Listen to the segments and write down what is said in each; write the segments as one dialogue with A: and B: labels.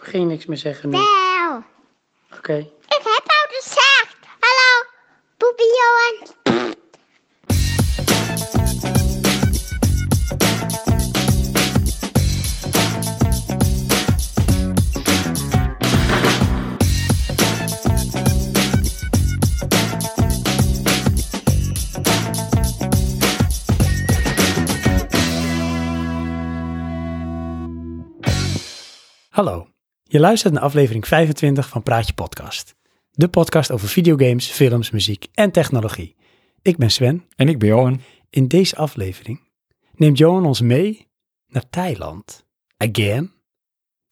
A: ging niks meer zeggen nu.
B: Wel,
A: Oké.
B: ik heb al gezegd. Hallo, Boepie Johan.
A: Hallo. Je luistert naar aflevering 25 van Praatje Podcast. De podcast over videogames, films, muziek en technologie. Ik ben Sven.
C: En ik ben Johan.
A: In deze aflevering neemt Johan ons mee naar Thailand. Again.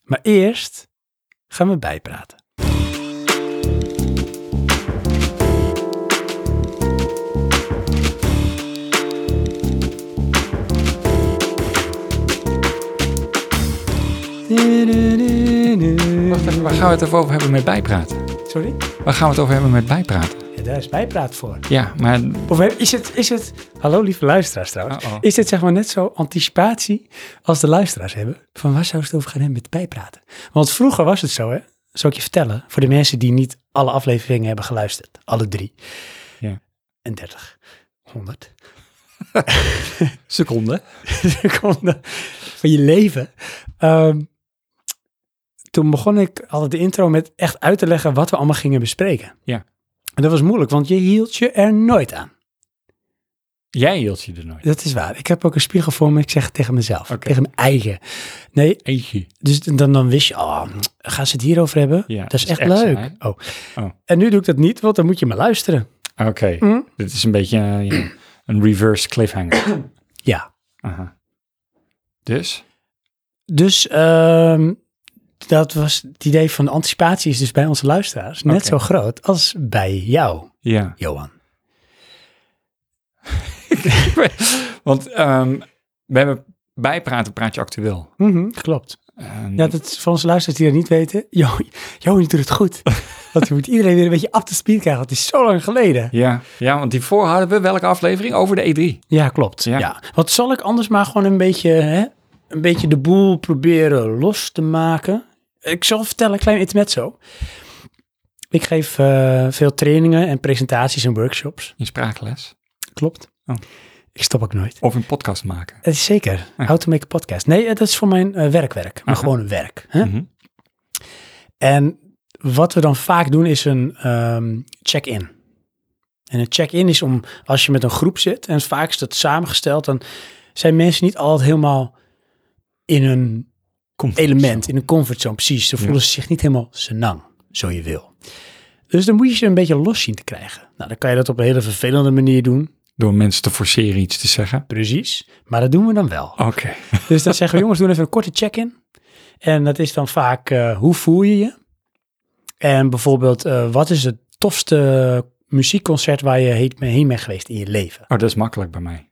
A: Maar eerst gaan we bijpraten.
C: Wacht even, waar gaan we het even over hebben met bijpraten?
A: Sorry?
C: Waar gaan we het over hebben met bijpraten?
A: Ja, daar is bijpraat voor.
C: Ja, maar...
A: Of heb- is het, is het, hallo lieve luisteraars trouwens,
C: Uh-oh.
A: is dit zeg maar net zo anticipatie als de luisteraars hebben? Van waar zou ze het over gaan hebben met bijpraten? Want vroeger was het zo hè, zal ik je vertellen, voor de mensen die niet alle afleveringen hebben geluisterd, alle drie.
C: Ja.
A: En 30, 100
C: Seconde.
A: seconden van je leven. Ehm, toen begon ik altijd de intro met echt uit te leggen wat we allemaal gingen bespreken.
C: Ja.
A: En dat was moeilijk, want je hield je er nooit aan.
C: Jij hield je er nooit.
A: Dat is waar. Ik heb ook een spiegel voor me. Ik zeg het tegen mezelf.
C: Oké.
A: Tegen mijn eigen. Nee,
C: Eetje.
A: dus dan, dan wist je, oh, gaan ze het hierover hebben?
C: Ja,
A: dat is echt, leuk.
C: saai.
A: Oh.
C: Oh.
A: En nu doe ik dat niet, want dan moet je me luisteren.
C: Oké,
A: Hm?
C: dit is een beetje eh, ja, een reverse cliffhanger.
A: Ja.
C: Aha. Dus?
A: Dus ehm, dat was het idee van anticipatie is dus bij onze luisteraars net
C: Oké.
A: zo groot als bij jou,
C: Ja.
A: Johan.
C: Want ehm, we hebben bijpraten, praat je actueel.
A: Mhm, klopt.
C: Ehm,
A: Ja, dat is voor onze luisteraars die dat niet weten. Jo- Johan doet het goed. want je moet iedereen weer een beetje up to speed krijgen. Want het is zo lang geleden.
C: ja. Ja, want hiervoor hadden we welke aflevering? Over de E E3.
A: Ja, klopt. Ja.
C: Ja.
A: Wat zal ik anders maar gewoon een beetje, hè, een beetje de boel proberen los te maken? Ik zal vertellen, een klein intermezzo. Ik geef eh, veel trainingen en presentaties en workshops.
C: In spraakles.
A: Klopt.
C: Oh.
A: Ik stop ook nooit.
C: Of een podcast maken.
A: Het is Eh, zeker.
C: Ah.
A: How to make a podcast. Nee, eh, dat is voor mijn eh, werkwerk. Maar
C: Aha.
A: gewoon werk. Hè?
C: Mhm.
A: En wat we dan vaak doen is een ehm, check-in. En een check-in is om, als je met een groep zit, en vaak is dat samengesteld, dan zijn mensen niet altijd helemaal in een element, in een comfortzone, precies. Ze voelen zich niet helemaal senang, zo je wil. Dus dan moet je ze een beetje los zien te krijgen. Nou, dan kan je dat op een hele vervelende manier doen,
C: Door mensen te forceren iets te zeggen.
A: precies. Maar dat doen we dan wel.
C: Oké.
A: Dus dan zeggen we, jongens, doen even een korte check-in. En dat is dan vaak, eh, hoe voel je je? En bijvoorbeeld, eh, wat is het tofste muziekconcert waar je heet- heen bent geweest in je leven?
C: Oh, dat is makkelijk bij mij.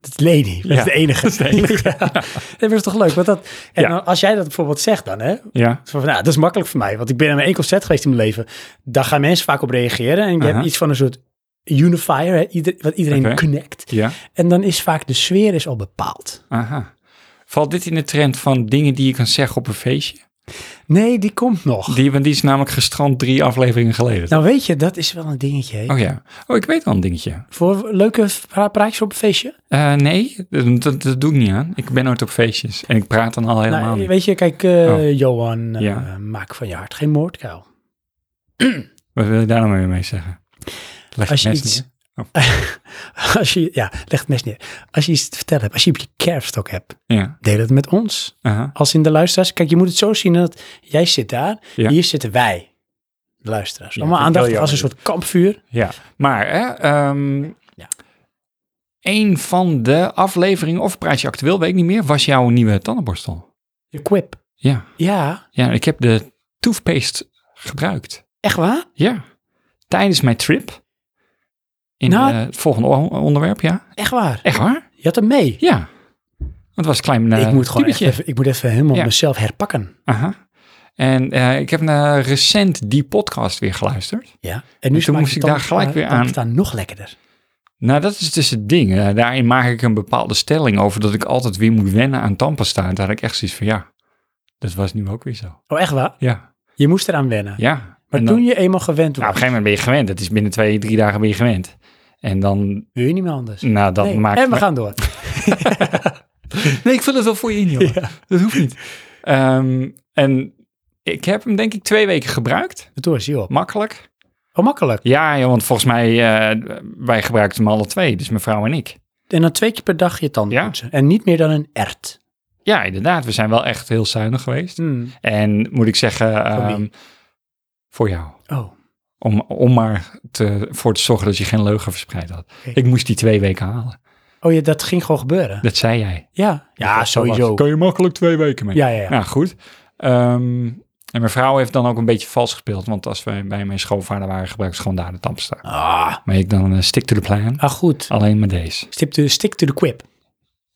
A: Dat is Lady, dat
C: Ja,
A: is de enige.
C: dat is de enige.
A: Ja. Nee, maar dat is toch leuk? Want dat, en
C: Ja.
A: dan als jij dat bijvoorbeeld zegt dan, hè?
C: Ja.
A: Zo Van, nou, dat is makkelijk voor mij, want ik ben aan maar één concert geweest in mijn leven. Daar gaan mensen vaak op reageren. En je hebt
C: Aha.
A: iets van een soort unifier, hè? Ieder, wat iedereen
C: Oké.
A: connect.
C: Ja.
A: En dan is vaak de sfeer is al bepaald.
C: Aha. Valt dit in de trend van dingen die je kan zeggen op een feestje?
A: Nee, die komt nog.
C: Die, want die is namelijk gestrand drie afleveringen geleden.
A: Nou weet je, dat is wel een dingetje. hè.
C: Oh ja. Oh, ik weet wel een dingetje.
A: Voor leuke pra- praatjes op een feestje.
C: Eh, nee, dat, dat- dat doe ik niet aan. Ik ben nooit op feestjes. En ik praat dan al helemaal
A: Nou,
C: niet.
A: weet je, kijk, eh,
C: Oh.
A: Johan, eh,
C: Ja.
A: maak van je hart geen moordkuil.
C: Wat wil je daar nou weer mee zeggen? Leg
A: Als je
C: het mes
A: iets-
C: neer. Oh.
A: Als je, ja, leg het mes neer. Als je iets te vertellen hebt, als je op je kerfstok hebt,
C: Ja.
A: deel het met ons.
C: Aha.
A: Als in de luisteraars, kijk, je moet het zo zien dat jij zit daar,
C: Ja.
A: hier zitten wij, de luisteraars.
C: Ja,
A: Allemaal
C: vind ik wel
A: aandacht als een
C: jammer.
A: soort kampvuur.
C: ja. Maar, hè, ehm,
A: Ja.
C: een van de afleveringen, of praatje actueel, weet ik niet meer, was jouw nieuwe tandenborstel.
A: Je quip.
C: Ja.
A: Ja,
C: Ja, ik heb de toothpaste gebruikt.
A: echt waar?
C: Ja, tijdens mijn trip. In
A: Nou-
C: eh, het volgende on- onderwerp, ja.
A: Echt waar.
C: Echt waar?
A: Je had hem mee.
C: Ja. Want het was een klein eh
A: ik moet gewoon echt
C: tubetje.
A: even, ik moet even helemaal
C: Ja.
A: mezelf herpakken.
C: Aha. En eh, ik heb eh, recent die podcast weer geluisterd.
A: Ja. Dus En nu
C: toen
A: smaakt
C: moest
A: het
C: ik daar
A: tand-
C: gelijk weer
A: tand-
C: aan.
A: staan nog lekkerder.
C: Nou, dat is dus het ding. Eh, daarin maak ik een bepaalde stelling over dat ik altijd weer moet wennen aan tandpasta. Daar had ik echt zoiets van, ja, Dat was nu ook weer zo.
A: Oh, echt waar?
C: Ja.
A: Je moest eraan wennen.
C: Ja.
A: Maar
C: En dan-
A: toen je eenmaal gewend was,
C: Nou, op een gegeven moment ben je gewend. Het is binnen twee, drie dagen ben je gewend. En dan,
A: wil je niet meer anders.
C: nou, dat
A: Nee.
C: maakt...
A: en we gaan door.
C: Nee, ik vul het wel voor je in, joh. Dat hoeft niet. Ehm, en ik heb hem denk ik twee weken gebruikt.
A: En toen is hij
C: Mm.
A: op.
C: Makkelijk.
A: Oh, makkelijk.
C: Ja, joh, want volgens mij, eh, wij gebruikten hem alle twee. Dus mijn vrouw en ik.
A: En dan twee keer per dag je tanden
C: Ja.
A: poetsen. En niet meer dan een ert.
C: Ja, inderdaad. We zijn wel echt heel zuinig geweest.
A: Hmm.
C: En moet ik zeggen,
A: wie?
C: ehm, voor jou.
A: Oh,
C: Om, om maar te, voor te zorgen dat je geen leugen verspreid had.
A: Oké.
C: Ik moest die twee weken halen.
A: oh ja, dat ging gewoon gebeuren.
C: Dat zei jij.
A: Ja, ja,
C: Dat was-
A: sowieso.
C: Kan je makkelijk twee weken mee.
A: Ja, ja, ja.
C: Nou, goed. Ehm, en mijn vrouw heeft dan ook een beetje vals gespeeld. Want als wij bij mijn schoonvader waren, gebruikte ze gewoon daar de tandpasta.
A: Ah,
C: Maar ik dan eh, stick to the plan.
A: ah, goed.
C: Alleen maar deze.
A: Stick to, stick to the quip.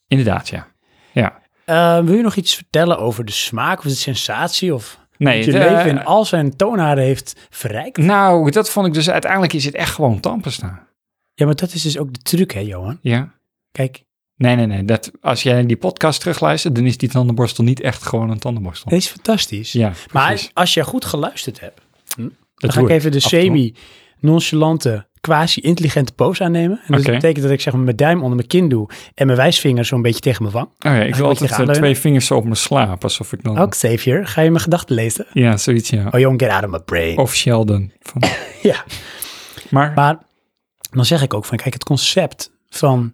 C: Inderdaad, ja. Ja.
A: Eh, wil je nog iets vertellen over de smaak of de sensatie? Of dat
C: Nee,
A: je
C: het, eh,
A: leven in al zijn toonaarden heeft verrijkt?
C: Nou, dat vond ik dus uiteindelijk is het echt gewoon tandpasta.
A: Ja, maar dat is dus ook de truc, hè, Johan?
C: Ja.
A: Kijk,
C: Nee, nee, nee. Dat, als jij die podcast terugluistert, dan is die tandenborstel niet echt gewoon een tandenborstel.
A: dit is fantastisch.
C: Ja,
A: maar
C: precies. Hm?
A: als je goed geluisterd hebt,
C: Dat
A: dan ga ik
C: doe
A: even de
C: af en toe.
A: semi-nonchalante, quasi-intelligente pose aannemen. En dat
C: Oké.
A: betekent dat ik zeg maar mijn duim onder mijn kin doe en mijn wijsvinger zo'n beetje tegen mijn wang.
C: Oh ja, ik
A: Even
C: wil
A: wat
C: altijd eh,
A: tegenaan
C: twee vingers zo op mijn slaap, alsof ik dan...
A: Ook Xavier, ga je mijn gedachten lezen?
C: Ja, zoiets, ja.
A: Oh jong, get out of my brain.
C: Of Sheldon. Van,
A: Ja,
C: maar,
A: maar dan zeg ik ook van, kijk, het concept van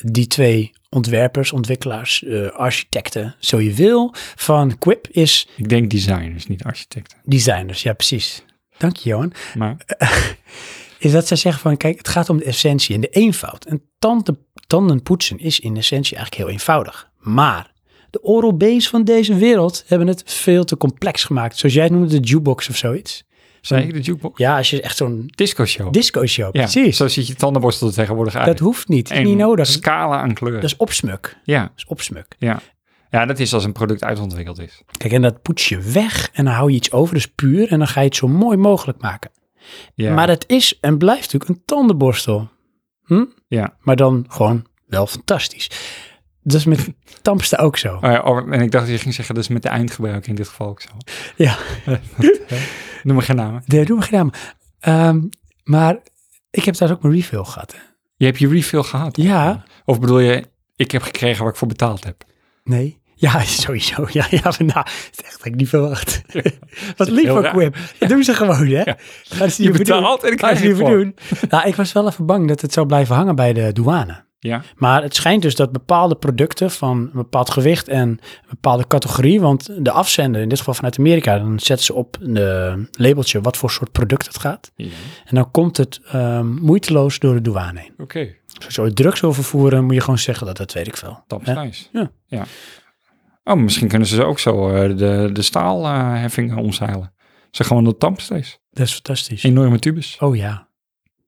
A: die twee ontwerpers, ontwikkelaars, eh, architecten, zo je wil, van Quip is
C: ik denk designers, niet architecten.
A: designers. Ja, precies. Dank je, Johan.
C: Maar
A: is dat zij zeggen van, kijk, het gaat om de essentie en de eenvoud. En tanden, tanden poetsen is in essentie eigenlijk heel eenvoudig. Maar de oral B's van deze wereld hebben het veel te complex gemaakt. Zoals jij het noemde, de jukebox of zoiets.
C: zei ik de jukebox?
A: Ja, als je echt zo'n
C: Disco show.
A: disco show,
C: ja, Ah,
A: precies.
C: Zo ziet je tandenborstel er tegenwoordig uit.
A: Dat hoeft dus niet, is
C: En
A: niet nodig.
C: scala aan kleur.
A: Dat is opsmuk, dat
C: Ja,
A: is opsmuk.
C: ja. Ja, dat is als een product uitontwikkeld is.
A: Kijk, en dat poets je weg en dan hou je iets over, dus puur. En dan ga je het zo mooi mogelijk maken.
C: Ja,
A: Maar het is en blijft natuurlijk een tandenborstel. Hm?
C: ja.
A: Maar dan gewoon wel fantastisch. Dat is met Tampsta ook zo.
C: Oh ja, oh, en ik dacht dat je ging zeggen, dat is met de eindgebruiker in dit geval ook zo.
A: Ja,
C: Noem maar geen namen.
A: dat doen we gedaan. Ehm, maar ik heb daar ook mijn refill gehad. hè.
C: Je hebt je refill gehad?
A: Ja.
C: Of bedoel je, ik heb gekregen waar ik voor betaald heb?
A: Nee. Ja, sowieso. Ja, ja maar nou, het is echt dat ik niet verwacht. Wat lief
C: heel
A: van
C: raar.
A: Quip. Dat doen ze gewoon, hè? Gaan ze
C: Je
A: voor doen.
C: betaalt en ik
A: Gaan
C: krijg
A: ze
C: je
A: hiervoor
C: voor.
A: doen. Nou, ik was wel even bang dat het zou blijven hangen bij de douane.
C: Ja.
A: Maar het schijnt dus dat bepaalde producten van een bepaald gewicht en een bepaalde categorie, want de afzender, in dit geval vanuit Amerika, dan zetten ze op een eh, labeltje wat voor soort product het gaat. En dan komt het ehm, moeiteloos door de douane heen.
C: Oké,
A: Dus als je ooit drugs wil vervoeren, moet je gewoon zeggen dat dat weet ik veel.
C: dat is
A: Ja.
C: nice.
A: Ja.
C: ja. Oh, misschien kunnen ze ook zo eh, de, de staalheffingen omzeilen. Ze gewoon de tampstees.
A: Dat is fantastisch.
C: Enorme tubes.
A: Oh ja.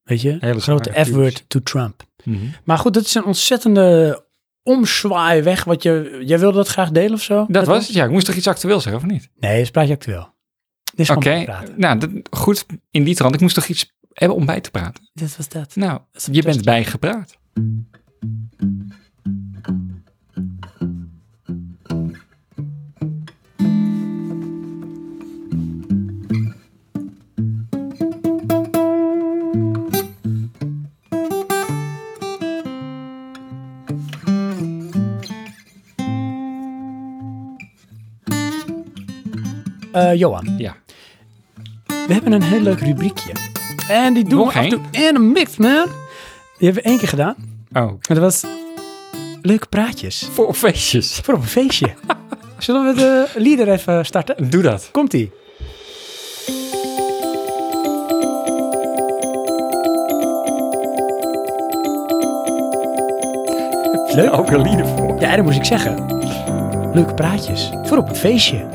A: Weet je?
C: Hele
A: Grote
C: zware
A: F-word
C: tubes.
A: to Trump.
C: Mhm.
A: Maar goed, dat is een ontzettende omzwaai weg. Wat je, jij wilde dat graag delen of zo?
C: Dat was het, ja. Ik moest toch iets actueel zeggen, of niet?
A: Nee, dat is praatje actueel. Dit is
C: Oké,
A: gewoon praten.
C: nou, dat- goed in die trant. Ik moest toch iets hebben om bij te praten?
A: Dit was dat.
C: Nou,
A: is
C: je bent
A: fantastisch.
C: bijgepraat.
A: Eh, Johan.
C: Ja.
A: We hebben een heel leuk rubriekje. En die doen
C: Nog
A: we af en
C: één?
A: toe in een mix, man. Die hebben we één keer gedaan.
C: Oh,
A: En dat was leuke praatjes.
C: voor feestjes.
A: Voor op een feestje. Zullen we de lieder even starten?
C: Doe dat.
A: Komt-ie. Leuk.
C: Ook een lieder voor.
A: Ja, dat moest ik zeggen. Leuke praatjes. Voor op een feestje.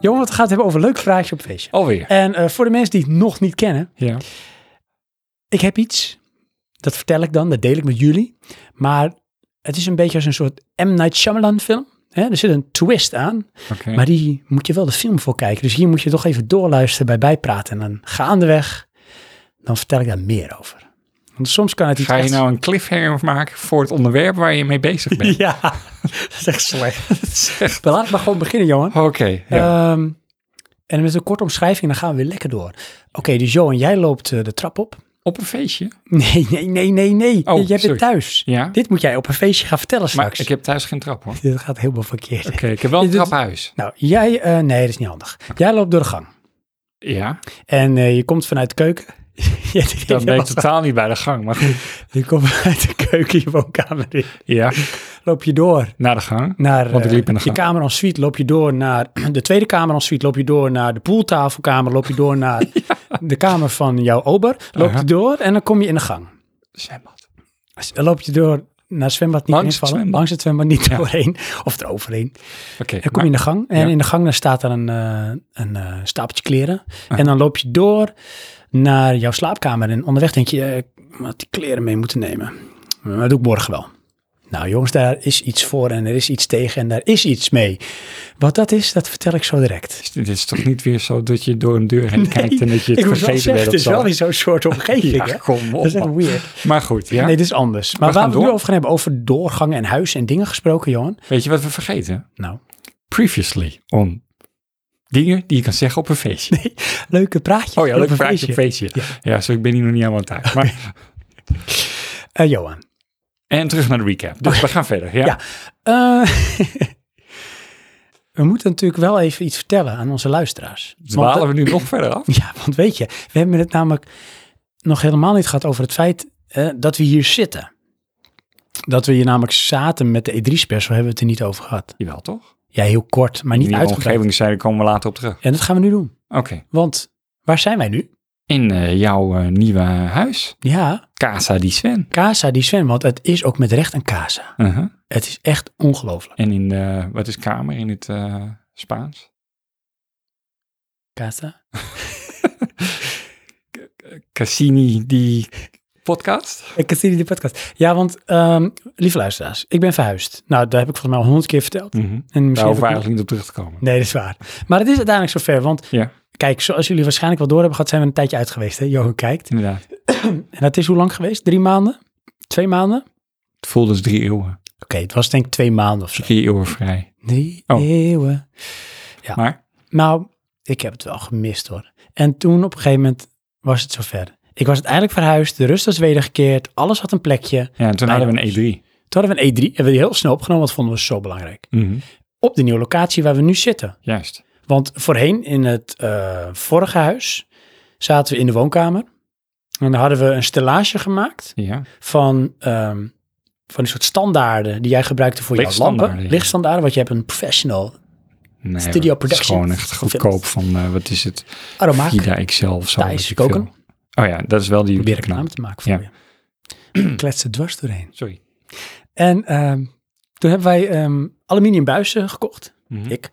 A: Johan, wat gaat het hebben over leuke praatjes op een feestje.
C: Alweer.
A: En eh, voor de mensen die het nog niet kennen.
C: Ja.
A: ik heb iets. Dat vertel ik dan, dat deel ik met jullie. Maar het is een beetje als een soort M. Night Shyamalan film. Hè? Er zit een twist aan,
C: Oké.
A: maar die moet je wel de film voor kijken. Dus hier moet je toch even doorluisteren bij bijpraten. En dan gaandeweg, dan vertel ik daar meer over. Want soms kan het iets
C: Ga je
A: echt-
C: nou een cliffhanger maken voor het onderwerp waar je mee bezig bent?
A: Ja, dat is echt slecht.
C: Dat is echt-
A: Maar laten we maar gewoon beginnen, Johan.
C: Oké, ja.
A: Ehm, en met een korte omschrijving, dan gaan we weer lekker door. Oké, dus Johan, jij loopt eh, de trap op.
C: op een feestje.
A: Nee, nee, nee, nee, nee.
C: Oh,
A: jij bent
C: sorry.
A: thuis.
C: Ja,
A: Dit moet jij op een feestje gaan vertellen
C: maar
A: straks.
C: ik heb thuis geen trap hoor. Oké,
A: Dit gaat helemaal verkeerd.
C: ik heb wel een
A: Dit-
C: traphuis.
A: Nou, jij... eh, nee, dat is niet handig. Jij loopt door de gang.
C: Ja,
A: En eh, je komt vanuit de keuken. je,
C: dan ben ik totaal niet bij de gang. Maar goed,
A: je komt vanuit de keuken je woonkamer in.
C: ja,
A: Loop je door
C: naar de gang.
A: naar
C: Want ik
A: eh,
C: liep in de
A: je
C: gang.
A: kamer en suite, loop je door naar de tweede kamer en suite, loop je door naar de poeltafelkamer, loop je door naar de kamer van jouw ober, loop
C: Aha.
A: je door en dan kom je in de gang.
C: Zwembad.
A: Dus dan loop je door naar het zwembad niet
C: Langs het
A: invallen,
C: zwembad.
A: langs het zwembad niet
C: Ja.
A: doorheen of eroverheen.
C: Oké,
A: Dan kom
C: maar-
A: je in de gang en
C: ja.
A: in de gang daar staat er een, eh, een eh, stapeltje kleren en dan loop je door naar jouw slaapkamer en onderweg denk je, eh, ik had die kleren mee moeten nemen. Maar dat doe ik morgen wel. Nou jongens, daar is iets voor en er is iets tegen en daar is iets mee. Wat dat is, dat vertel ik zo direct.
C: Is Dit dit is toch niet weer zo dat je door een deur heen kijkt en dat je het
A: ik moet wel
C: vergeten
A: zeggen,
C: bent
A: het
C: of
A: is
C: zo.
A: wel in zo'n soort omgeving.
C: Ja,
A: hè?
C: kom
A: Dat is echt
C: op.
A: weird.
C: Maar goed, ja.
A: Nee, dit is anders. Maar waar
C: We gaan
A: we het nu
C: door.
A: over gaan hebben, over doorgangen en huizen en dingen gesproken, Johan.
C: Weet je wat we vergeten?
A: Nou,
C: Previously on dingen die je kan zeggen op een feestje.
A: leuke praatje.
C: oh ja, leuk vraagje op
A: feestje.
C: een feestje. Ja. zo ik ben hier nog niet helemaal thuis. Maar,
A: Eh, Johan,
C: en terug naar de recap. Dus we gaan verder. Ja.
A: Oh Ja. Eh, we moeten natuurlijk wel even iets vertellen aan onze luisteraars. Want-
C: Dwalen we nu nog verder af?
A: Ja, want weet je, we hebben het namelijk nog helemaal niet gehad over het feit eh, dat we hier zitten. Dat we hier namelijk zaten met de E3-special, hebben we het er niet over gehad.
C: Jawel, toch?
A: Ja, heel kort, maar niet
C: die
A: uitgebreid.
C: omgeving zijn, daar komen we later op terug.
A: En dat gaan we nu doen.
C: Oké.
A: Want waar zijn wij nu?
C: In eh, jouw eh, nieuwe huis.
A: Ja,
C: Casa di Sven.
A: Casa di Sven, want het is ook met recht een casa.
C: Uh-huh.
A: Het is echt ongelooflijk.
C: En in de, wat is kamer in het eh, Spaans?
A: Casa?
C: Cassini die podcast.
A: Ik zie die podcast. Ja, want ehm, lieve luisteraars, ik ben verhuisd. Nou, daar heb ik volgens mij al honderd keer verteld. En
C: Mhm.
A: misschien
C: Daar hoeven we
A: heb ik-
C: eigenlijk niet op terug te komen.
A: Nee, dat is waar. Maar het is uiteindelijk zover, want
C: Ja,
A: kijk, zoals jullie waarschijnlijk wel door hebben gehad, zijn we een tijdje uit geweest, hè? Johan kijkt.
C: inderdaad.
A: En dat is hoe lang geweest? Drie maanden? Twee maanden? Oké,
C: Het voelde als drie eeuwen.
A: het was denk ik twee maanden of zo.
C: Drie eeuwen vrij.
A: Drie
C: Oh.
A: eeuwen. Ja.
C: Maar,
A: Nou, ik heb het wel gemist hoor. En toen op een gegeven moment was het zover. Ik was uiteindelijk verhuisd, de rust was wedergekeerd, alles had een plekje.
C: ja, en toen
A: Bijna
C: hadden we een E E3.
A: Toen hadden we een E3, hebben we die heel snel opgenomen, want vonden we zo belangrijk.
C: Mhm,
A: Op de nieuwe locatie waar we nu zitten.
C: Juist.
A: Want voorheen in het eh, vorige huis zaten we in de woonkamer. En dan hadden we een stellage gemaakt
C: Ja.
A: van, ehm, van een soort standaarden die jij gebruikte voor jouw
C: Lichtstandaarden,
A: lampen.
C: ja.
A: Lichtstandaarden, want je hebt een professional
C: Nee,
A: Studio
C: het is
A: production
C: gewoon echt goedkoop van, eh, wat is het?
A: aromaak.
C: Vida XL of zo.
A: Thijs
C: weet ik
A: Koken.
C: veel. Oh ja, dat is wel die
A: Probeer ik
C: YouTube-kanaal.
A: naam te maken voor
C: Ja.
A: je. Ik klets er dwars doorheen.
C: Sorry.
A: En ehm, toen hebben wij ehm, aluminium buizen gekocht,
C: Mhm.
A: ik.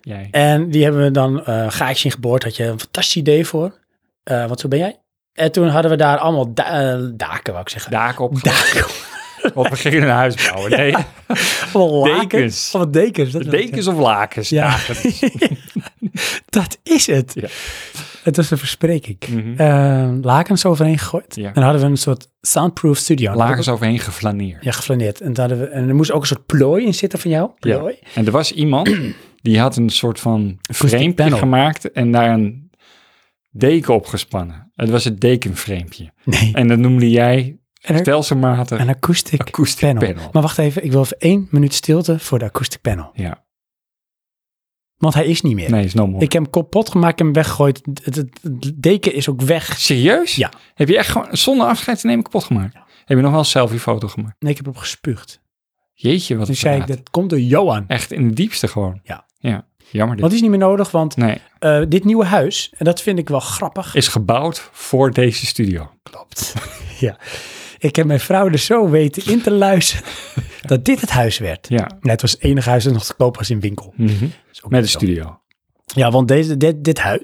C: Jij.
A: En die hebben we dan eh, een gaatje in geboord. Had je een fantastisch idee voor. Eh, want zo ben jij. En toen hadden we daar allemaal da- eh, daken, wou ik zeggen.
C: Daken op.
A: Daken.
C: Want we gingen een huis bouwen. Nee,
A: Allemaal lakens.
C: Dekens.
A: Allemaal dekens. Dat wil ik
C: dekens of lakens.
A: Ja.
C: daken.
A: zeggen. Dat is het.
C: Ja.
A: Het was een verspreking.
C: Mhm.
A: Eh, lakens overheen gegooid.
C: Ja.
A: En dan hadden we een soort soundproof studio.
C: Lakens overheen geflaneerd.
A: Ja, geflaneerd. En, daar hadden we, en er moest ook een soort plooi in zitten van jou.
C: Ja.
A: Plooi.
C: En er was iemand die had een soort van frame
A: panel.
C: gemaakt en daar een deken op gespannen. Het was het dekenframepje.
A: Nee.
C: En dat noemde jij
A: En er-
C: stelselmatig.
A: Een acoustic,
C: Acoustic panel.
A: Maar wacht even, ik wil even één minuut stilte voor de acoustic panel.
C: Ja,
A: Want hij is niet meer.
C: nee, is no more.
A: Ik heb hem kapot gemaakt en hem weggegooid. Het, het- het deken is ook weg.
C: Serieus?
A: Ja.
C: Heb je echt gewoon zonder afscheid te nemen kapot gemaakt? Heb je nog wel een selfiefoto gemaakt?
A: Nee, ik heb hem gespuugd.
C: Jeetje, wat
A: Toen
C: een
A: zei ik,
C: verraad.
A: dat komt door Johan.
C: Echt in de diepste gewoon.
A: Ja.
C: Ja, jammer dit.
A: Want die is niet meer nodig, want
C: Nee,
A: eh, dit nieuwe huis, en dat vind ik wel grappig.
C: is gebouwd voor deze studio.
A: Klopt. ja. Ik heb mijn vrouw er zo weten in te luisteren dat dit het huis werd.
C: Ja.
A: Nee, het was het enige huis dat nog te koop was in winkel.
C: Mhm.
A: Is ook
C: Met een
A: niet zo.
C: studio.
A: Ja, want deze, dit, dit, huis,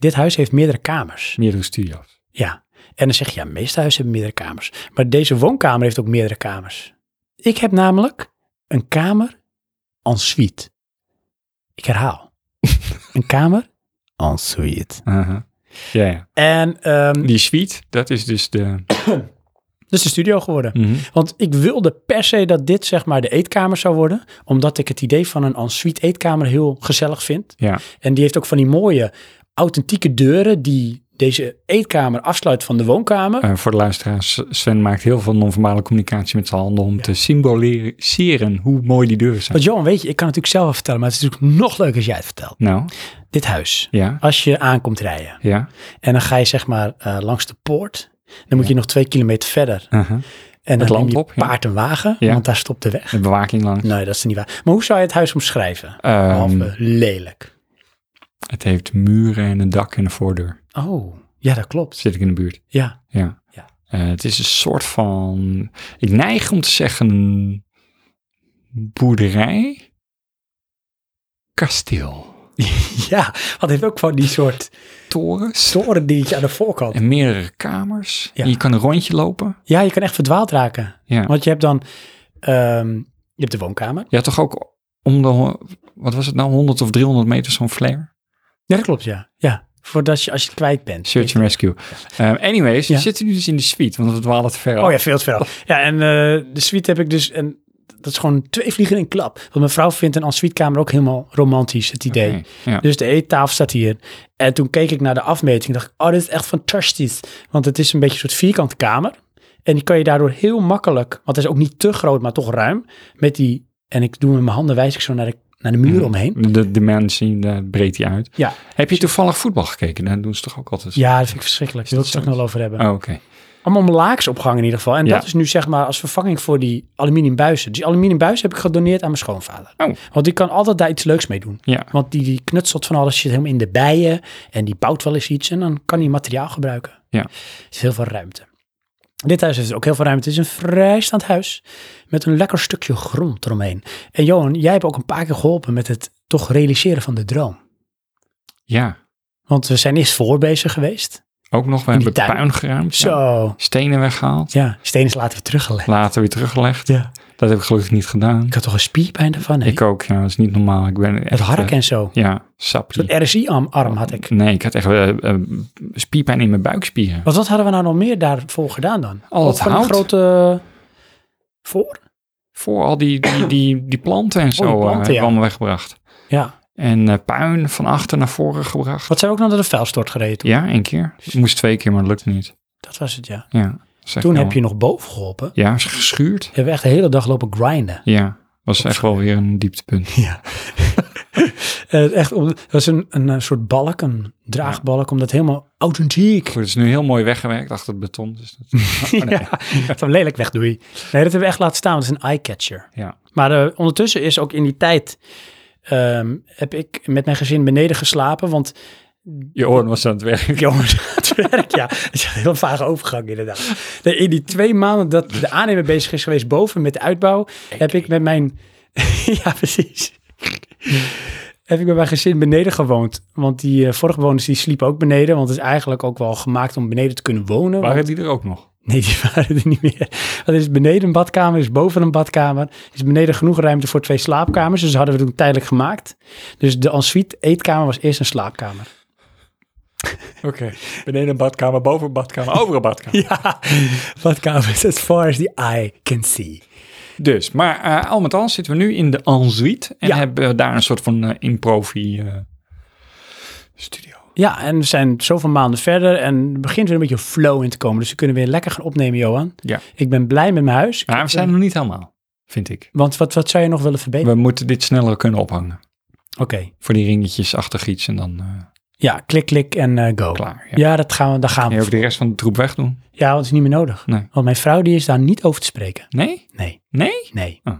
A: dit huis heeft meerdere kamers.
C: Meerdere studio's.
A: Ja. En dan zeg je, ja, de meeste huizen hebben meerdere kamers. Maar deze woonkamer heeft ook meerdere kamers. Ik heb namelijk een kamer en suite. Ik herhaal. een kamer en suite.
C: Aha. Ja, ja.
A: En ehm
C: Die suite, dat is dus de...
A: dat is de studio geworden.
C: Mhm.
A: Want ik wilde per se dat dit zeg maar de eetkamer zou worden. Omdat ik het idee van een ensuite eetkamer heel gezellig vind.
C: Ja,
A: En die heeft ook van die mooie authentieke deuren die deze eetkamer afsluit van de woonkamer.
C: Eh, voor de luisteraars, Sven maakt heel veel non-formale communicatie met zijn handen om te symboliseren hoe mooi die deuren zijn.
A: Want Johan, weet je, ik kan het natuurlijk zelf wel vertellen, maar het is natuurlijk nog leuker als jij het vertelt.
C: Nou,
A: Dit huis.
C: ja,
A: Als je aankomt rijden
C: ja.
A: en dan ga je zeg maar eh, langs de poort. Dan moet je nog twee kilometer verder.
C: aha.
A: En
C: Het
A: dan
C: land
A: neem je
C: op, ja.
A: paard en wagen,
C: Ja.
A: want daar stopt de weg.
C: De bewaking lang.
A: Nee, dat is niet waar. Maar hoe zou je het huis omschrijven?
C: Ehm,
A: Behalve lelijk.
C: het heeft muren en een dak en een voordeur.
A: Oh, ja, dat klopt.
C: Zit ik in de buurt.
A: Ja,
C: Ja.
A: Ja.
C: Eh, het is een soort van, ik neig om te zeggen, boerderij, kasteel,
A: ja. Want het heeft ook van die soort
C: torens
A: toren dingetje aan de voorkant.
C: en meerdere kamers.
A: Ja.
C: Je kan een rondje lopen.
A: Ja, je kan echt verdwaald raken.
C: Ja.
A: Want je hebt dan, ehm, je hebt de woonkamer.
C: Je had toch ook om de, ho- wat was het nou, 100 of 300 meter zo'n flare?
A: Ja, dat klopt, ja. Ja, voordat je, als je het kwijt bent.
C: Search and Rescue. Ehm, anyways,
A: Ja.
C: we zitten nu dus in de suite, want we dwalen te ver af.
A: Oh ja, veel te veel. Ja, en eh, de suite heb ik dus, en dat is gewoon twee vliegen in een klap. Want mijn vrouw vindt een ensuitekamer ook helemaal romantisch, het idee.
C: Oké, ja.
A: Dus de eettafel staat hier. En toen keek ik naar de afmeting en dacht ik, oh, dit is echt fantastisch. Want het is een beetje een soort vierkante kamer. En die kan je daardoor heel makkelijk, want het is ook niet te groot, maar toch ruim. Met die, en ik doe met mijn handen, wijs ik zo naar de, naar de muur
C: Mm.
A: omheen.
C: De dimensie, daar breekt hij uit.
A: Ja.
C: Heb je toevallig voetbal gekeken? Dat doen ze toch ook altijd?
A: Ja, dat vind ik verschrikkelijk. Daar wil ik het
C: dat
A: straks nog wel over hebben.
C: Oh, oké.
A: Allemaal laaks opgehangen in ieder geval. En
C: Ja.
A: dat is nu zeg maar als vervanging voor die aluminium buizen. Die aluminium buizen heb ik gedoneerd aan mijn schoonvader.
C: Oh.
A: Want die kan altijd daar iets leuks mee doen.
C: Ja.
A: Want die, die knutselt van alles, zit helemaal in de bijen. En die bouwt wel eens iets en dan kan hij materiaal gebruiken.
C: Ja.
A: Er is heel veel ruimte. Dit huis heeft ook heel veel ruimte. Het is een vrijstaand huis met een lekker stukje grond eromheen. En Johan, jij hebt ook een paar keer geholpen met het toch realiseren van de droom.
C: Ja.
A: Want we zijn eerst voor bezig geweest.
C: Ook nog, we
A: In die
C: hebben
A: tuin.
C: puin geruimd. ja.
A: Zo.
C: Stenen weggehaald.
A: Ja, steen is later weer teruggelegd.
C: Later weer teruggelegd.
A: Ja.
C: Dat heb ik gelukkig niet gedaan.
A: Ik had toch een spierpijn daarvan? hè?
C: Ik ook, ja. Dat is niet normaal. Ik ben echt...
A: Het hark
C: eh,
A: en zo.
C: Ja, sappie.
A: Een RSI-arm had ik.
C: Nee, ik had echt eh, eh, spierpijn in mijn buikspieren.
A: Want wat hadden we nou nog meer daarvoor gedaan dan?
C: Al Oh, het
A: Ook van
C: hout.
A: Een grote... eh, Voor?
C: Voor al die, die, die, die planten en zo
A: die
C: eh,
A: planten, ja.
C: allemaal weggebracht.
A: Ja.
C: En eh, puin van achter naar voren gebracht.
A: Wat zijn we ook nog naar de vuilstort gereden toen?
C: Ja, één keer. Het moest twee keer, maar dat lukte niet.
A: Dat was het, ja.
C: Ja, dat is echt
A: Toen
C: wel-
A: heb je nog boven geholpen.
C: Ja, is geschuurd.
A: Hebben we echt de hele dag lopen grinden.
C: Ja, was echt wel weer een dieptepunt.
A: Ja. Eh, echt, om- dat was een, een eh, soort balk, een draagbalk, omdat helemaal authentiek.
C: Goed, het is dus nu heel mooi weggewerkt achter het beton. Dus dat... Oh, nee.
A: ja, dat hem lelijk weg, doei. Nee, dat hebben we echt laten staan. want Het is een eye-catcher.
C: ja.
A: Maar eh, ondertussen is ook in die tijd ehm, heb ik met mijn gezin beneden geslapen. Want
C: Je oren was aan het werk.
A: jongens, het werk, ja, het is een heel vage overgang inderdaad. Nee, in die twee maanden dat de aannemer bezig is geweest boven met de uitbouw, heb ik met mijn... ja, precies. Heb ik met mijn gezin beneden gewoond. Want die eh, vorige bewoners die sliepen ook beneden. Want het is eigenlijk ook wel gemaakt om beneden te kunnen wonen.
C: Waren die er ook nog?
A: Nee, die waren er niet meer. Dat is beneden een badkamer, is boven een badkamer. Er is beneden genoeg ruimte voor twee slaapkamers. Dus dat hadden we toen tijdelijk gemaakt. Dus de ensuite eetkamer was eerst een slaapkamer.
C: Oké. Beneden een badkamer, boven een badkamer, over een badkamer.
A: Ja, badkamer is as far as the eye can see.
C: Dus, maar eh, al met al zitten we nu in de ensuite. En
A: Ja.
C: hebben daar een soort van eh improvi eh, studio.
A: Ja, en we zijn zoveel maanden verder en er begint weer een beetje flow in te komen. Dus we kunnen weer lekker gaan opnemen, Johan.
C: Ja.
A: Ik ben blij met mijn huis.
C: Maar we zijn er nog niet helemaal, vind ik.
A: Want wat, wat zou je nog willen verbeteren?
C: We moeten dit sneller kunnen ophangen.
A: Oké,
C: Voor die ringetjes achter iets en dan eh,
A: ja, klik, klik en eh, go.
C: klaar. Ja.
A: Ja, dat gaan we, daar gaan
C: Kan
A: we.
C: je ook de rest van de troep wegdoen?
A: Ja, want het is niet meer nodig.
C: Nee.
A: Want mijn vrouw die is daar niet over te spreken.
C: Nee?
A: Nee,
C: Nee?
A: nee.
C: Ah.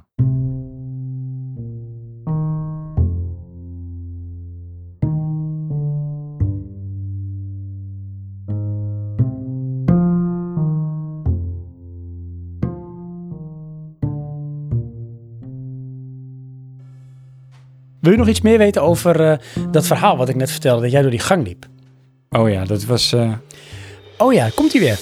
A: Wil je nog iets meer weten over eh, dat verhaal wat ik net vertelde, dat jij door die gang liep?
C: Oh ja, dat was... eh,
A: Oh ja, komt hij weer.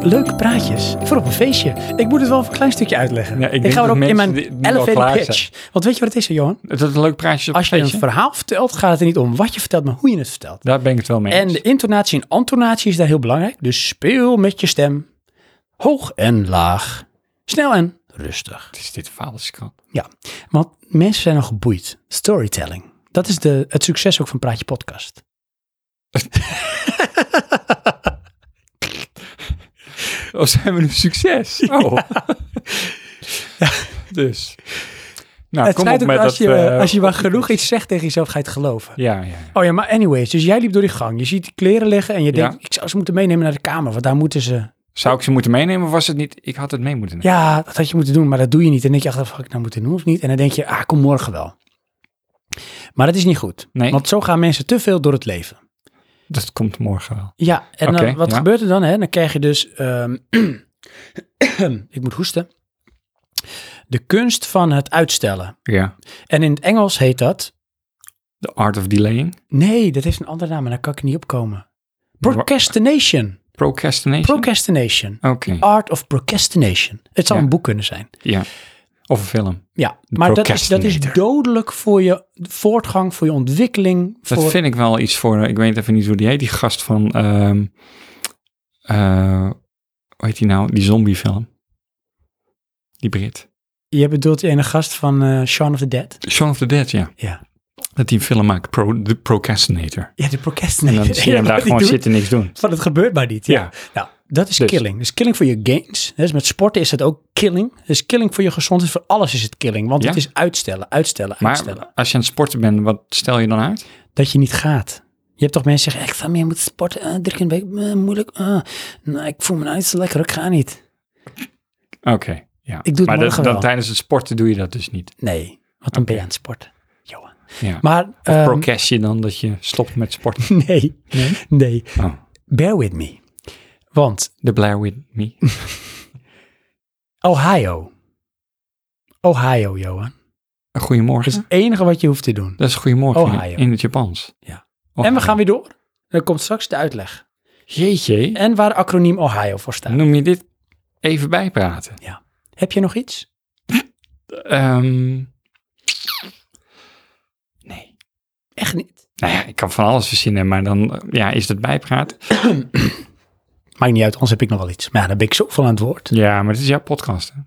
A: leuke praatjes voor op een feestje. Ik moet het wel even een klein stukje uitleggen.
C: Ja, ik denk
A: ga
C: dat
A: erop in
C: mensen
A: mijn
C: die- nu al
A: elevator
C: klaar
A: pitch. Want weet je wat het is, Johan?
C: Dat is een leuk praatje op
A: Als je een
C: feestje.
A: verhaal vertelt, gaat het er niet om wat je vertelt, maar hoe je het vertelt.
C: Daar ben ik het wel mee
A: En
C: eens.
A: de intonatie en antonatie is daar heel belangrijk. Dus speel met je stem. Hoog en laag. Snel en rustig.
C: Wat is dit vaderskap?
A: Ja, want mensen zijn nog geboeid. Storytelling. Dat is de, het succes ook van Praatje Podcast.
C: Nou, Oh, zijn we een succes? Oh. Dus. Nou,
A: het
C: kom op
A: schijnt ook
C: met
A: als,
C: dat...
A: je,
C: eh,
A: als je maar genoeg iets zegt tegen jezelf, ga je het geloven.
C: Ja, ja.
A: Oh ja, maar anyways, dus jij liep door die gang. Je ziet die kleren liggen en je denkt,
C: Ja.
A: ik zou ze moeten meenemen naar de kamer, want daar moeten ze...
C: Zou ik ze moeten meenemen of was het niet... Ik had het mee moeten nemen.
A: Ja, dat had je moeten doen, maar dat doe je niet. En dan denk je achteraf, had ik nou moeten doen of niet? En dan denk je, ah, kom morgen wel. Maar dat is niet goed,
C: Nee.
A: want zo gaan mensen te veel door het leven.
C: Dat komt morgen wel.
A: Ja, en dan-
C: Oké,
A: wat
C: ja.
A: gebeurt er dan? Hè? Dan krijg je dus, ehm, ik moet hoesten, de kunst van het uitstellen.
C: Ja.
A: En in het Engels heet dat
C: The Art of Delaying.
A: Nee, dat heeft een andere naam, maar daar kan ik niet op komen. Procrastination.
C: Procrastination.
A: Procrastination.
C: Oké,
A: Art of procrastination. Het zou
C: Ja.
A: een boek kunnen zijn.
C: ja. Of een film.
A: Ja, maar dat is, dat is
C: procrastinator.
A: dodelijk voor je voortgang, voor je ontwikkeling. Voor...
C: Dat vind ik wel iets voor... eh, Ik weet even niet hoe die heet. Die gast van... ehm eh, hoe heet die nou? Die zombiefilm. Die Brit.
A: Je bedoelt die ene gast van eh Shaun of the Dead?
C: Shaun of the Dead, ja.
A: Ja.
C: Dat die een film maakt. Pro, the Procrastinator.
A: Ja, de
C: En
A: procrastinator.
C: dan zie je
A: Ja,
C: hem
A: wat
C: daar
A: die
C: gewoon
A: doet,
C: zitten en niks doen.
A: Van het gebeurt maar niet. Ja.
C: Ja.
A: Nou, dat is
C: Dus.
A: killing. Dus killing voor je gains. Dus met sporten is dat ook killing. Dus killing voor je gezondheid. Voor alles is het killing. Want
C: Ja.
A: het is uitstellen, uitstellen, uitstellen.
C: Maar als je aan het sporten bent, wat stel je dan uit?
A: dat je niet gaat. Je hebt toch mensen die zeggen, ik ga meer moeten sporten, eh, drie keer in de week, eh, moeilijk. eh. nou, ik voel me nou niet zo lekker, ik ga niet.
C: Oké, ja.
A: Ik doe het
C: maar dat-
A: morgen
C: dan
A: wel.
C: tijdens het sporten doe je dat dus niet.
A: Nee, want dan ben je aan het sporten. Johan.
C: Ja.
A: Maar, ehm,
C: Procrast je dan dat je stopt met sporten?
A: nee, nee,
C: Oh,
A: Bear with me. Want
C: the Blair With Me.
A: Ohio. Ohio, Johan. Dat is
C: Goedemorgen.
A: het enige wat je hoeft te doen.
C: Dat is goedemorgen in-
A: Ohio.
C: in, het Japans.
A: Ja.
C: Ohio.
A: En we gaan weer door. Dan komt straks de uitleg.
C: Jeetje,
A: En waar de acroniem Ohio voor staat.
C: noem je dit even bijpraten?
A: Heb je nog iets?
C: Ehm, nee.
A: Echt niet.
C: Nou ja, ik kan van alles verzinnen, maar dan eh, ja, is dat bijpraten.
A: Maakt niet uit, anders heb ik nog wel iets. Maar ja, dan ben ik zoveel aan het woord.
C: Ja, maar het is jouw podcast, hè?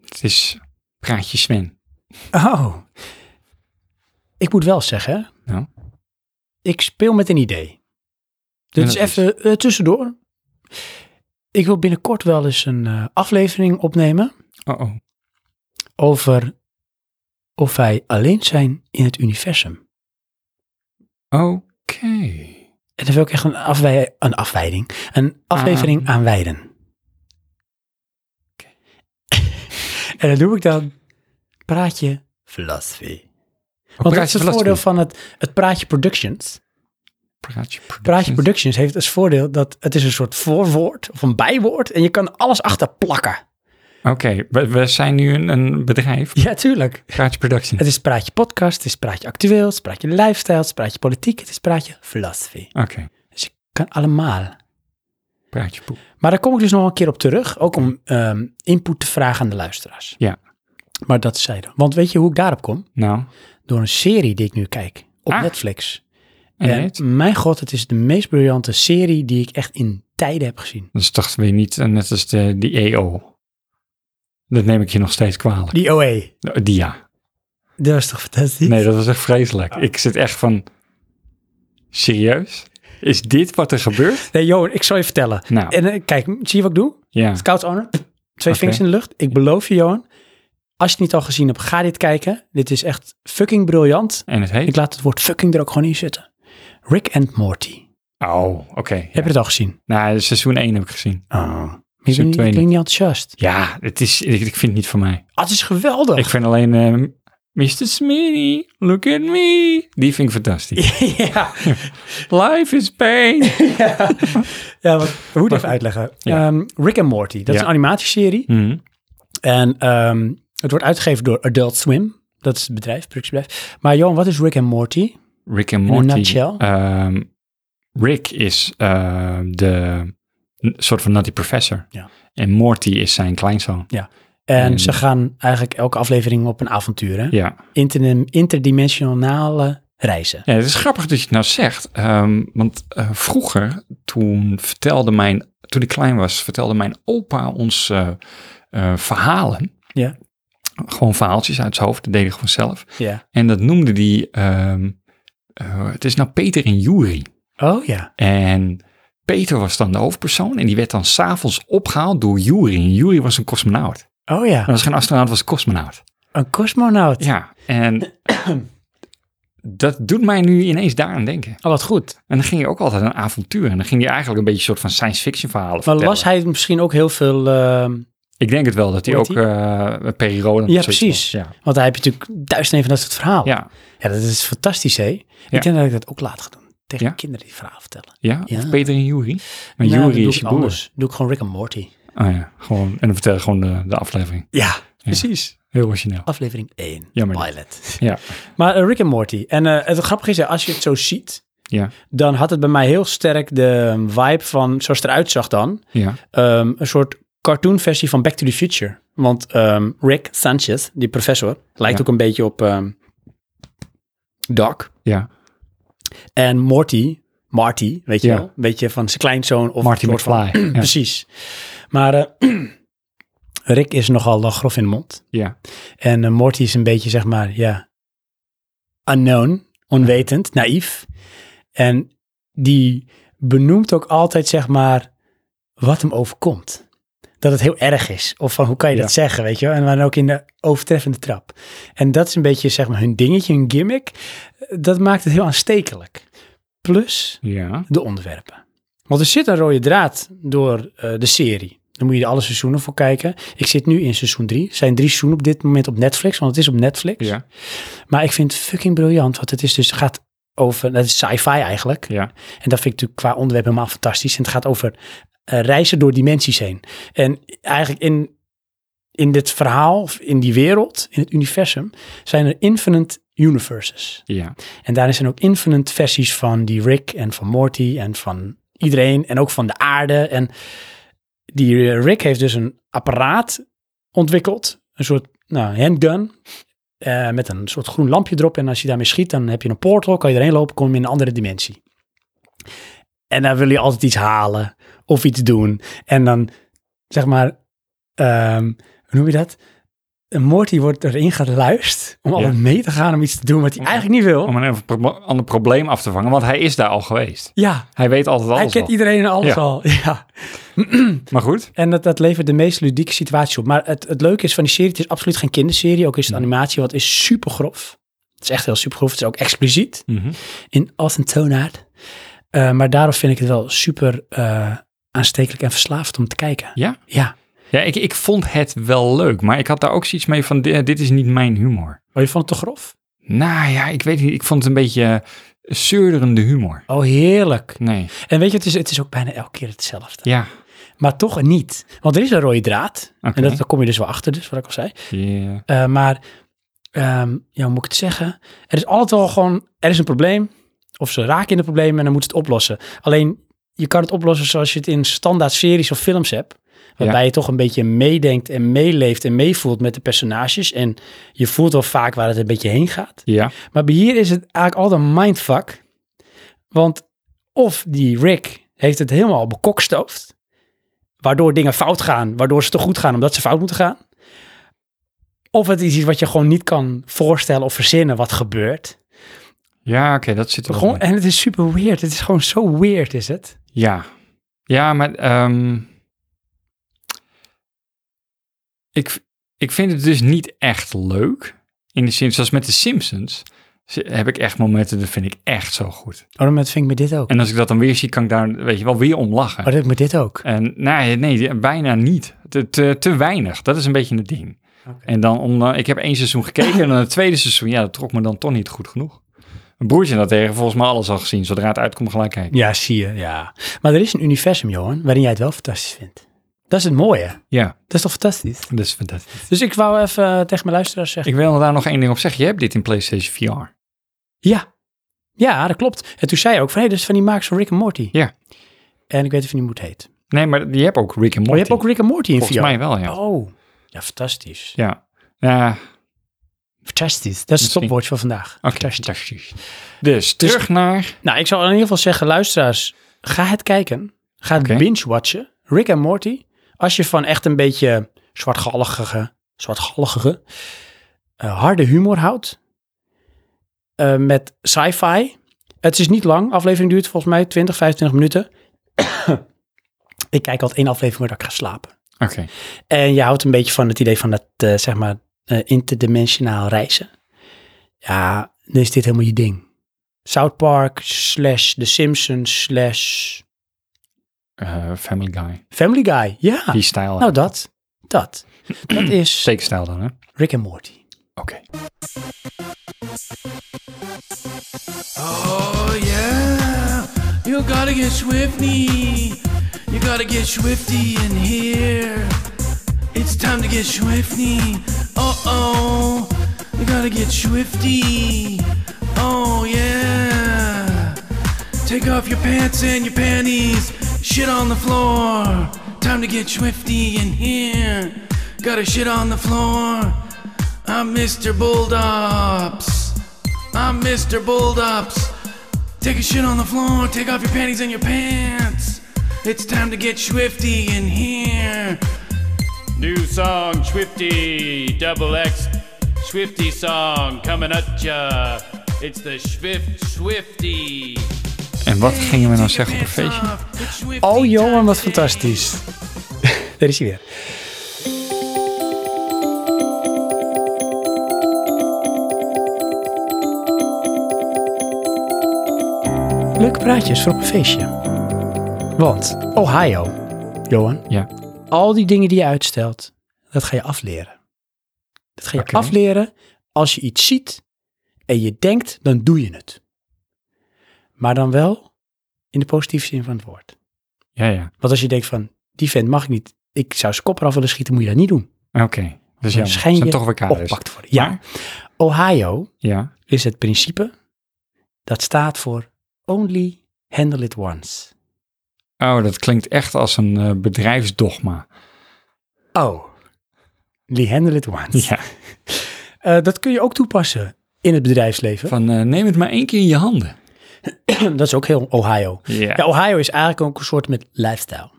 C: Het is Praatje Sven.
A: Oh. Ik moet wel zeggen,
C: Ja.
A: ik speel met een idee. Dit
C: dat
A: is
C: is-
A: even eh, tussendoor. Ik wil binnenkort wel eens een eh, aflevering opnemen
C: Oh, oh.
A: over of wij alleen zijn in het universum.
C: Oké.
A: En daar wil ik echt een, afwij een afwijding, een aflevering aan wijden. en dat doe ik dan praatje filosofie. Want dat is het voordeel van het, het praatje productions.
C: Praatje
A: Praatje
C: Productions.
A: Productions heeft als voordeel dat het is een soort voorwoord of een bijwoord en je kan alles achter plakken.
C: Oké, we, we zijn nu een, een bedrijf.
A: Ja, tuurlijk.
C: Praatje Productions.
A: Het is Praatje Podcast, het is Praatje Actueel, het is Praatje Lifestyle, het is Praatje Politiek, het is Praatje Philosophy.
C: Oké,
A: Dus je kan allemaal.
C: Praatje Poep.
A: Maar daar kom ik dus nog een keer op terug, ook om ehm, input te vragen aan de luisteraars.
C: Ja.
A: Maar dat zeiden. Want weet je hoe ik daarop kom?
C: Nou,
A: Door een serie die ik nu kijk op
C: Ah.
A: Netflix.
C: en
A: En
C: dit?
A: mijn god, het is de meest briljante serie die ik echt in tijden heb gezien.
C: Dat is toch weer niet eh, net als de, die EO. Dat neem ik je nog steeds kwalijk.
A: Die OA,
C: Eh, Die ja.
A: dat is toch fantastisch?
C: Nee, dat was echt vreselijk.
A: Oh.
C: Ik zit echt van... Serieus? Is dit wat er gebeurt?
A: Nee, Johan, ik zal je vertellen.
C: Nou,
A: En eh, kijk, zie je wat ik doe?
C: ja.
A: Scouts Honor. Twee vingers in de lucht. Ik beloof je, Johan. Als je het niet al gezien hebt, ga dit kijken. Dit is echt fucking briljant.
C: En het
A: Ik
C: heet?
A: laat het woord fucking er ook gewoon in zitten. Rick and Morty.
C: Oh, oké.
A: Heb je het al gezien?
C: Nou, seizoen 1 heb ik gezien.
A: Oh. Ik ben
C: Seizoen
A: niet, ik
C: twee
A: ben
C: niet.
A: niet enthousiast.
C: Ja, het is, ik, ik vind het niet voor mij.
A: Ah, het is geweldig.
C: Ik vind alleen eh, Mr. Smitty, look at me. Die vind ik fantastisch.
A: ja.
C: Life is pain.
A: ja, want hoe moet ik even uitleggen?
C: Ja.
A: Ehm, Rick and Morty, dat is
C: Ja.
A: een animatieserie.
C: Mhm.
A: En ehm, het wordt uitgegeven door Adult Swim. Dat is het bedrijf, productiebedrijf. Maar Johan, wat is Rick and Morty?
C: Rick en Ehm,
A: In a
C: Morty.
A: nutshell.
C: ehm, Rick is ehm, de een soort van Nutty Professor.
A: Ja.
C: En Morty is zijn kleinzoon.
A: En
C: En-
A: ze gaan eigenlijk elke aflevering op een avontuur. Hè?
C: Hmm. Ja.
A: Interne- interdimensionale reizen.
C: Ja, het is grappig dat je het nou zegt. ehm, want eh, vroeger, toen vertelde mijn, toen ik klein was, vertelde mijn opa ons eh, eh, verhalen.
A: Ja.
C: Gewoon verhaaltjes uit zijn hoofd, dat deed hij gewoon zelf.
A: Ja.
C: En dat noemde hij, ehm, eh, het is nou Peter en Juri.
A: Oh ja.
C: En Peter was dan de hoofdpersoon en die werd dan s'avonds opgehaald door Juri. En Juri was een cosmonaut.
A: Oh ja.
C: Dat was geen astronaut, was een cosmonaut.
A: Een cosmonaut.
C: Ja, en dat doet mij nu ineens daaraan denken.
A: Al Oh, wat goed.
C: En dan ging je ook altijd een avontuur. En dan ging je eigenlijk een beetje een soort van science fiction verhalen
A: Maar
C: vertellen.
A: las hij misschien ook heel veel... ehm,
C: Ik denk het wel, dat hij
A: Hoe
C: ook
A: heet
C: eh Perry Roden...
A: Ja,
C: of zoiets
A: precies.
C: was. Ja.
A: want hij heeft natuurlijk duizend en een van dat soort verhaal.
C: Ja.
A: Ja, dat is fantastisch, hè?
C: Ja.
A: Ik denk dat ik dat ook laat ga doen. Tegen
C: Ja?
A: kinderen die verhaal vertellen.
C: Ja?
A: Ja.
C: of Peter en Jury. Maar
A: Nou, dan
C: Jury
A: doe
C: is
A: ik
C: je broer.
A: anders. Doe ik gewoon Rick en Morty.
C: Oh ja, gewoon. En dan vertel je gewoon de, de aflevering.
A: Ja, precies.
C: Heel origineel.
A: Aflevering 1,
C: Jammer niet.
A: pilot.
C: Ja.
A: Maar eh, Rick en Morty. En eh, het grappige is, ja, als je het zo ziet,
C: Ja.
A: dan had het bij mij heel sterk de ehm, vibe van, zoals het eruit zag dan,
C: Ja.
A: ehm, een soort cartoonversie van Back to the Future. Want ehm, Rick Sanchez, die professor, lijkt
C: Ja.
A: ook een beetje op ehm, Doc.
C: Ja.
A: En Morty, Marty, weet je
C: Ja.
A: wel, een beetje van zijn kleinzoon. Of
C: Marty
A: een soort van-
C: McFly. ja.
A: Precies. Maar eh, Rick is nogal eh, grof in de mond.
C: ja.
A: En eh, Morty is een beetje, zeg maar, ja, unknown, onwetend, naïef. En die benoemt ook altijd, zeg maar, wat hem overkomt. Dat het heel erg is. Of van, hoe kan je
C: Ja.
A: dat zeggen, weet je wel? En dan ook in de overtreffende trap. En dat is een beetje, zeg maar, hun dingetje, hun gimmick. Dat maakt het heel aanstekelijk. Plus,
C: Ja.
A: de onderwerpen. Want er zit een rode draad door eh, de serie. Dan moet je er alle seizoenen voor kijken. Ik zit nu in seizoen 3. Er zijn drie seizoenen op dit moment op Netflix, want het is op Netflix.
C: Ja.
A: Maar ik vind het fucking briljant, want het is dus, het gaat over, dat is sci-fi eigenlijk.
C: Ja.
A: En dat vind ik natuurlijk qua onderwerp helemaal fantastisch. En het gaat over eh, reizen door dimensies heen. En eigenlijk in, in dit verhaal, of in die wereld, in het universum, zijn er infinite universes.
C: Ja.
A: En daarin zijn ook infinite versies van die Rick en van Morty en van iedereen en ook van de aarde. En die eh, Rick heeft dus een apparaat ontwikkeld, een soort nou, handgun. eh, met een soort groen lampje erop. En als je daarmee schiet, dan heb je een portal. Kan je erheen lopen, kom je in een andere dimensie. En dan wil je altijd iets halen of iets doen. En dan, zeg maar, ehm, hoe noem je dat? Een Morty wordt erin geluisterd om
C: Ja.
A: altijd mee te gaan om iets te doen wat hij eigenlijk niet wil.
C: Om een even pro- ander probleem af te vangen, want hij is daar al geweest.
A: Ja,
C: Hij weet altijd
A: hij
C: alles
A: kent
C: al.
A: iedereen en alles
C: Ja.
A: al. Ja.
C: Maar goed.
A: En dat, dat levert de meest ludieke situatie op. Maar het, het leuke is van die serie, het is absoluut geen kinderserie. Ook is het animatie, wat is super grof. Het is echt heel super grof. Het is ook expliciet
C: Mhm.
A: in als een toonaard. Eh, maar daarom vind ik het wel super eh, aanstekelijk en verslaafd om te kijken.
C: Ja?
A: Ja.
C: Ja, ik, ik vond het wel leuk, maar ik had daar ook zoiets mee van, di- dit is niet mijn humor.
A: Oh, je vond het te grof?
C: Nou ja, ik weet niet, ik vond het een beetje eh, zeurderende humor.
A: Oh, heerlijk.
C: Nee,
A: En weet je, het is, het is ook bijna elke keer hetzelfde.
C: ja.
A: Maar toch niet. Want er is een rode draad.
C: Oké.
A: En dat, daar kom je dus wel achter, dus wat ik al zei.
C: Ja.
A: Eh, maar, ehm, ja, hoe moet ik het zeggen? Er is altijd wel gewoon, er is een probleem. Of ze raken in het probleem en dan moeten ze het oplossen. Alleen, je kan het oplossen zoals je het in standaard series of films hebt. Waarbij je toch een beetje meedenkt en meeleeft en meevoelt met de personages. En je voelt wel vaak waar het een beetje heen gaat.
C: Ja,
A: Maar bij hier is het eigenlijk altijd een mindfuck. Want of die Rick heeft het helemaal bekokstoofd. Waardoor dingen fout gaan. Waardoor ze te goed gaan omdat ze fout moeten gaan. Of het is iets wat je gewoon niet kan voorstellen of verzinnen wat gebeurt.
C: ja oké, dat zit er wel
A: Gewoon,
C: in.
A: en het is super weird. Het is gewoon zo weird is het.
C: Ja, ja maar ehm, ik, ik vind het dus niet echt leuk. In de zin, zoals met de Simpsons, ze- heb ik echt momenten, dat vind ik echt zo goed.
A: Oh, dan vind ik me dit ook.
C: En als ik dat dan weer zie, kan ik daar, weet je wel, weer om lachen.
A: Oh, dat me dit ook.
C: En nee, nee, bijna niet. Te, te, te weinig. Dat is een beetje het ding. En dan om, dan- ik heb één seizoen gekeken en dan het tweede seizoen, ja, dat trok me dan toch niet goed genoeg. Een broertje dat tegen volgens mij alles al gezien. Zodra het uitkomt, gelijk kijken.
A: Ja, zie je. Ja. Maar er is een universum, Johan, waarin jij het wel fantastisch vindt. Dat is het mooie.
C: Ja,
A: Dat is toch fantastisch?
C: dat is fantastisch.
A: Dus ik wou even eh, tegen mijn luisteraars zeggen.
C: Ik wil daar nog één ding op zeggen. Je hebt dit in PlayStation VR.
A: Ja. Ja, dat klopt. En toen zei je ook van, hé, dat is van die makers van Rick en Morty.
C: Ja.
A: En ik weet even niet hoe het heet.
C: Nee, maar je hebt ook Rick en Morty.
A: Maar Oh, je hebt ook Rick en Morty in
C: Volgens
A: VR.
C: mij wel, ja.
A: Oh, ja, fantastisch.
C: Ja. Ja,
A: Fantastisch. Dat is het
C: Misschien.
A: stopwoord voor vandaag.
C: oké. Fantastisch. Dus terug naar...
A: Nou, ik zou in ieder geval zeggen, luisteraars, ga het kijken. Ga het
C: Oké.
A: binge-watchen. Rick en Morty. Als je van echt een beetje zwartgallige, zwartgallige eh, harde humor houdt. eh, met sci-fi. Het is niet lang. Aflevering duurt volgens mij 20, 25 minuten. ik kijk altijd één aflevering voordat ik ga slapen.
C: Oké.
A: En je houdt een beetje van het idee van dat, eh, zeg maar, eh, interdimensionaal reizen. Ja, dan is dit helemaal je ding. South Park slash The Simpsons slash
C: Eh, Family Guy.
A: Family Guy. Ja,
C: Die stijl.
A: nou dat, dat. Dat is
C: Steekstijl dan, hè? Oké.
A: Rick en Morty.
D: Oh yeah, you gotta get swifty. You gotta get swifty in here. It's time to get swifty. Uh oh, you gotta get swifty. Oh yeah, take off your pants and your panties. Shit on the floor. Time to get swifty in here. Gotta shit on the floor. I'm Mr. Bulldops. I'm Mr. Bulldops. Take a shit on the floor, take off your panties and your pants. It's time to get swifty in here.
E: New song, Swifty, double X, Swifty song coming at ya. It's the Swift Swifty.
C: En wat gingen we nou zeggen op een feestje?
A: Oh Johan, wat fantastisch. Daar is hij weer. Leuke praatjes voor op een feestje. Want Ohio, Johan,
C: Ja.
A: al die dingen die je uitstelt, dat ga je afleren. Dat ga je
C: Oké.
A: afleren als je iets ziet en je denkt, dan doe je het. Maar dan wel in de positieve zin van het woord.
C: Ja, ja.
A: Want als je denkt van, die vent mag ik niet, ik zou zijn kop eraf willen schieten, moet je dat niet doen.
C: Oké. Dus ja,
A: Dan
C: zijn
A: schijn je
C: toch weer kaders.
A: opgepakt worden. Ja,
C: Maar-
A: Ohio
C: Ja.
A: is het principe, dat staat voor only handle it once.
C: Oh, dat klinkt echt als een eh, bedrijfsdogma.
A: Oh, only handle it once.
C: Ja.
A: Eh, dat kun je ook toepassen in het bedrijfsleven.
C: Van eh, neem het maar één keer in je handen.
A: dat is ook heel Ohio.
C: Ja.
A: Ja, Ohio is eigenlijk ook een soort met lifestyle.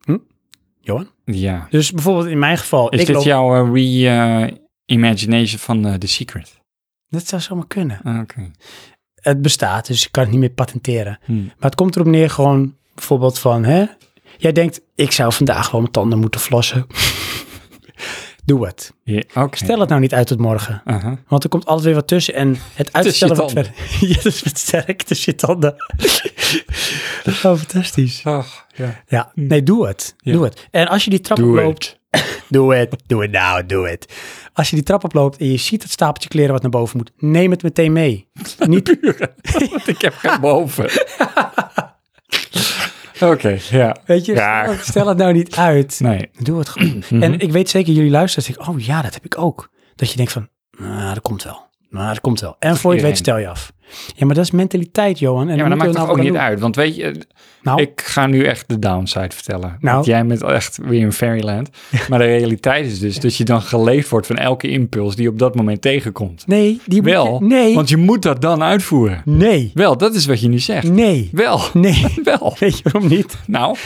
A: Hm? Johan?
C: Ja.
A: Dus bijvoorbeeld in mijn geval,
C: Is
A: ik
C: dit
A: loop...
C: jouw eh, re-imagination van eh, The Secret?
A: Dat zou zomaar kunnen.
C: Ah, Oké.
A: Het bestaat, dus ik kan het niet meer patenteren.
C: Hmm.
A: Maar het komt erop neer gewoon bijvoorbeeld van, hè? Jij denkt, ik zou vandaag wel mijn tanden moeten flossen. Doe het.
C: Ja, oké.
A: Stel het nou niet uit tot morgen.
C: Aha.
A: Want er komt altijd weer wat tussen en het uitstellen wordt
C: tanden.
A: verder. Ja, dat is wat sterk tussen je tanden. oh, fantastisch.
C: Ach, ja.
A: Ja, nee, doe het. Doe het. En als je die trap
C: Doe
A: oploopt... doe het. Doe het nou, doe het. Als je die trap oploopt en je ziet het stapeltje kleren wat naar boven moet, neem het meteen mee. Niet,
C: Want ik heb geen boven. Oké, ja.
A: weet je,
C: Ja.
A: stel het nou niet uit.
C: Nee. Mhm.
A: Doe het gewoon. En ik weet zeker, jullie luisteren, denk oh ja, dat heb ik ook. Dat je denkt van, nou, dat komt wel. Nou, dat komt wel. En voor je het weet stel
C: iedereen.
A: je af. Ja, maar dat is mentaliteit, Johan. En
C: Ja, maar dat maakt
A: moeten
C: toch
A: we nou
C: ook niet
A: wat aan
C: uit. Want weet je,
A: doen. Nou,
C: ik ga nu echt de downside vertellen.
A: Nou.
C: Want jij bent echt weer in fairyland. Maar de realiteit is dus dat je dan geleefd wordt van elke impuls die je op dat moment tegenkomt.
A: nee, die moet je-
C: Wel,
A: nee,
C: want je moet dat dan uitvoeren.
A: nee,
C: Wel, dat is wat je nu zegt.
A: nee,
C: Wel,
A: nee.
C: wel.
A: Weet je waarom niet?
C: Nou,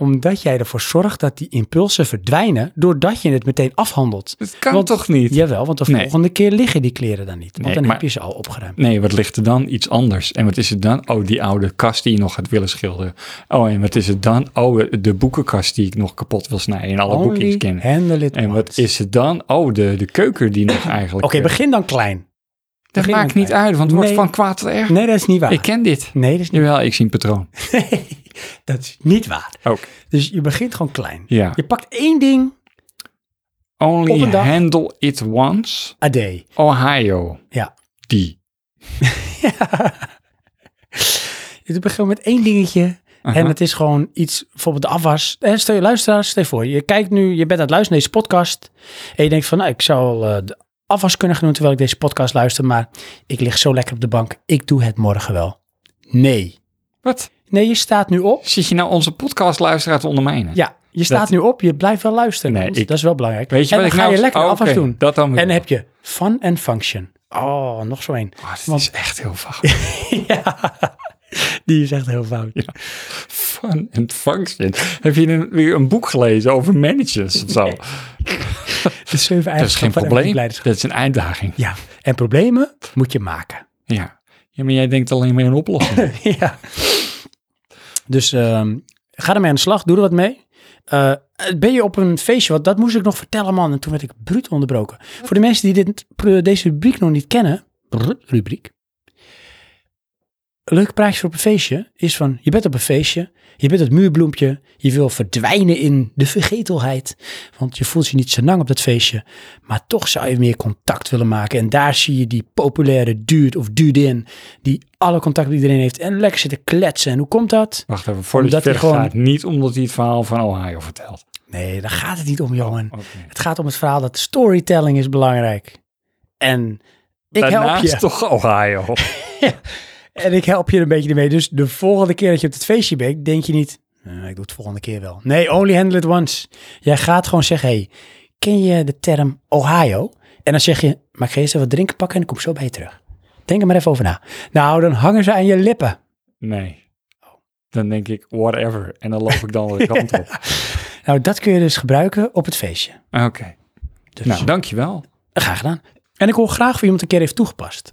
A: Omdat jij ervoor zorgt dat die impulsen verdwijnen doordat je het meteen afhandelt.
C: dat kan
A: Want-
C: toch niet?
A: Jawel, want de
C: Nee.
A: volgende keer liggen die kleren dan niet. Want
C: Nee,
A: dan
C: maar-
A: heb je ze al opgeruimd.
C: Nee, wat ligt er dan? Iets anders. En wat is het dan? Oh, die oude kast die je nog gaat willen schilderen. Oh, en wat is het dan? Oh, de boekenkast die ik nog kapot wil snijden en alle boeken die
A: Only
C: ik ken.
A: handle it
C: En wat
A: once.
C: is het dan? Oh, de, de keuken die nog eigenlijk... eh,
A: Oké, begin dan klein.
C: dat
A: begin
C: maakt
A: dan
C: niet uit, want het wordt
A: Nee.
C: van kwaad tot erg.
A: Nee, dat is niet waar.
C: Ik ken dit.
A: Nee, dat is niet,
C: Jawel, ik zie een patroon.
A: dat is niet waar.
C: Ook.
A: Dus je begint gewoon klein.
C: Ja.
A: Je pakt één ding Op
C: Only
A: een dag.
C: handle it once.
A: a day.
C: Ohio.
A: Ja.
C: Die.
A: Je begint met één dingetje. En het is gewoon iets, bijvoorbeeld de afwas. Eh, Stel je luisteraars, stel je voor, je kijkt nu, je bent aan het luisteren naar deze podcast. En je denkt van, nou, ik zou wel, eh, de afwas kunnen gaan doen terwijl ik deze podcast luister. Maar ik lig zo lekker op de bank, ik doe het morgen wel. Nee,
C: Wat?
A: Nee, je staat nu op.
C: Zit je nou onze podcastluisteraar te ondermijnen?
A: Ja, je staat
C: Dat-
A: nu op. Je blijft wel luisteren.
C: Nee,
A: want
C: ik-
A: Dat is wel belangrijk.
C: Weet je
A: en
C: wat
A: dan
C: ik
A: ga
C: nou-
A: je lekker
C: Oh,
A: afwas
C: oké,
A: doen.
C: dat dan weer.
A: En dan heb je fun en function. Oh, nog zo één.
C: Oh, dit
A: Want-
C: is echt heel vaag.
A: Die is echt heel fout.
C: Fun and function. Heb je een, weer een boek gelezen over managers of zo?
A: De zeven
C: Dat is geen
A: eigenschappen van
C: probleem.
A: effectief
C: Dat
A: leiderschap.
C: is een uitdaging.
A: Ja, en problemen moet je maken.
C: Ja. ja, maar jij denkt alleen maar in oplossingen.
A: ja. Dus ehm, ga ermee aan de slag, doe er wat mee. Eh, ben je op een feestje, want dat moest ik nog vertellen, man. En toen werd ik bruut onderbroken. Voor de mensen die dit, deze rubriek nog niet kennen, brr, rubriek. Een leuk praatje voor op een feestje is van, je bent op een feestje, je bent het muurbloempje, je wil verdwijnen in de vergetelheid, want je voelt je niet zo lang op dat feestje, maar toch zou je meer contact willen maken. En daar zie je die populaire dude of dudin die alle contact met iedereen heeft en lekker zit te kletsen. En hoe komt dat?
C: Wacht even, voordat
A: Omdat
C: je
A: hij
C: verder
A: gewoon-
C: gaat. Niet omdat hij het verhaal van Ohio vertelt.
A: Nee, daar gaat het niet om, jongen.
C: Oké.
A: Het gaat om het verhaal dat storytelling is belangrijk. En ik help
C: Daarnaast
A: je.
C: toch Ohio.
A: En ik help je een beetje ermee. Dus de volgende keer dat je op het feestje bent, denk je niet, "Eh, ik doe het volgende keer wel. Nee, only handle it once. Jij gaat gewoon zeggen, hey, ken je de term Ohio? En dan zeg je, maar ik ga eerst even wat drinken pakken en ik kom zo bij je terug. Denk er maar even over na. Nou, dan hangen ze aan je lippen.
C: Nee.
A: Oh.
C: Dan denk ik, whatever. En dan loop ik dan de kant op.
A: Nou, dat kun je dus gebruiken op het feestje.
C: Oké.
A: Dus
C: Nou, dankjewel.
A: graag gedaan. En ik hoor graag of iemand een keer heeft toegepast.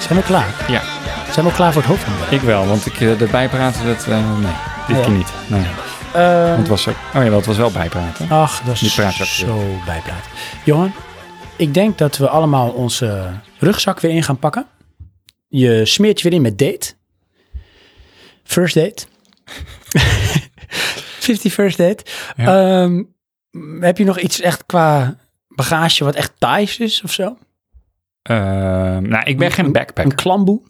A: Zijn we klaar?
C: Ja,
A: Zijn we al klaar voor het hoofdonderwerp?
C: ik wel. Want ik, eh, de bijpraten, dat... eh, nee, dit
A: Ja. Ehm.
C: keer niet. Nee. Want het was ook... Oh ja, wel, het was wel bijpraten.
A: Ach, dat
C: Die
A: is
C: praat ook
A: zo bijpraat. Johan, ik denk dat we allemaal onze rugzak weer in gaan pakken. Je smeert je weer in met date. First date. 50 first date. Ehm, heb je nog iets echt qua bagage wat echt Thais is of zo?
C: Ehm, nou, ik ben geen
A: Een
C: backpacker.
A: klamboe?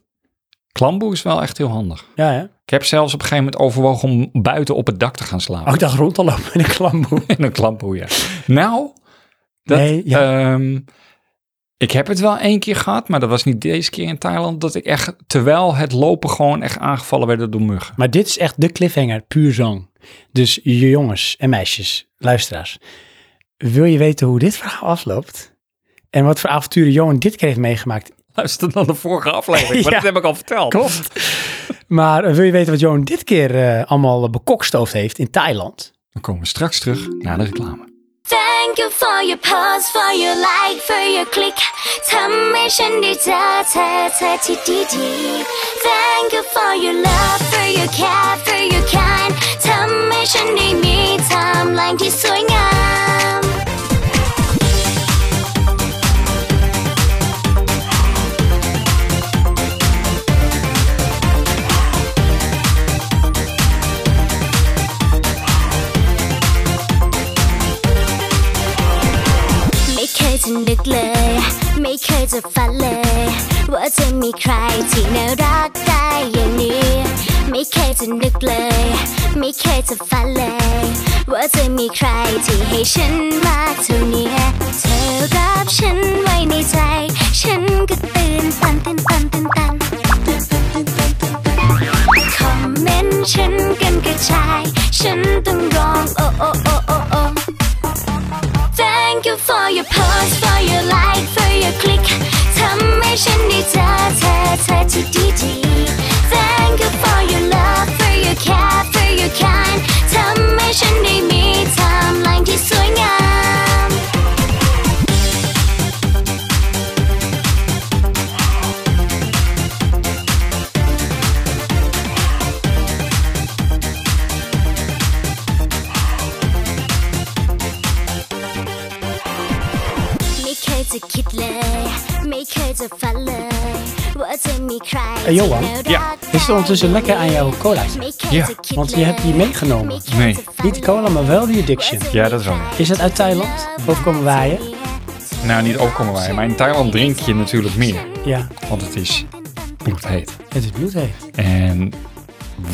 C: Klamboe is wel echt heel handig.
A: Ja, ja.
C: Ik heb zelfs op een gegeven moment overwogen om buiten op het dak te gaan slapen.
A: Oh, ik dacht rond te lopen in een klamboe.
C: En een klamboe, ja. Nou, dat,
A: Nee, ja.
C: ehm, ik heb het wel één keer gehad, maar dat was niet deze keer in Thailand. Dat ik echt, terwijl het lopen gewoon echt aangevallen werd door muggen.
A: Maar dit is echt de cliffhanger, puur zang. Dus je jongens en meisjes, luisteraars. Wil je weten hoe dit verhaal afloopt? En wat voor avonturen Johan dit keer heeft meegemaakt?
C: Luister dan de vorige aflevering,
A: Ja.
C: want dat heb ik al verteld.
A: Klopt. maar eh, wil je weten wat Johan dit keer eh, allemaal bekokstoofd heeft in Thailand?
C: Dan komen we straks terug naar de reclame.
F: Thank you for your pause, for your like, for your click. ทำให้ฉันได้เจอเธอเธอที่ดีๆ Thank you for your love, for your care, for your kind. ทำให้ฉันได้มีไทม์ไลน์ที่สวยงาม ไม่เคยจะนึกเลย ไม่เคยจะฝันเลย ว่าจะมีใครที่น่ารักได้อย่างนี้ ไม่เคยจะนึกเลย ไม่เคยจะฝันเลย ว่าจะมีใครที่ให้ฉันมากเท่านี้เธอรับฉันไว้ในใจ ฉันก็ตื่นตันตื่นตันตื่นตัน คอมเมนต์ฉันกันกระชาย ฉันต้องร้องโอ้โอ้โอ้โอ้โอ้ Thank you for your post, for your like, for your click. ทำให้ฉันได้เจอเธอเธอที่ดีดีๆ Thank you for your love, for your care, for your kind. ทำให้ฉันได้มีไทม์ไลน์ที่สวยงาม ไม่เคยจะคิดเลย ไม่เคยจะฝันเลย ว่าจะมีใคร
A: Eh, Johan?
F: ที่น่ารัก
A: Is het ondertussen lekker aan jouw cola?
F: Niet
C: Ja,
A: want je hebt die meegenomen.
C: Nee.
A: Niet de cola, maar wel die addiction.
C: Ja, dat is wel.
A: Is dat uit Thailand? Of komen waaien?
C: Nou, niet opkomen wij. Maar in Thailand drink je natuurlijk meer.
A: Ja,
C: Want het is bloedheet.
A: het is bloedheet.
C: En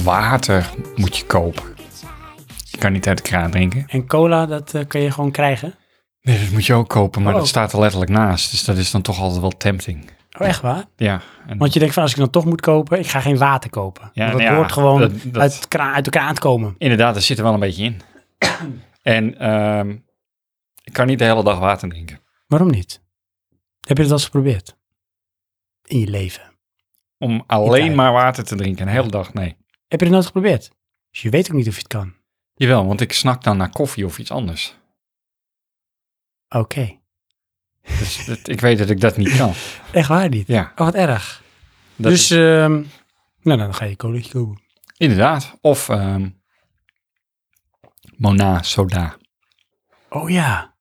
C: water moet je kopen. Je kan niet uit de kraan drinken.
A: En cola, dat eh, kan je gewoon krijgen.
C: Nee, dat moet je ook kopen, maar
A: Oh.
C: dat staat er letterlijk naast. Dus dat is dan toch altijd wel tempting.
A: Oh, echt waar?
C: Ja. En
A: Want je denkt van, als ik dan toch moet kopen, ik ga geen water kopen. Want dat
C: nou ja,
A: hoort gewoon
C: dat- dat-
A: Uit, de kraan, uit de kraan te komen.
C: Inderdaad, dat zit er wel een beetje in. en ehm, ik kan niet de hele dag water drinken.
A: Waarom niet? Heb je dat al eens geprobeerd? In je leven.
C: Om
A: Niet
C: alleen maar water te drinken, een hele dag, nee.
A: Heb je dat nooit geprobeerd? Dus je weet ook niet of je het kan.
C: Jawel, want ik snak dan naar koffie of iets anders.
A: Oké.
C: Dus dat- ik weet dat ik dat niet kan.
A: Echt waar niet?
C: Ja,
A: Oh, wat erg.
C: dat
A: dus,
C: is,
A: ehm, nou, dan ga je colaatje kopen.
C: inderdaad. Of ehm Mona soda.
A: Oh ja.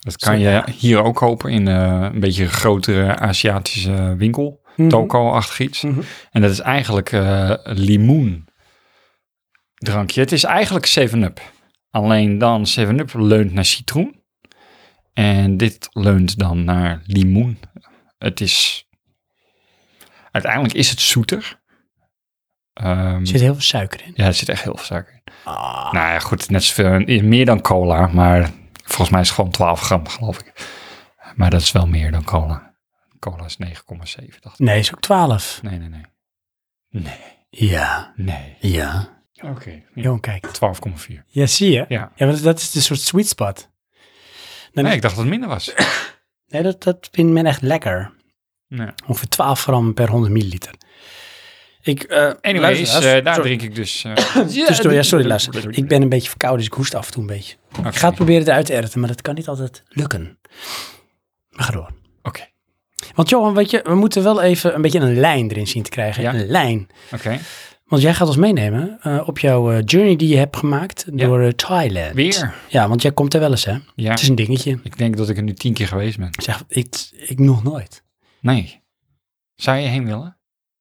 C: Dat kan je hier ook kopen in eh, een beetje grotere Aziatische winkel.
A: Mhm.
C: Toko-achtig iets.
A: Mhm.
C: En dat is eigenlijk eh limoen drankje. Het is eigenlijk 7-Up. Alleen dan 7-Up leunt naar citroen. En dit leunt dan naar limoen. Het is... Uiteindelijk is het zoeter. Ehm,
A: Er zit heel veel suiker in.
C: ja, er zit echt heel veel suiker in. Nou ja, goed, net zoveel, meer dan cola, maar volgens mij is het gewoon 12 gram, geloof ik. Maar dat is wel meer dan cola. Cola is 9,7, dacht ik.
A: Nee, is ook 12.
C: Nee, nee, nee.
A: Ja.
C: Nee.
A: Ja.
C: Oké.
A: Johan kijkt.
C: 12,4.
A: Ja, zie je?
C: Ja.
A: Ja, want dat is de soort sweet spot. Dan
C: Nee, ik dacht dat het minder was.
A: Nee, dat, dat vindt men echt lekker.
C: Nee.
A: Ongeveer 12 gram per 100 milliliter. Ik, eh
C: Anyways,
A: luisteraars,
C: eh, daar
A: sorry,
C: drink ik dus... eh,
A: tussendoor, ja, sorry, luister. Ik ben een beetje verkouden, dus ik hoest af en toe een beetje.
C: Oké.
A: Ik ga het proberen eruit te editen, maar dat kan niet altijd lukken. Maar ga door.
C: Oké,
A: Want Johan, weet je, we moeten wel even een beetje een lijn erin zien te krijgen.
C: Ja.
A: Een lijn.
C: oké.
A: Want jij gaat ons meenemen eh, op jouw eh, journey die je hebt gemaakt door eh, Thailand.
C: Weer?
A: Ja, want jij komt er wel eens, hè?
C: Ja,
A: Het is een dingetje.
C: ik denk dat ik er nu tien keer geweest ben.
A: Zeg, ik, ik nog nooit.
C: Nee. Zou je heen willen?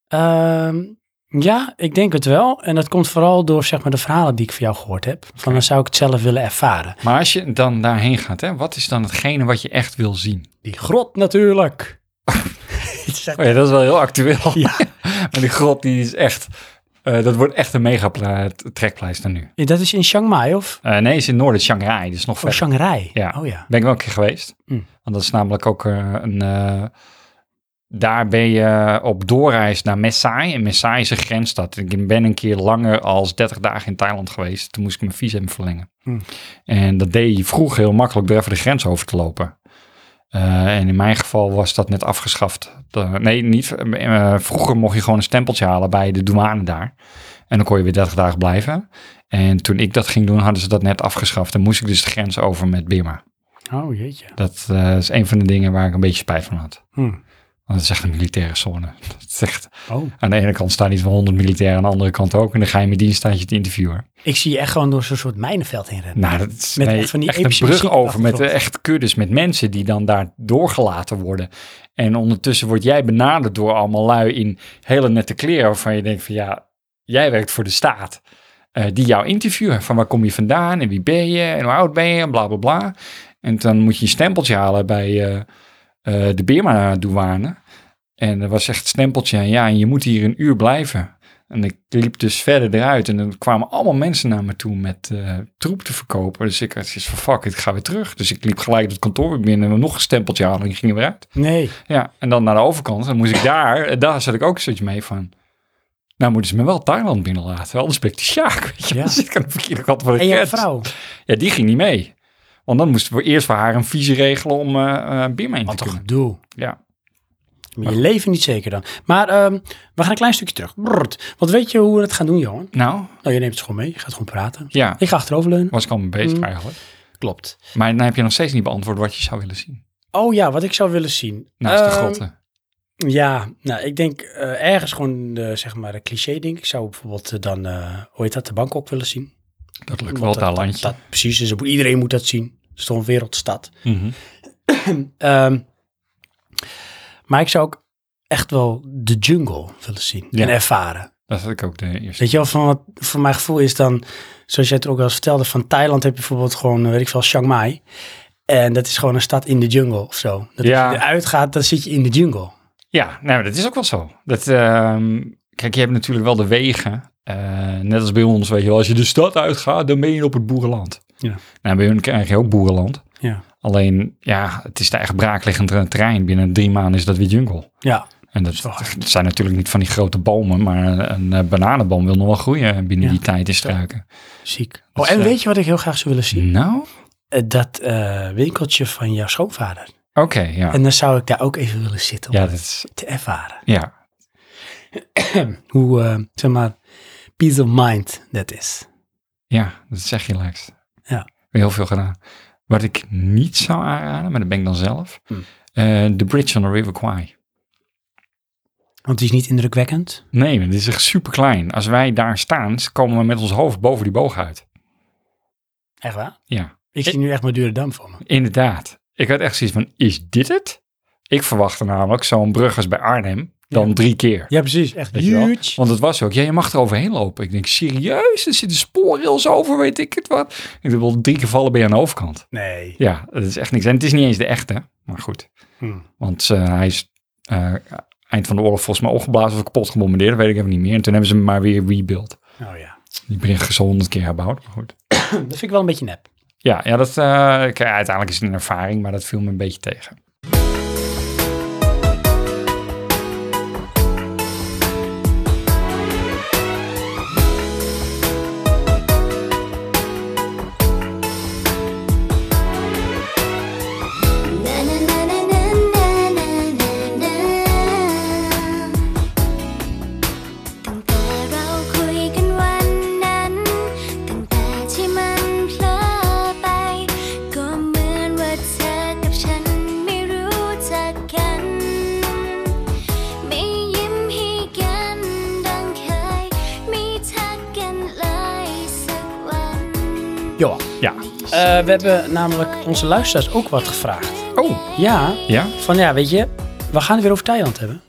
A: Ehm, ja, ik denk het wel. En dat komt vooral door zeg maar, de verhalen die ik van jou gehoord heb. Van dan zou ik het zelf willen ervaren.
C: Maar als je dan daarheen gaat, hè, wat is dan hetgene wat je echt wil zien?
A: Die grot natuurlijk. Het is echt-
C: Oh ja, dat is wel heel actueel.
A: Ja.
C: maar die grot, die is echt... eh, dat wordt echt een mega pla- trekpleister nu.
A: dat is in Chiang Mai of
C: Eh, nee, is in Noorden, Shanghai. Dus nog
A: of
C: verder.
A: Shanghai?
C: Ja.
A: Oh ja.
C: Ben ik wel een keer geweest.
A: Mm.
C: Want dat is namelijk ook eh, een... eh, daar ben je op doorreis naar Messai. En Messai is een grensstad. Ik ben een keer langer als 30 dagen in Thailand geweest. Toen moest ik mijn visum verlengen.
A: Mm.
C: En dat deed je vroeger heel makkelijk door even de grens over te lopen. Eh, en in mijn geval was dat net afgeschaft. De- nee, niet. eh, vroeger mocht je gewoon een stempeltje halen bij de douane daar. En dan kon je weer 30 dagen blijven. En toen ik dat ging doen, hadden ze dat net afgeschaft. En moest ik dus de grens over met Birma.
A: Oh jeetje.
C: Dat eh, is een van de dingen waar ik een beetje spijt van had.
A: Hm.
C: Want het is echt een militaire zone. Dat is echt,
A: Oh.
C: aan de ene kant staan iets van 100 militairen, aan de andere kant ook. En de geheime dienst staat je te interviewen.
A: Ik zie je echt gewoon door zo'n soort mijnenveld heen rennen.
C: Nou, dat is
A: Met
C: nee,
A: echt van die
C: een
A: epische
C: brug
A: muziek op de
C: over met eh,
A: achtergrond.
C: echt kuddes, met mensen die dan daar doorgelaten worden. En ondertussen word jij benaderd door allemaal lui in hele nette kleren waarvan je denkt van ja, jij werkt voor de staat. eh, die jou interviewen van waar kom je vandaan en wie ben je en hoe oud ben je en bla bla bla. En dan moet je een stempeltje halen bij eh, eh, de Birma-douane. En er was echt een stempeltje en ja, en je moet hier een uur blijven. En ik liep dus verder eruit en er kwamen allemaal mensen naar me toe met eh, troep te verkopen. Dus ik had zoiets van, fuck, ik ga weer terug. Dus ik liep gelijk het kantoor weer binnen en nog een stempeltje halen en ging er weer uit.
A: Nee.
C: Ja, en dan naar de overkant. Dan moest ik daar, en daar zat ik ook zoiets mee van... Nou moeten ze me wel Thailand binnenlaten, anders ben ik de sjaak. Weet je,
A: Ja.
C: dan zit ik aan de verkeerde kant van de
A: En jouw
C: grens.
A: vrouw?
C: Ja, die ging niet mee. Want dan moesten we eerst voor haar een visie regelen om eh eh, Birma in te
A: Wat een
C: kunnen.
A: gedoe.
C: Ja.
A: Maar
C: Oh.
A: je leven niet zeker dan. Maar ehm, we gaan een klein stukje terug. Brrrt. Want weet je hoe we het gaan doen, Johan?
C: Nou,
A: Nou, je neemt het gewoon mee. Je gaat gewoon praten.
C: ja,
A: Ik ga achteroverleunen.
C: was ik al mee bezig
A: Mm.
C: eigenlijk.
A: Klopt.
C: Maar dan heb je nog steeds niet beantwoord wat je zou willen zien.
A: Oh ja, wat ik zou willen zien.
C: Naast de
A: Ehm,
C: grotten.
A: Ja, nou, ik denk eh, ergens gewoon, de, zeg maar, een cliché ding. Ik zou bijvoorbeeld eh, dan, eh hoe heet dat, de Bangkok willen zien.
C: Dat lukt wel,
A: Want
C: dat landje.
A: Dat, precies, dus iedereen moet dat zien. Het is toch een wereldstad.
C: Mhm.
A: Ehm, maar ik zou ook echt wel de jungle willen zien
C: Ja.
A: en ervaren.
C: Dat had ik ook de eerste.
A: Weet je wel, van wat voor mijn gevoel is dan, zoals jij het ook wel eens vertelde, van Thailand heb je bijvoorbeeld gewoon, eh, weet ik veel, Chiang Mai. En dat is gewoon een stad in de jungle of zo. Dat
C: Ja.
A: als je eruit gaat, dan zit je in de jungle.
C: Ja, nou, dat is ook wel zo. Dat, ehm, kijk, je hebt natuurlijk wel de wegen. Eh, net als bij ons, weet je wel. Als je de stad uitgaat, dan ben je op het boerenland.
A: Ja.
C: Nou, bij hun krijg je ook boerenland.
A: Ja.
C: Alleen, ja, het is daar echt braakliggend eh, terrein. Binnen drie maanden is dat weer jungle.
A: Ja,
C: En dat,
A: is wel waar.
C: dat zijn natuurlijk niet van die grote bomen, maar een, een, eh, bananenboom wil nog wel groeien binnen
A: Ja.
C: die tijd in struiken.
A: ziek.
C: Dat
A: Oh,
C: is,
A: en
C: eh,
A: weet je wat ik heel graag zou willen zien?
C: Nou,
A: Eh, Dat eh, winkeltje van jouw schoonvader.
C: oké, ja.
A: En dan zou ik daar ook even willen zitten om
C: Ja,
A: het
C: dat is,
A: te ervaren.
C: ja,
A: Hoe, eh, zeg maar, peace of mind dat is.
C: ja, dat zeg je relaxed.
A: Ja.
C: Heel veel gedaan. Wat ik niet zou aanraden, maar dat ben ik dan zelf,
A: Hm.
C: eh, de Bridge on the River Kwai.
A: Want die is niet indrukwekkend.
C: Nee, dat is echt super klein. Als wij daar staan, komen we met ons hoofd boven die boog uit.
A: Echt waar?
C: Ja.
A: Ik zie nu echt mijn dure dam voor me.
C: Inderdaad. Ik had echt zoiets van, is dit het? Ik verwachtte namelijk zo'n brug als bij Arnhem dan
A: Ja.
C: drie keer.
A: Ja, precies. Echt
C: Weet je wel?
A: huge.
C: Want het was ook, ja, je mag er overheen lopen. Ik denk, serieus? Er zitten spoorrails over, weet ik het wat. Ik wil drie keer vallen ben je aan de overkant.
A: Nee.
C: Ja, dat is echt niks. En het is niet eens de echte, maar goed.
A: Hm.
C: Want eh, hij is eh, eind van de oorlog volgens mij opgeblazen of kapot gebombardeerd. Dat weet ik even niet meer. En toen hebben ze hem maar weer rebuilt.
A: Oh ja.
C: Die brug is al honderd keer herbouwd, maar goed.
A: Dat vind ik wel een beetje nep.
C: Ja, ja dat, eh, ik- uiteindelijk is het een ervaring, maar dat viel me een beetje tegen.
F: ตั้งแต่เราคุยกันวันนั้น ตั้งแต่ที่มันเพลอไป ก็เหมือนว่าเธอกับฉันไม่รู้จักกัน ไม่ยิ้มให้กันดังเคย ไม่ทักกันเลยสักวัน
A: Johan,
C: Ja.
A: eh, we hebben namelijk onze luisteraars ook wat gevraagd.
C: Oh,
A: Ja,
C: ja?
A: van ja, weet je, we gaan het weer over Thailand hebben.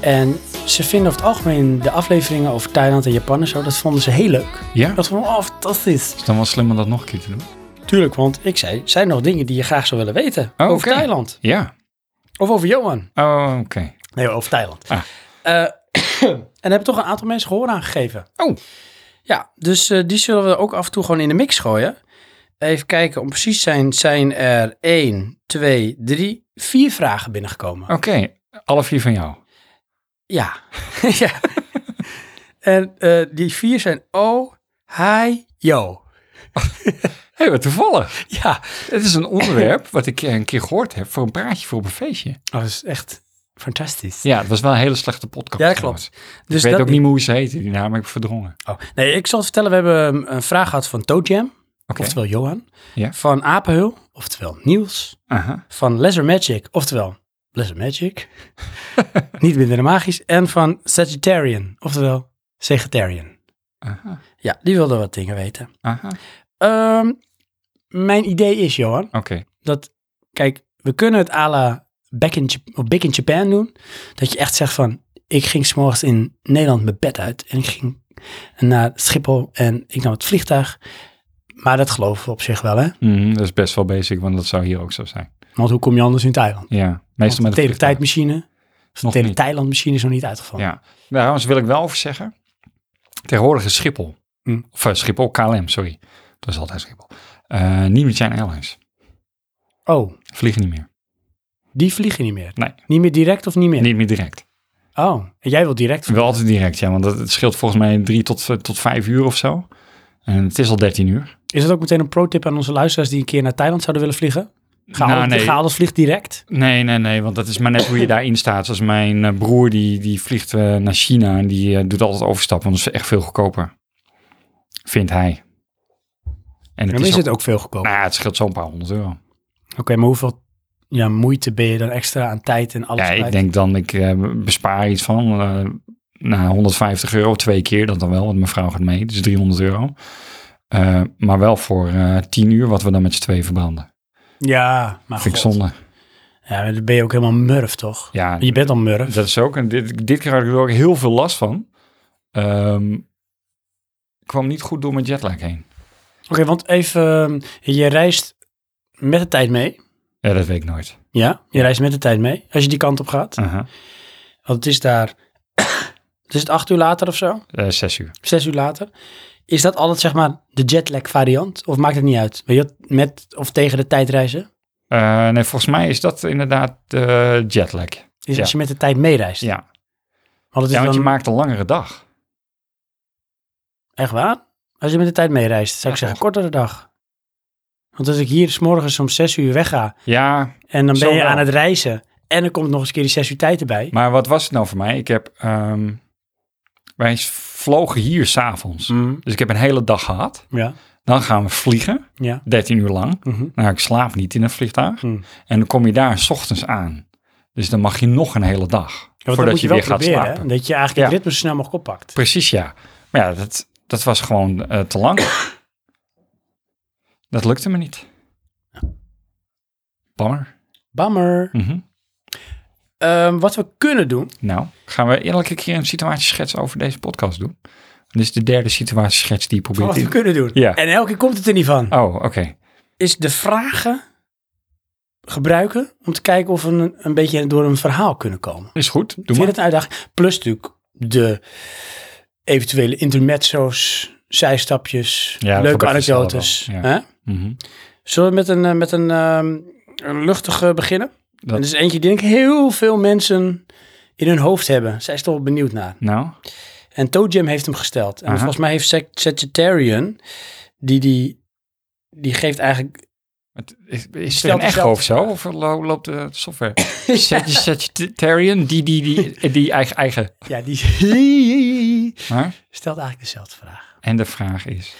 A: En ze vinden over het algemeen de afleveringen over Thailand en Japan en zo, dat vonden ze heel leuk.
C: Ja?
A: Dat vonden we oh, fantastisch.
C: Is dan wel slim om dat nog een keer te doen?
A: Tuurlijk, want ik zei, zijn er nog dingen die je graag zou willen weten
C: Oh,
A: over
C: oké.
A: Thailand?
C: Ja.
A: Of over Johan?
C: Oh, oké.
A: Nee, over Thailand.
C: Ah.
A: Eh, en hebben toch een aantal mensen gehoor aangegeven.
C: Oh.
A: Ja, dus eh, die zullen we ook af en toe gewoon in de mix gooien. Even kijken, om precies te zijn, zijn er 1, 2, 3, 4 vragen binnengekomen.
C: Oké. Alle vier van jou.
A: Ja. ja. En eh, die vier zijn O, hi, yo.
C: Hé, hey, wat toevallig.
A: Ja.
C: Het is een onderwerp wat ik eh, een keer gehoord heb voor een praatje voor op een feestje.
A: Oh, Dat is echt fantastisch.
C: Ja, het was wel een hele slechte podcast.
A: Ja, dat
C: trouwens.
A: Dus
C: ik weet
A: dat-
C: ook niet meer hoe ze heette. Die naam heb ik verdrongen.
A: Oh, nee, ik zal het vertellen. We hebben ehm, een vraag gehad van Toadjam,
C: Oké.
A: oftewel Johan.
C: Ja.
A: Van Apenhul, oftewel Niels.
C: Aha.
A: Van Lesser Magic, oftewel Lesser Magic. Niet minder dan magisch. En van Sagittarian, oftewel Sagittarian.
C: Aha.
A: Ja, die wilde wat dingen weten.
C: Aha. Oké.
A: Ehm, mijn idee is, Johan, dat, kijk, we kunnen het à la back in, Jap- of Big in Japan doen. Dat je echt zegt van, ik ging s'morgens in Nederland mijn bed uit en ik ging naar Schiphol en ik nam het vliegtuig. Maar dat geloven we op zich wel, hè?
C: Mhm, dat is best wel basic, want dat zou hier ook zo zijn.
A: Want hoe kom je anders in Thailand?
C: Ja.
A: Want
C: Meestal
A: de
C: met een vliegtuig.
A: teletijdmachine, of de
C: Nog niet.
A: teletijlandmachine is nog niet uitgevallen.
C: Ja. Nou, Trouwens wil ik wel over zeggen. Tegenwoordig is Schiphol.
A: Hm.
C: Of eh, Schiphol, KLM, sorry. Dat is altijd Schiphol. Eh, niet met zijn airlines.
A: Oh,
C: Vliegen niet meer.
A: die vliegen niet meer?
C: Nee.
A: Niet meer direct of niet meer?
C: Niet meer direct.
A: Oh, en jij wil direct vliegen?
C: Wel altijd direct, ja. Want dat, het scheelt volgens mij drie tot, eh, tot vijf uur of zo. En het is al dertien uur.
A: Is dat ook meteen een pro-tip aan onze luisteraars die een keer naar Thailand zouden willen vliegen? Ga,
C: Nou,
A: alles,
C: nee.
A: ga alles vliegt direct?
C: Nee, nee, nee. Want dat is maar net hoe je daarin staat. Zoals mijn eh, broer, die, die vliegt eh, naar China. En die eh, doet altijd overstappen. Want dat is echt veel goedkoper. Vindt hij. En het
A: Dan
C: is,
A: is
C: ook,
A: het ook veel goedkoper.
C: Nou ja, het scheelt zo'n paar honderd euro.
A: Oké, maar hoeveel ja, moeite ben je dan extra aan tijd en alles
C: Ja, ik
A: kwijt?
C: denk dan, ik eh, bespaar iets van eh nou, 150 euro twee keer, dat dan wel, want mijn vrouw gaat mee, dus 300 euro. Eh, maar wel voor eh 10 uur, wat we dan met z'n tweeën verbranden.
A: Ja, maar
C: Vind ik
A: Ah, god.
C: zonde.
A: Ja, maar dan ben je ook helemaal murf, toch?
C: Ja,
A: Je bent al murf.
C: dat is ook, en dit, dit keer had ik er ook heel veel last van. Ehm, ik kwam niet goed door mijn jetlag heen.
A: Oké, want even, ehm, je reist met de tijd mee.
C: Ja, dat weet ik nooit.
A: Ja, je reist met de tijd mee. Als je die kant op gaat.
C: Aha.
A: Want het is daar... dus het is het acht uur later of zo.
C: Eh, zes uur.
A: Zes uur later. Is dat altijd zeg maar de jetlag variant? Of maakt het niet uit? Weet je wat, met of tegen de tijd reizen?
C: Eh, nee, volgens mij is dat inderdaad eh, jetlag.
A: Is
C: Ja.
A: als je met de tijd meereist.
C: Ja.
A: Want het is
C: ja, want
A: Dus dan
C: je maakt een langere dag.
A: echt waar. Als je met de tijd meereist, zou ik
C: Ja,
A: zeggen, kortere dag. Want als ik hier 's morgens om zes uur wegga
C: Ja,
A: en dan ben
C: Zo
A: je
C: wel.
A: aan het reizen en er komt nog eens een keer die zes uur tijd erbij.
C: maar wat was het nou voor mij? Ik heb, ehm, wij vlogen hier s'avonds.
A: Mm,
C: Dus ik heb een hele dag gehad.
A: ja,
C: Dan gaan we vliegen,
A: ja.
C: 13 uur lang.
A: mhm.
C: Nou, ik slaap niet in een vliegtuig.
A: Hmm.
C: En dan kom je daar 's ochtends aan. Dus dan mag je nog een hele dag.
A: Ja, want dat
C: voordat
A: moet
C: je,
A: wel
C: weer gaat
A: proberen, hè?
C: slapen.
A: Dat je eigenlijk
C: Ja.
A: het ritme zo snel mogelijk oppakt.
C: Precies, ja. Maar ja, dat, dat was gewoon eh, te lang. dat lukte me niet. Bammer.
A: Bammer.
C: Mhm.
A: Ehm, wat we kunnen doen,
C: Nou, gaan we elke keer een situatieschets over deze podcast doen? Dit is de derde situatieschets die je probeert
A: wat we
C: in.
A: kunnen doen.
C: Ja.
A: En elke keer komt het er niet van.
C: Oh, oké.
A: Is de vragen gebruiken om te kijken of we een, een beetje door een verhaal kunnen komen.
C: Is goed. Doe
A: Vind
C: maar.
A: je dat een uitdaging? Plus natuurlijk de eventuele intermezzo's, zijstapjes,
C: Ja, dat
A: leuke
C: gebeurt vanzelf
A: anekdotes.
C: wel, ja.
A: hè?
C: Mhm.
A: Zullen we met een, eh, met een, ehm, een luchtige beginnen?
C: Dat-
A: Dat is eentje die denk ik heel veel mensen in hun hoofd hebben. Zij is toch wel benieuwd naar.
C: Nou,
A: En ToeJam heeft hem gesteld. En
C: Aha.
A: volgens mij heeft Sag- Sagittarian, die, die, die geeft eigenlijk...
C: het- is, is er
A: Stel
C: een echo
A: dezelfde
C: of zo? Of lo- loopt de software? Sag- Sagittarian, die, die, die, die eigen, eigen.
A: Ja, die
C: Maar,
A: stelt eigenlijk dezelfde vraag.
C: en de vraag is...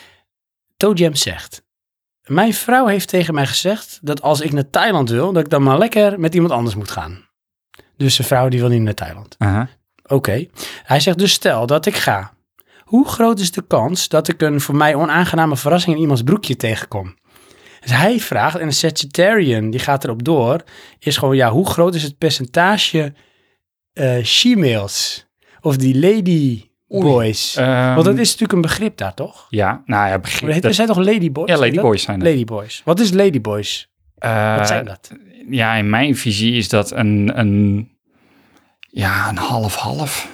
A: ToeJam zegt... Mijn vrouw heeft tegen mij gezegd dat als ik naar Thailand wil, dat ik dan maar lekker met iemand anders moet gaan. Dus zijn vrouw die wil niet naar Thailand.
C: Aha.
A: Oké. Hij zegt dus stel dat ik ga. Hoe groot is de kans dat ik een voor mij onaangename verrassing in iemands broekje tegenkom? Dus hij vraagt, en een Sagittarian die gaat erop door, is gewoon ja, hoe groot is het percentage eh she-mails of die lady boys?
C: Ehm,
A: Want dat is natuurlijk een begrip daar, toch?
C: Ja, nou ja,
A: Maar heet-
C: begin.
A: Er
C: dat-
A: zijn toch ladyboys?
C: Ja,
A: heet dat?
C: ladyboys zijn dat.
A: Ladyboys. Wat is ladyboys?
C: Eh,
A: Wat zijn dat?
C: Ja, in mijn visie is dat een, een ja, een half-half.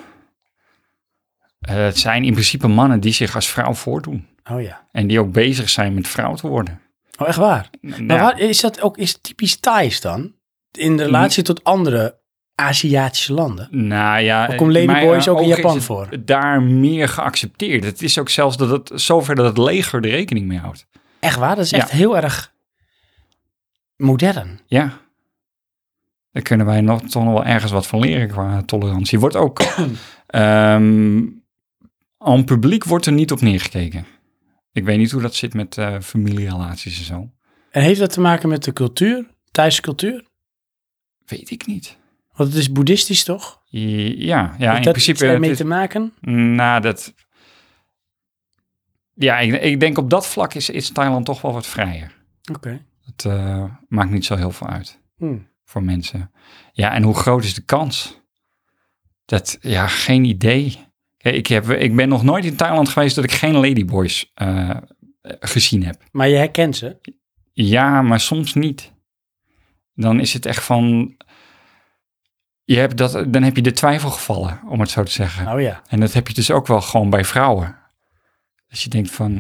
C: Eh, het zijn in principe mannen die zich als vrouw voordoen.
A: Oh ja.
C: En die ook bezig zijn met vrouw te worden.
A: Oh, echt waar? Maar
C: nou Ja,
A: waar, is dat ook is het typisch Thais dan? In relatie
C: Mm.
A: tot andere Aziatische landen?
C: Nou ja,
A: Of komt ladyboys
C: maar, eh,
A: ook in
C: is
A: Japan
C: het
A: voor?
C: Daar meer geaccepteerd. Het is ook zelfs dat het zover dat het leger er rekening mee houdt.
A: Echt waar? Dat is echt
C: Ja.
A: heel erg modern.
C: Ja. Daar kunnen wij nog, toch nog wel ergens wat van leren qua tolerantie. Wordt ook. ehm aan publiek wordt er niet op neergekeken. Ik weet niet hoe dat zit met eh, familierelaties en zo.
A: En heeft dat te maken met de cultuur? Thaise cultuur?
C: Weet ik niet.
A: Want het is boeddhistisch toch?
C: I- Ja, ja in
A: heeft dat iets
C: principe.
A: ermee
C: het
A: te
C: is-
A: maken?
C: Nou, dat. Ja, ik, ik denk op dat vlak is, is Thailand toch wel wat vrijer.
A: Oké.
C: Het eh, maakt niet zo heel veel uit.
A: Hm.
C: voor mensen. Ja, en hoe groot is de kans? Dat, ja, geen idee. Kijk, Ik, heb, ik ben nog nooit in Thailand geweest dat ik geen ladyboys eh, eh, gezien heb.
A: Maar je herkent ze.
C: Ja, maar soms niet. Dan is het echt van... Je hebt dat, dan heb je de twijfel gevallen, om het zo te zeggen.
A: Oh ja.
C: En dat heb je dus ook wel gewoon bij vrouwen. Als je denkt van...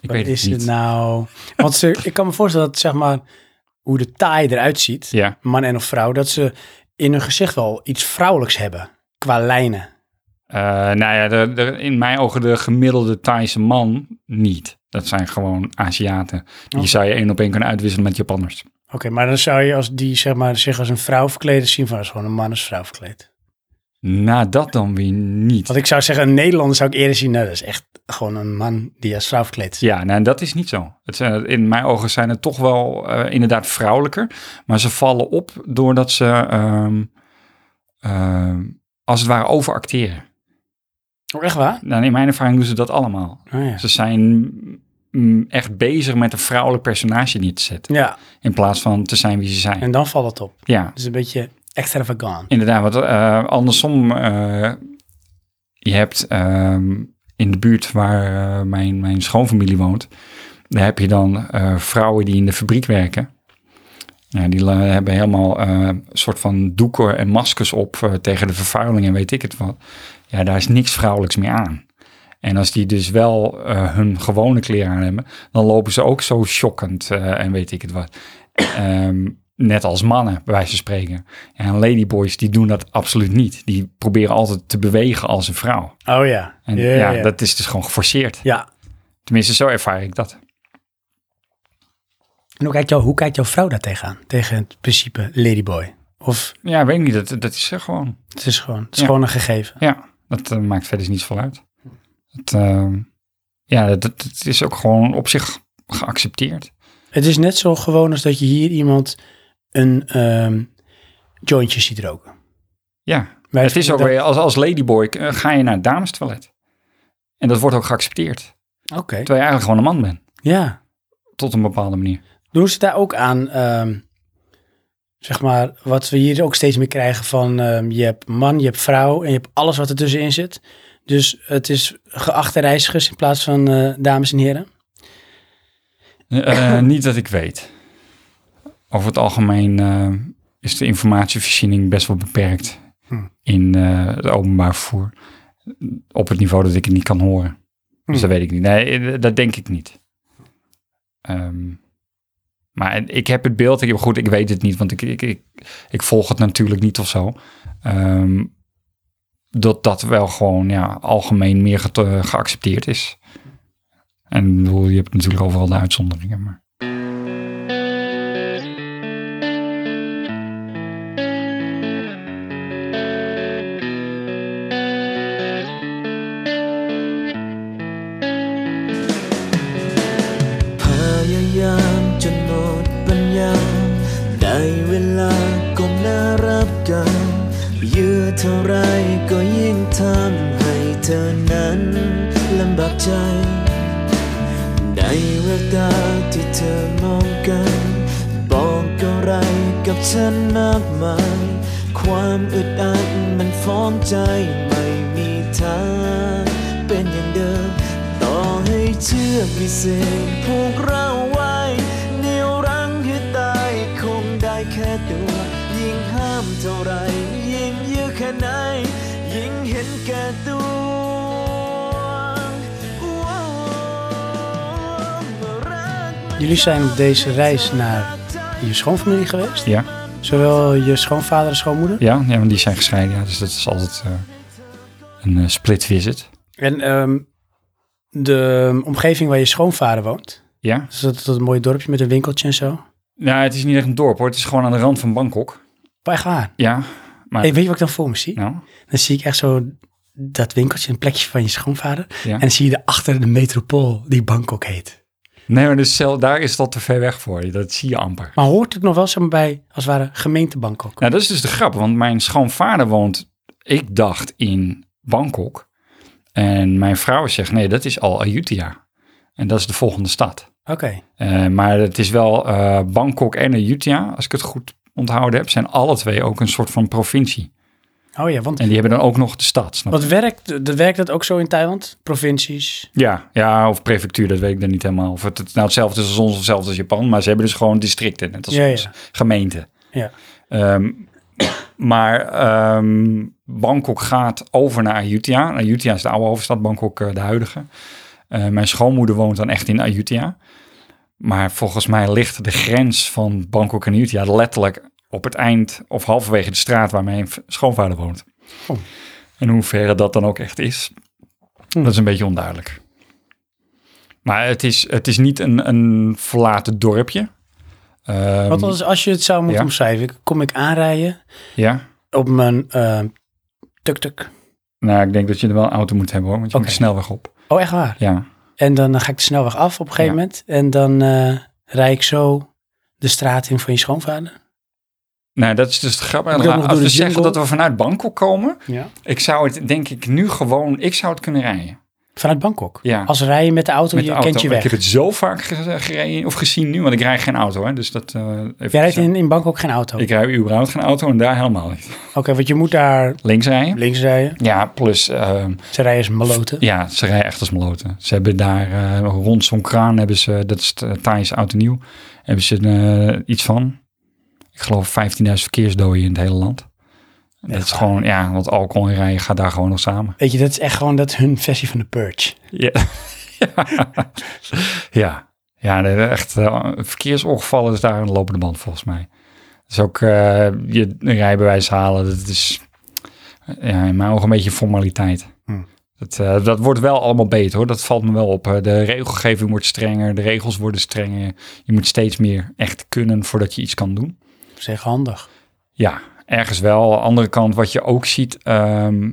C: Ik
A: Wat
C: weet het
A: is
C: niet.
A: het nou? Want ze, ik kan me voorstellen dat zeg maar hoe de Thai eruit ziet,
C: Ja,
A: man en of vrouw, dat ze in hun gezicht wel iets vrouwelijks hebben qua lijnen.
C: Eh, nou ja, de, de- in mijn ogen de gemiddelde Thaise man niet. Dat zijn gewoon Aziaten. Die
A: Oké.
C: zou je één op één kunnen uitwisselen met Japanners.
A: Oké, maar dan zou je als die zeg maar, zich als een vrouw verkleden zien van als gewoon een man als vrouw verkleed.
C: Nou, dat dan weer niet.
A: Want ik zou zeggen, een Nederlander zou ik eerder zien, nou, dat is echt gewoon een man die als vrouw verkleed is.
C: Ja, nou, dat is niet zo. Het, zijn- in mijn ogen zijn het toch wel eh, inderdaad vrouwelijker. Maar ze vallen op doordat ze ehm, ehm, als het ware overacteren.
A: Oh, echt waar?
C: Nou, in mijn ervaring doen ze dat allemaal.
A: Oh, ja.
C: Ze zijn mm, echt bezig met een vrouwelijk personage neer te zetten.
A: ja,
C: In plaats van te zijn wie ze zijn.
A: en dan valt het op.
C: ja,
A: Dus een beetje extravagant.
C: Inderdaad, want eh, andersom, eh, je hebt ehm, in de buurt waar eh, mijn, mijn schoonfamilie woont, Daar heb je dan eh, vrouwen die in de fabriek werken. Nou, die la- hebben helemaal eh, een soort van doeken en maskers op eh, tegen de vervuiling en weet ik het wat. Ja, daar is niks vrouwelijks meer aan. En als die dus wel eh, hun gewone kleren aan hebben, dan lopen ze ook zo shockend eh, en weet ik het wat. Ehm, net als mannen, bij wijze van spreken. En ladyboys, die doen dat absoluut niet. Die proberen altijd te bewegen als een vrouw.
A: Oh ja.
C: En
A: ja, ja,
C: ja,
A: ja.
C: dat is dus gewoon geforceerd.
A: Ja.
C: Tenminste, zo ervaar ik dat.
A: En hoe kijkt, jou, hoe kijkt jouw vrouw daar tegenaan? Tegen het principe ladyboy? Of
C: Ja, weet ik niet, dat, dat is er gewoon.
A: het is gewoon, het is
C: Ja.
A: gewoon een gegeven?
C: Ja, dat eh, maakt verder niets van uit. Het, eh, ja, dat, dat- dat is ook gewoon op zich geaccepteerd.
A: Het is net zo gewoon als dat je hier iemand een ehm, jointje ziet roken.
C: Ja,
A: Wij
C: het is
A: vinden
C: ook
A: dat-
C: weer, als, als ladyboy eh, ga je naar het damestoilet. En dat wordt ook geaccepteerd.
A: Oké.
C: Terwijl je eigenlijk gewoon een man bent,
A: Ja.
C: tot een bepaalde manier.
A: Doen ze daar ook aan, ehm, zeg maar, wat we hier ook steeds meer krijgen van ehm, je hebt man, je hebt vrouw en je hebt alles wat ertussenin zit. Dus het is geachte reizigers in plaats van eh, dames en heren.
C: Eh, eh, niet dat ik weet. Over het algemeen eh, is de informatievoorziening best wel beperkt in eh, het openbaar vervoer. Op het niveau dat ik het niet kan horen. Dus dat weet ik niet. Nee, eh, dat denk ik niet. Ehm, maar ik heb het beeld. Ik, maar goed, ik weet het niet, want ik, ik, ik, ik volg het natuurlijk niet of zo. Ehm, dat dat wel gewoon ja, algemeen meer ge- eh, geaccepteerd is. En ik bedoel, je hebt natuurlijk overal de uitzonderingen. Maar...
G: พยายามจนหมดปัญญา ได้เวลาก้มหน้ารับกันยื้อเท่าไรก็ยิ่งทำให้เธอนั้นลำบากใจ ในแววตาที่เธอมองกัน บอกอะไรกับฉันมากมาย ความอึดอัดมันฟ้องใจไม่มีทางเป็นอย่างเดิม ต่อให้เชือกวิเศษผูกเราไว้เหนี่ยวรั้งให้ตายคงได้แค่ตัว ยิ่งห้ามเท่าไหรยิ่งยื้อแค่ไหน ยิ่งเห็นแก่ตัว
A: Jullie zijn op deze reis naar je schoonfamilie geweest.
C: Ja,
A: Zowel je schoonvader als schoonmoeder.
C: ja, ja, want die zijn gescheiden. Ja, dus dat is altijd eh, een eh, split visit.
A: En ehm, de omgeving waar je schoonvader woont.
C: Ja.
A: Dus dat, dat mooie dorpje met een winkeltje en zo.
C: Nou, het is niet echt een dorp hoor. Het is gewoon aan de rand van Bangkok.
A: Waar echt waar.
C: Ja. Maar,
A: Hey, weet je wat ik dan voor me zie?
C: nou,
A: Dan zie ik echt zo dat winkeltje, een plekje van je schoonvader.
C: Ja.
A: En dan zie je daarachter de metropool die Bangkok heet.
C: Nee, maar dus zelf, daar is dat te ver weg voor je. Dat zie je amper.
A: Maar hoort het nog wel zeg maar, bij, als het ware, gemeente Bangkok?
C: Nou, dat is dus de grap, want mijn schoonvader woont, ik dacht, in Bangkok. En mijn vrouw zegt, nee, dat is al Ayutthaya. En dat is de volgende stad.
A: Oké.
C: Eh, maar het is wel eh, Bangkok en Ayutthaya, als ik het goed onthouden heb, zijn alle twee ook een soort van provincie.
A: Oh ja, want
C: En die hebben dan ook nog de stad, snap je?
A: wat werkt, dat werkt dat ook zo in Thailand? Provincies?
C: Ja, ja, of prefectuur, dat weet ik dan niet helemaal. Of het, het nou hetzelfde is als ons of hetzelfde als Japan. Maar ze hebben dus gewoon districten, net als
A: Ja,
C: ons,
A: ja.
C: gemeenten.
A: Ja.
C: Ehm, maar ehm, Bangkok gaat over naar Ayutthaya. En Ayutthaya is de oude hoofdstad, Bangkok eh, de huidige. Eh, mijn schoonmoeder woont dan echt in Ayutthaya. Maar volgens mij ligt de grens van Bangkok en Ayutthaya letterlijk op het eind of halverwege de straat waar mijn v- schoonvader woont.
A: Oh.
C: En hoe ver dat dan ook echt is, dat is een beetje onduidelijk. Maar het is, het is niet een, een verlaten dorpje. Ehm,
A: Want als, als je het zou moeten
C: ja.
A: omschrijven, kom ik aanrijden
C: Ja.
A: op mijn ehm, tuk-tuk.
C: Nou, ik denk dat je er wel een auto moet hebben hoor, want je
A: Oké.
C: moet de snelweg op.
A: Oh, echt waar?
C: Ja.
A: En dan eh, ga ik de snelweg af op een gegeven
C: Ja.
A: moment. En dan eh rij ik zo de straat in van je schoonvader.
C: Nou, dat is dus de grap.
A: ik ook nog
C: Als
A: door
C: we
A: de
C: zeggen
A: jungle?
C: dat we vanuit Bangkok komen,
A: Ja.
C: ik zou het denk ik nu gewoon, ik zou het kunnen rijden.
A: Vanuit Bangkok.
C: Ja.
A: Als rij je met de auto,
C: Met
A: je
C: de auto.
A: kent je
C: Ik heb
A: weg.
C: het zo vaak ge- gereden of gezien nu, want ik rij geen auto. Hè, dus dat, eh, even
A: Jij rijdt
C: gezegd.
A: in, in Bangkok geen auto.
C: Ik rij überhaupt geen auto en daar helemaal niet.
A: Oké, want je moet daar
C: Links rijden.
A: links rijden.
C: Ja, plus ehm,
A: Ze rijden is maloten.
C: Ja, ze rijden echt als meloten. Ze hebben daar eh, rond zo'n kraan, hebben ze, dat is eh, Thais oud en nieuw, hebben ze eh, iets van, ik geloof 15.000 verkeersdoden in het hele land. dat is gewoon, ja, want alcohol en rijden gaat daar gewoon nog samen.
A: Weet je, dat is echt gewoon dat is hun versie van de Purge.
C: Ja, ja. ja nee, echt eh, verkeersongevallen is daar een lopende band volgens mij. Dus ook eh, je rijbewijs halen, dat is eh, ja, in mijn ogen een beetje formaliteit.
A: Hmm.
C: Dat, eh, dat wordt wel allemaal beter hoor, dat valt me wel op. Eh, De regelgeving wordt strenger, de regels worden strenger. Je moet steeds meer echt kunnen voordat je iets kan doen.
A: Dat is echt handig.
C: Ja, ergens wel. Aan de andere kant, wat je ook ziet, ehm,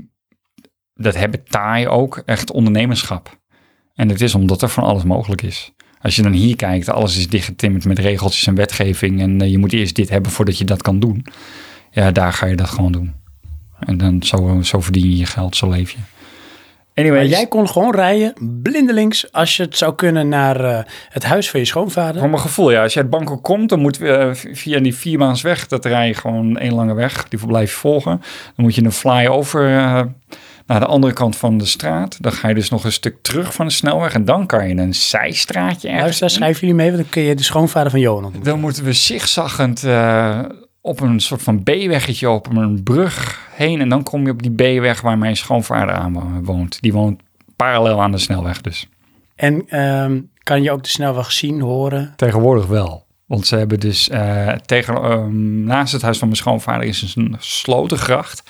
C: dat hebben Thai ook echt ondernemerschap. En het is omdat er van alles mogelijk is. Als je dan hier kijkt, alles is dichtgetimmerd met regeltjes en wetgeving. En eh, je moet eerst dit hebben voordat je dat kan doen. Ja, daar ga je dat gewoon doen. En dan zo, zo verdien je je geld, zo leef je.
A: Maar
C: Anyway,
A: jij kon gewoon rijden, blindelings, als je het zou kunnen, naar eh, het huis van je schoonvader.
C: Voor mijn gevoel, ja. Als je uit Bangkok komt, dan moet eh, v- via die viermaansweg, dat rij je gewoon één lange weg. Die blijf je volgen. Dan moet je een flyover eh naar de andere kant van de straat. Dan ga je dus nog een stuk terug van de snelweg. En dan kan je een zijstraatje ergens
A: Luister, schrijven jullie mee, want dan kun je de schoonvader van Johan ontmoeten.
C: dan moeten we zigzaggend eh, op een soort van B-weggetje, op een brug heen. En dan kom je op die B-weg waar mijn schoonvader aan wo- woont. Die woont parallel aan de snelweg dus.
A: En ehm, kan je ook de snelweg zien, horen?
C: Tegenwoordig wel. Want ze hebben dus eh, tegen, ehm, naast het huis van mijn schoonvader is een slotengracht.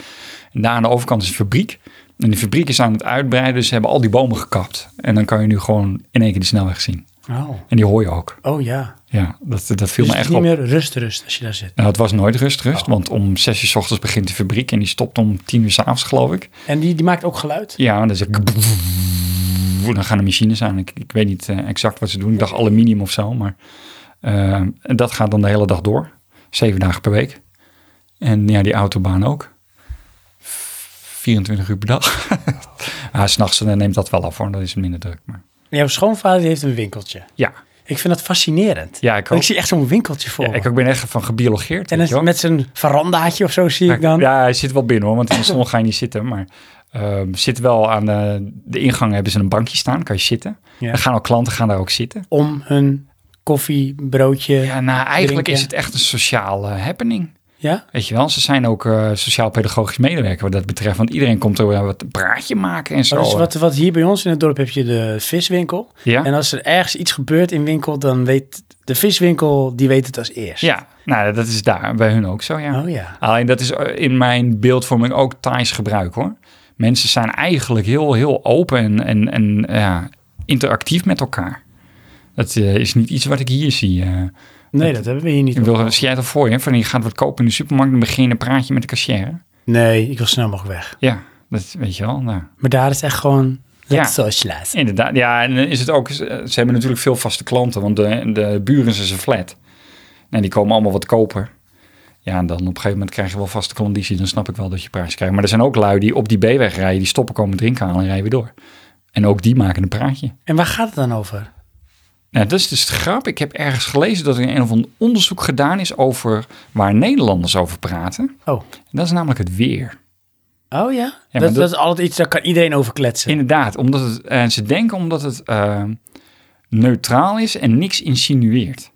C: En daar aan de overkant is een fabriek. En die fabriek is aan het uitbreiden, dus ze hebben al die bomen gekapt. En dan kan je nu gewoon in één keer die snelweg zien.
A: Oh,
C: En die hoor je ook.
A: oh ja.
C: Ja, dat, dat viel
A: Dus
C: me
A: het is
C: echt
A: niet
C: op.
A: meer Oh. rust, rust als je daar zit.
C: Nou, het was nooit rust, rust. Want om zes uur s ochtends begint de fabriek en die stopt om tien uur s'avonds, geloof ik.
A: En die, die maakt ook geluid.
C: Ja, en dan zeg ik... Dan gaan de machines aan. Ik, ik weet niet eh, exact wat ze doen. Ik dacht aluminium of zo, maar... eh, en dat gaat dan de hele dag door. Zeven dagen per week. En ja, die autobaan ook. 24 uur per dag. ah, s'nachts neemt dat wel af hoor, dan is het minder druk. Maar
A: Jouw schoonvader die heeft een winkeltje.
C: ja,
A: Ik vind dat fascinerend.
C: Ja, ik ook.
A: Want Ik zie echt zo'n winkeltje voor
C: ja
A: me.
C: ik ook ben echt van gebiologeerd.
A: En
C: weet je
A: het,
C: wel.
A: met zijn verandaatje of zo zie ik dan.
C: Ja, hij zit wel binnen hoor, want in de zon ga je niet zitten. Maar ehm, zit wel aan de, de ingang hebben ze een bankje staan, kan je zitten.
A: Ja.
C: Dan gaan ook klanten gaan daar ook zitten.
A: Om hun koffie, broodje.
C: Ja, nou eigenlijk
A: Drinken.
C: is het echt een sociale eh, happening.
A: Ja?
C: Weet je wel, ze zijn ook eh, sociaal-pedagogisch medewerker wat dat betreft. Want iedereen komt er wel wat een praatje maken en zo.
A: Dus wat, wat hier bij ons in het dorp heb je de viswinkel.
C: Ja.
A: En als er ergens iets gebeurt in winkel, dan weet de viswinkel, die weet het als eerst.
C: Ja, nou dat is daar bij hun ook zo, ja.
A: Oh ja.
C: Alleen dat is eh, in mijn beeldvorming ook Thais gebruik hoor. Mensen zijn eigenlijk heel, heel open en, en, en ja, interactief met elkaar. Dat eh, is niet iets wat ik hier zie. eh.
A: Nee, dat hebben we hier niet.
C: Ik wil, zie jij dat voor je? Van je gaat wat kopen in de supermarkt en begin je een praatje met de cashier.
A: Nee, ik wil snel mogelijk weg.
C: Ja, dat weet je wel. Nou,
A: Maar daar is echt gewoon...
C: Ja.
A: Ja. Socialize.
C: inderdaad. Ja, en dan is het ook, ze ze hebben natuurlijk veel vaste klanten, want de, de buren zijn een flat. En die komen allemaal wat koper. Ja, en dan op een gegeven moment krijg je wel vaste condities. Dan snap ik wel dat je prijs krijgt. Maar er zijn ook lui die op die B-weg rijden, die stoppen, komen drinken halen en rijden weer door. En ook die maken een praatje.
A: En waar gaat het dan over?
C: Nou, dat is dus de grap. Ik heb ergens gelezen dat er een of ander onderzoek gedaan is over waar Nederlanders over praten.
A: Oh,
C: En dat is namelijk het weer.
A: oh ja? dat,
C: dat-
A: dat, is altijd iets, daar kan iedereen over kletsen.
C: Inderdaad, omdat het, en ze denken omdat het eh, neutraal is en niks insinueert.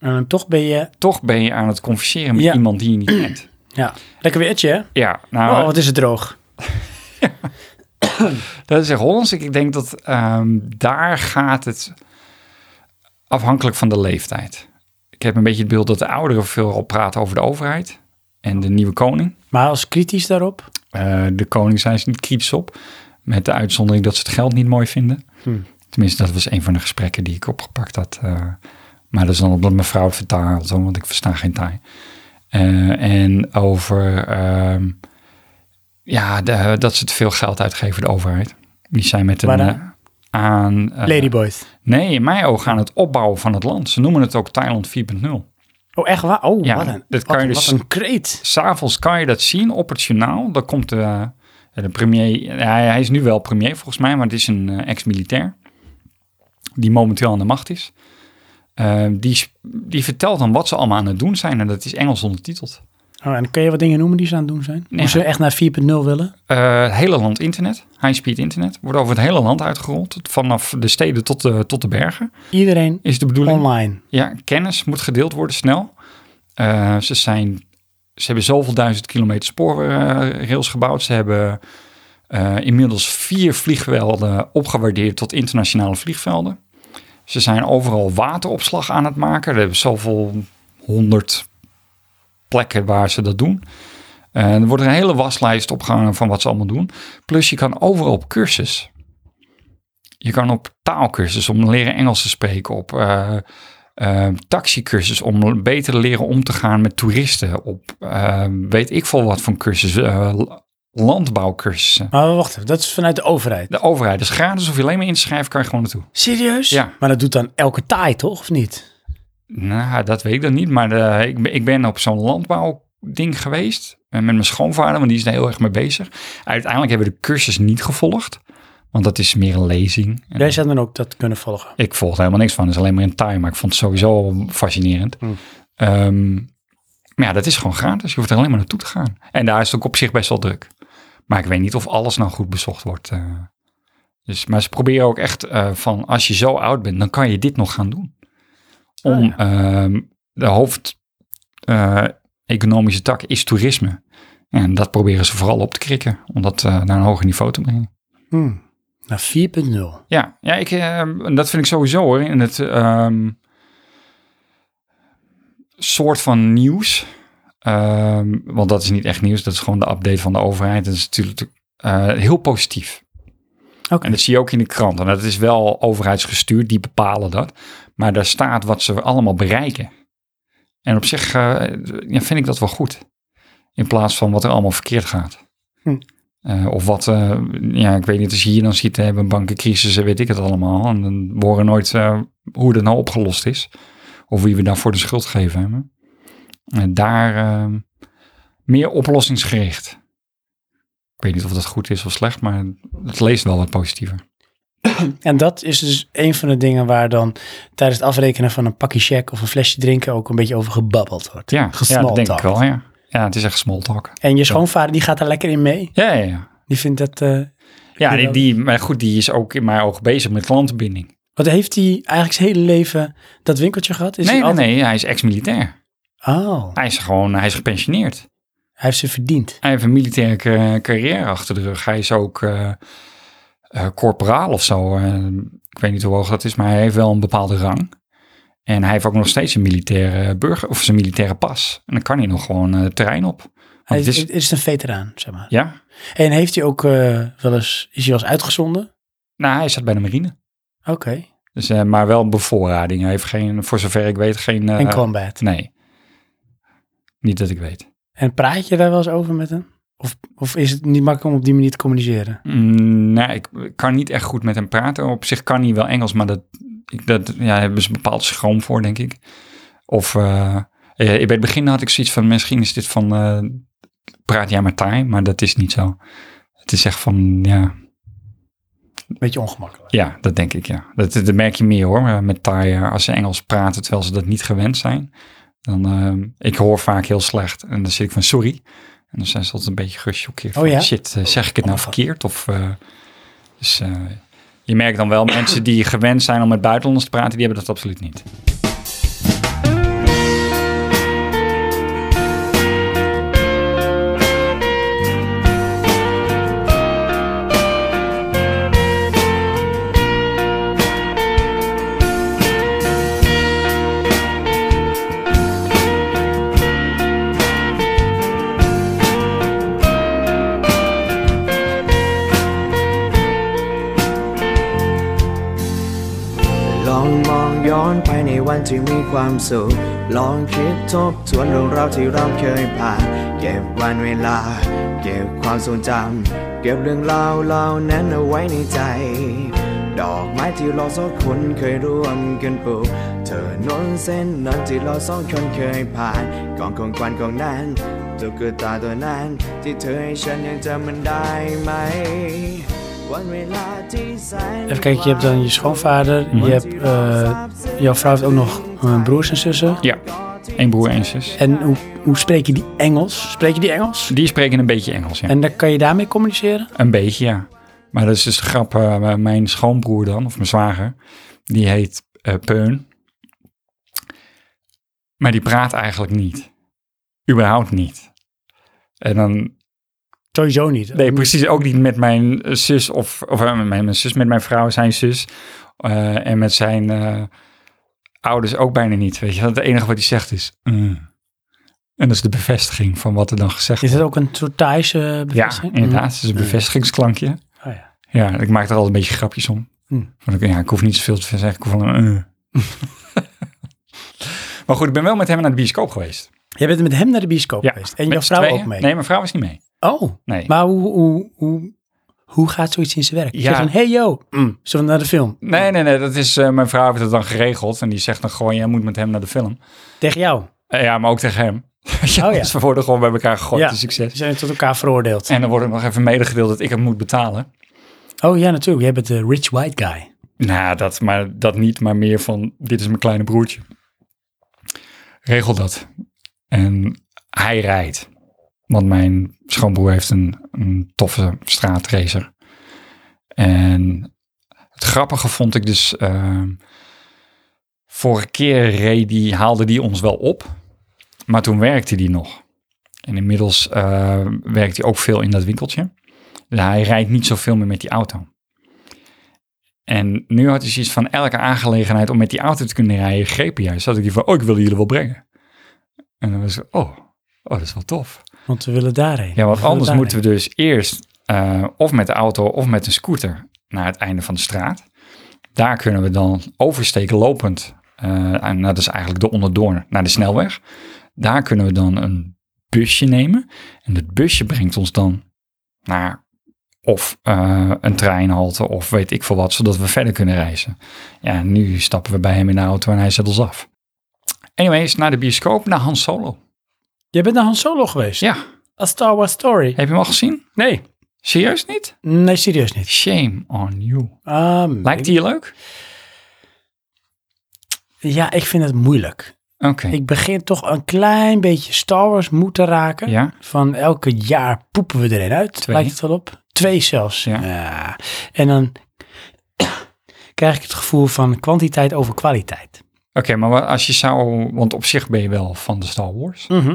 A: En toch ben je...
C: Toch ben je aan het converseren met
A: Ja.
C: iemand die je niet kent.
A: Ja, lekker weertje hè?
C: Ja, nou,
A: Oh, wat is het droog.
C: dat is echt Hollands. Ik denk dat ehm, daar gaat het afhankelijk van de leeftijd. Ik heb een beetje het beeld dat de ouderen veel al praten over de overheid en de nieuwe koning.
A: Maar als kritisch daarop?
C: Eh, de koning zijn ze niet kritisch op, met de uitzondering dat ze het geld niet mooi vinden.
A: Hm.
C: Tenminste, dat was een van de gesprekken die ik opgepakt had. eh, maar dat is dan omdat mijn vrouw het vertaalt, hoor, want ik versta geen Thai. Eh, en over ehm, ja, de- dat ze te veel geld uitgeven, de overheid. Die zijn met een...
A: Waaraan?
C: eh, aan, eh,
A: Ladyboys.
C: Nee, in mijn ogen aan het opbouwen van het land. Ze noemen het ook Thailand 4.0.
A: Oh, echt waar? Oh,
C: Ja,
A: wat, een, wat,
C: dat kan je
A: een-
C: dus-
A: wat een kreet.
C: S'avonds kan je dat zien op het journaal. Dan komt eh, de, Ja, De premier, hij, hij is nu wel premier volgens mij, maar het is een eh, ex-militair. Die momenteel aan de macht is. Eh, die, sp- die vertelt dan wat ze allemaal aan het doen zijn. En dat is Engels ondertiteld.
A: Oh, en kun je wat dingen noemen die ze aan het doen zijn?
C: Nee,
A: Hoe ze
C: maar-
A: echt naar 4.0 willen?
C: Eh, het hele land internet, high-speed internet, wordt over het hele land uitgerold. Tot- Vanaf de steden tot de, tot de bergen
A: Iedereen
C: is de bedoeling.
A: online.
C: Ja, kennis moet gedeeld worden snel. Eh, ze, zijn, ze hebben zoveel duizend kilometer spoorrails gebouwd. Ze hebben eh, inmiddels vier vliegvelden opgewaardeerd tot internationale vliegvelden. Ze zijn overal wateropslag aan het maken. Er hebben zoveel honderd plekken waar ze dat doen. Eh, er wordt een hele waslijst opgehangen van wat ze allemaal doen. Plus je kan overal op cursus. Je kan op taalkursus om leren Engels te spreken. Op eh, eh, taxicursus om beter te leren om te gaan met toeristen. Op eh, weet ik veel wat voor cursus. eh, l- landbouwcursussen.
A: Maar wacht even, dat is vanuit de overheid.
C: De overheid is gratis. Hoef je alleen maar in te schrijven, kan je gewoon naartoe.
A: Serieus?
C: Ja.
A: Maar dat doet dan elke taai toch, of niet?
C: Nou, dat weet ik dan niet. Maar eh, ik, ben- ik ben op zo'n landbouwding geweest. eh, Met mijn schoonvader, want die is daar heel erg mee bezig. Uiteindelijk hebben we de cursus niet gevolgd. Want dat is meer een lezing. En
A: Jij zou dan ook dat kunnen volgen.
C: Ik volgde helemaal niks van. Het is alleen maar in time. Maar ik vond het sowieso fascinerend. Ehm, maar ja, dat is gewoon gratis. Je hoeft er alleen maar naartoe te gaan. En daar is het ook op zich best wel druk. Maar ik weet niet of alles nou goed bezocht wordt. eh. dus, maar ze proberen ook echt eh, van... als je zo oud bent, dan kan je dit nog gaan doen. Om
A: Ah,
C: ehm, de hoofd-economische tak is toerisme. En dat proberen ze vooral op te krikken. Om dat eh, naar een hoger niveau te brengen.
A: Hmm. Naar 4.0.
C: Ja, ja ik, ehm, en dat vind ik sowieso hoor. In het ehm, soort van nieuws. Ehm, want dat is niet echt nieuws. Dat is gewoon de update van de overheid. Dat is natuurlijk eh, heel positief.
A: Oké.
C: En dat zie je ook in de krant. En dat is wel overheidsgestuurd. Die bepalen dat. Maar daar staat wat ze allemaal bereiken. En op zich eh, ja, vind ik dat wel goed. In plaats van wat er allemaal verkeerd gaat. Eh, of wat, eh, ja, ik weet niet, als je hier dan ziet, we hebben een bankencrisis en weet ik het allemaal. En dan we horen nooit eh, hoe dat nou opgelost is. Of wie we daarvoor de schuld gegeven hebben. En daar eh, meer oplossingsgericht. Ik weet niet of dat goed is of slecht, maar het leest wel wat positiever.
A: En dat is dus een van de dingen waar dan tijdens het afrekenen van een pakje check of een flesje drinken ook een beetje over gebabbeld wordt.
C: Ja, ja dat denk ik
A: Gesmalltalkt.
C: wel, ja. Ja, het is echt small talk.
A: En je schoonvader die gaat daar lekker in mee.
C: Ja, ja, ja.
A: Die vindt dat. eh,
C: Ja,
A: Vind
C: die,
A: ik
C: die- maar goed, die is ook in mijn ogen bezig met klantbinding.
A: wat heeft hij eigenlijk zijn hele leven dat winkeltje gehad? Is
C: Nee,
A: hij
C: nee,
A: altijd-
C: nee, hij is ex-militair.
A: Oh,
C: Hij is gewoon, hij is gepensioneerd.
A: hij heeft ze verdiend.
C: Hij heeft een militaire ca- carrière achter de rug. Hij is ook eh, eh, corporaal of zo. Eh, ik weet niet hoe hoog dat is, maar hij heeft wel een bepaalde rang. En hij heeft ook nog steeds een militaire burger of zijn militaire pas. En dan kan hij nog gewoon eh, het terrein op. Want
A: Hij
C: het
A: is,
C: is,
A: is een veteraan, zeg maar.
C: ja,
A: En heeft hij ook eh, wel eens, is hij wel eens uitgezonden?
C: nou, hij zat bij de marine.
A: Oké.
C: Dus, eh, maar wel een bevoorrading. Hij heeft geen, voor zover ik weet, geen. eh,
A: en combat.
C: Nee. Niet dat ik weet.
A: En praat je daar wel eens over met hem? Of, of is het niet makkelijk om op die manier te communiceren?
C: Mm, nou, ik kan niet echt goed met hem praten. Op zich kan hij wel Engels, maar dat, ik- dat ja, daar hebben ze een bepaald schroom voor, denk ik. Of eh, eh, bij het begin had ik zoiets van, misschien is dit van, eh, praat jij maar Thai, maar dat is niet zo. Het is echt van, ja,
A: Beetje ongemakkelijk.
C: ja dat denk ik, ja. Dat, dat merk je meer hoor, eh, met Thai. eh, Als ze Engels praten, terwijl ze dat niet gewend zijn. Dan, eh, ik hoor vaak heel slecht en dan zit ik van, sorry. En dan zijn ze altijd een beetje gechoqueerd.
A: Oh
C: van,
A: ja?
C: Shit, eh, zeg ik het nou
A: Oh, fuck.
C: verkeerd? Of, eh, dus eh, je merkt dan wel, mensen die gewend zijn om met buitenlanders te praten, die hebben dat absoluut niet.
G: ลองมองย้อนไปในวันที่มีความสุข ลองคิดทบทวนเรื่องราวที่เราเคยผ่าน เก็บวันเวลา เก็บความทรงจำ เก็บเรื่องราวเหล่านั้นเอาไว้ในใจ ดอกไม้ที่เราสองคนเคยร่วมกันปลูก เธอนนเส้นนั้นที่เราสองคนเคยผ่านกองของควันกองนั้น ตุ๊กตาตัวนั้น ที่เธอให้ฉันยังจำมันได้ไหม วันเวลาที่แสน
A: Even kijken, je hebt dan je schoonvader,
C: Mhm.
A: je hebt, eh, jouw vrouw heeft ook nog eh, broers en zussen.
C: Ja, één broer, één zus.
A: En hoe, hoe spreek je die Engels? Spreek je die Engels?
C: Die spreken een beetje Engels, ja.
A: En dan kan je daarmee communiceren?
C: Een beetje, ja. Maar dat is dus de grap. eh, mijn schoonbroer dan, of mijn zwager, die heet eh, Peun. Maar die praat eigenlijk niet. Überhaupt niet. En dan,
A: Sowieso niet.
C: nee, precies ook niet met mijn eh, zus of, of eh, met mijn, mijn zus, met mijn vrouw, zijn zus. eh, en met zijn eh, ouders ook bijna niet. Weet je, want het enige wat hij zegt is. "Mm." En dat is de bevestiging van wat er dan gezegd
A: Is
C: wordt.
A: dat ook een soort Thaise bevestiging?
C: Ja, inderdaad. Het is een bevestigingsklankje.
A: Mm. Oh, ja.
C: Ja, ik maak er altijd een beetje grapjes om.
A: Hmm.
C: Want ik, ja, ik hoef niet zoveel te zeggen. Ik hoef alleen maar, eh. maar goed, ik ben wel met hem naar de bioscoop geweest.
A: Jij bent met hem naar de bioscoop
C: Ja,
A: geweest. En
C: met
A: jouw
C: z'n
A: vrouw
C: tweeën.
A: ook mee?
C: Nee, mijn vrouw is niet mee.
A: Oh,
C: Nee.
A: maar hoe, hoe, hoe, hoe gaat zoiets in zijn werk? Je
C: Ja.
A: zegt dan, hey yo, mm, zullen we naar de film?
C: Nee, nee, nee. Dat is, eh, mijn vrouw heeft het dan geregeld. En die zegt dan gewoon, jij moet met hem naar de film.
A: Tegen jou?
C: Eh, ja, maar ook tegen hem. ja,
A: Oh, ja.
C: Dus we worden gewoon bij elkaar gegooid.
A: Ja.
C: Ja.
A: Ze
C: succes.
A: zijn tot elkaar veroordeeld.
C: En dan wordt ook nog even medegedeeld dat ik hem moet betalen.
A: Oh ja, natuurlijk. Jij bent de rich white guy.
C: Nou, dat, maar, dat niet, maar meer van, dit is mijn kleine broertje. Regel dat. En hij rijdt. Want mijn schoonbroer heeft een, een toffe straatracer. En het grappige vond ik dus... ehm, vorige keer reed die, haalde die ons wel op. Maar toen werkte die nog. En inmiddels eh, werkt hij ook veel in dat winkeltje. Dus hij rijdt niet zoveel meer met die auto. En nu had hij zoiets van elke aangelegenheid om met die auto te kunnen rijden, greep hij. Dus had ik die van, oh, ik wil jullie wel brengen. En dan was ik, oh, oh dat is wel tof.
A: Want we willen daarheen.
C: Ja, want
A: We willen
C: anders
A: daarheen.
C: moeten we dus eerst eh, of met de auto of met een scooter naar het einde van de straat. Daar kunnen we dan oversteken lopend. eh, en dat is eigenlijk de onderdoor naar de snelweg. Daar kunnen we dan een busje nemen. En dat busje brengt ons dan naar of eh, een treinhalte of weet ik veel wat, zodat we verder kunnen reizen. Ja, nu stappen we bij hem in de auto en hij zet ons af. Anyways, naar de bioscoop, naar Han Solo.
A: Jij bent naar Han Solo geweest?
C: Ja,
A: A Star Wars Story?
C: heb je hem al gezien?
A: Nee.
C: Serieus niet?
A: Nee, serieus niet.
C: Shame on you.
A: Um,
C: Lijkt die je leuk?
A: Ja, ik vind het moeilijk.
C: Oké.
A: Ik begin toch een klein beetje Star Wars moe te raken.
C: Ja.
A: Van elke jaar poepen we erin uit.
C: Twee.
A: Lijkt het wel op. Twee zelfs.
C: Ja.
A: En dan krijg ik het gevoel van kwantiteit over kwaliteit.
C: Oké, maar wat als je zou, want op zich ben je wel van de Star Wars.
A: Mhm.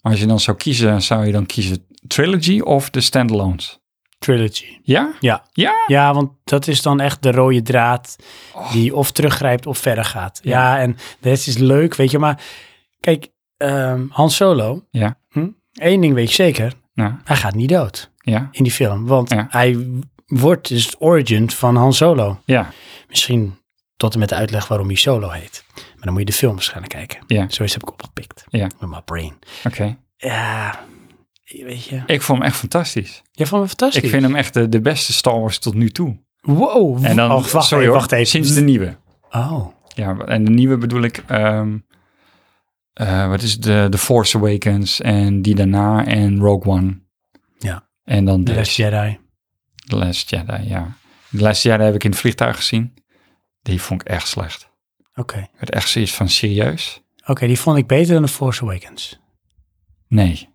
C: Maar als je dan zou kiezen, zou je dan kiezen Trilogy of de standalones?
A: Trilogy.
C: Ja?
A: Ja.
C: Ja?
A: Ja, want dat is dan echt de rode draad
C: Oh.
A: die of teruggrijpt of verder gaat. Ja, en de rest is leuk, weet je. Maar kijk, ehm Han Solo,
C: Ja.
A: hm? één ding weet je zeker,
C: Nou,
A: hij gaat niet dood
C: ja.
A: in die film. Want
C: Ja.
A: hij wordt dus het origin van Han Solo.
C: Ja.
A: Misschien tot en met de uitleg waarom hij Solo heet. Maar dan moet je de film waarschijnlijk kijken.
C: Ja.
A: Zoiets heb ik opgepikt.
C: Ja.
A: Met mijn brain.
C: Oké.
A: Ja, weet je.
C: Ik vond hem echt fantastisch.
A: Jij vond hem fantastisch.
C: Ik vind hem echt de, de beste Star Wars tot nu toe.
A: Wow.
C: En dan,
A: oh, wacht,
C: sorry
A: even,
C: hoor,
A: wacht even.
C: Sinds de nieuwe.
A: Oh.
C: Ja, en de nieuwe bedoel ik, ehm, eh, wat is het? de The Force Awakens en die daarna en Rogue One.
A: Ja.
C: En dan
A: The
C: deze.
A: Last Jedi.
C: The Last Jedi, ja. The Last Jedi heb ik in het vliegtuig gezien. Die vond ik echt slecht.
A: Oké.
C: Ik werd echt zoiets van serieus?
A: Oké, die vond ik beter dan The Force Awakens.
C: Nee.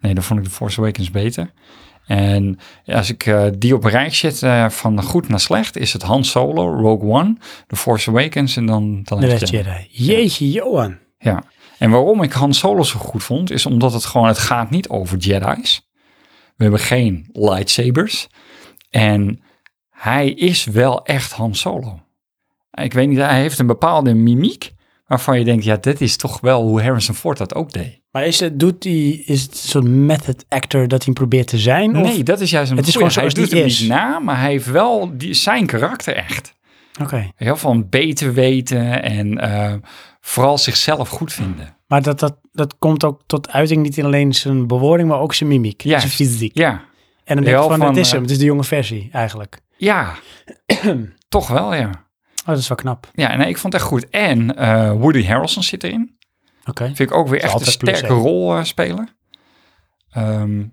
C: Nee, dan vond ik The Force Awakens beter. En als ik eh, die op een rij zet eh, van goed naar slecht, is het Han Solo, Rogue One, The Force Awakens en dan The
A: De
C: Last
A: Last
C: Jedi.
A: Jedi. Jeetje, Johan.
C: Ja. En waarom ik Han Solo zo goed vond, is omdat het gewoon, het gaat niet over Jedi's. We hebben geen lightsabers. En hij is wel echt Han Solo. Ik weet niet, hij heeft een bepaalde mimiek waarvan je denkt, ja, dit is toch wel hoe Harrison Ford dat ook deed.
A: Maar is het, doet die, is het een soort method actor dat hij probeert te zijn? of-
C: Nee, dat is juist een
A: Het is
C: goeie.
A: gewoon
C: Hij
A: zoals
C: doet
A: die
C: hem
A: is.
C: niet na, maar hij heeft wel die, zijn karakter echt.
A: Oké.
C: Heel van beter weten en eh, vooral zichzelf goed vinden.
A: Maar dat, dat, dat komt ook tot uiting niet alleen zijn bewoording, maar ook zijn mimiek, zijn
C: Juist.
A: fysiek.
C: Ja,
A: En dan denk
C: Ja,
A: je van,
C: van,
A: het is
C: eh,
A: hem, het is de jonge versie eigenlijk.
C: ja. toch wel, ja.
A: Oh, dat is wel knap.
C: Ja, nee, ik vond het echt goed. En eh, Woody Harrelson zit erin.
A: Oké.
C: Vind ik ook weer echt een
A: altijd plus,
C: sterke
A: hè?
C: rol eh, spelen. Ehm,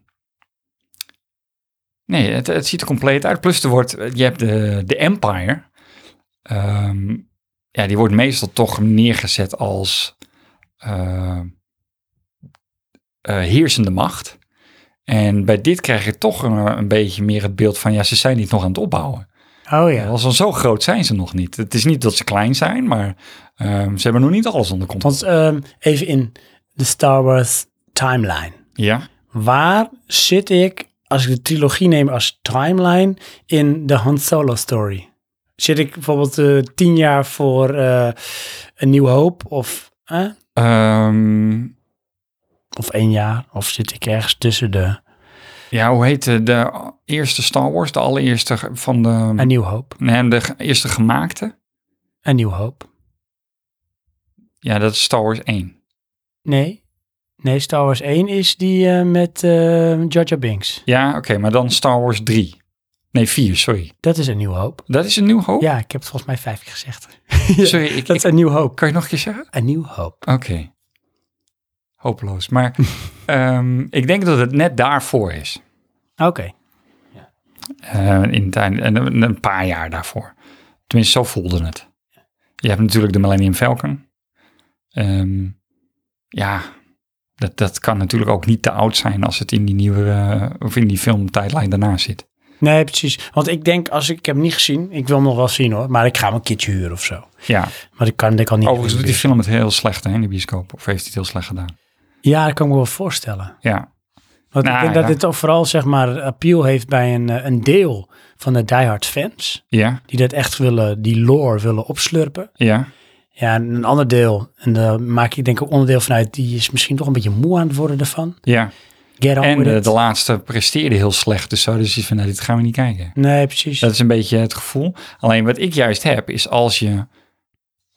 C: nee, het, het ziet er compleet uit. Plus er wordt, je hebt de, de Empire. Ehm, ja, die wordt meestal toch neergezet als eh, eh, heersende macht. En bij dit krijg je toch een, een beetje meer het beeld van, ja, ze zijn dit nog aan het opbouwen.
A: Oh
C: Ja,
A: ja.
C: want zo groot zijn ze nog niet. Het is niet dat ze klein zijn, maar ehm, ze hebben nog niet alles onder controle.
A: Want ehm, even in de Star Wars timeline.
C: Ja,
A: Waar zit ik, als ik de trilogie neem als timeline, in de Han Solo story? Zit ik bijvoorbeeld eh, tien jaar voor eh een nieuw hoop of, eh,
C: Ehm,
A: of één jaar? Of zit ik ergens tussen de
C: ja hoe heet de, de eerste Star Wars? De allereerste ge- van de...
A: een nieuw hoop,
C: Nee, de ge- eerste gemaakte?
A: een nieuw hoop?
C: Ja, dat is Star Wars 1.
A: Nee, nee, Star Wars 1 is die eh, met eh Jar Jar Binks.
C: Ja, oké, maar dan Star Wars 3. Nee, 4, sorry.
A: Dat is een nieuw hoop.
C: Dat is een nieuw hoop?
A: Ja, ik heb het volgens mij vijf keer gezegd.
C: Oh. Sorry, ik,
A: Dat
C: ik-
A: is een nieuw hoop.
C: kan je het nog een keer zeggen?
A: Een nieuw hoop.
C: Oké. Hopeloos. Maar ehm, ik denk dat het net daarvoor is.
A: Oké.
C: Eh, in het eind- en een, een paar jaar daarvoor. Tenminste, zo voelde het. Je hebt natuurlijk de Millennium Falcon. Ehm, ja, dat, dat kan natuurlijk ook niet te oud zijn als het in die nieuwe eh, of in die film tijdlijn daarna zit.
A: Nee, precies. Want ik denk, als ik, ik heb hem niet gezien, ik wil hem nog wel zien hoor, maar ik ga hem een keertje huren of zo.
C: Ja,
A: Maar ik kan, dat kan niet.
C: overigens doet die film het heel slecht hè, in de bioscoop. Of heeft hij het heel slecht gedaan?
A: Ja, dat kan ik me wel voorstellen.
C: Ja,
A: Want
C: Nou,
A: ik denk dat
C: ja.
A: dit ook vooral zeg maar appeal heeft bij een, eh, een deel van de diehard fans.
C: ja,
A: Die dat echt willen, die lore willen opslurpen.
C: ja.
A: Ja, en een ander deel, en daar maak ik denk ik onderdeel van uit, die is misschien toch een beetje moe aan het worden daarvan.
C: ja.
A: Get on
C: En eh,
A: with
C: de,
A: it.
C: de laatste presteerde heel slecht. Dus zouden ze van, nou, dit gaan we niet kijken.
A: Nee, precies.
C: Dat is een beetje het gevoel. Alleen wat ik juist heb, is als je,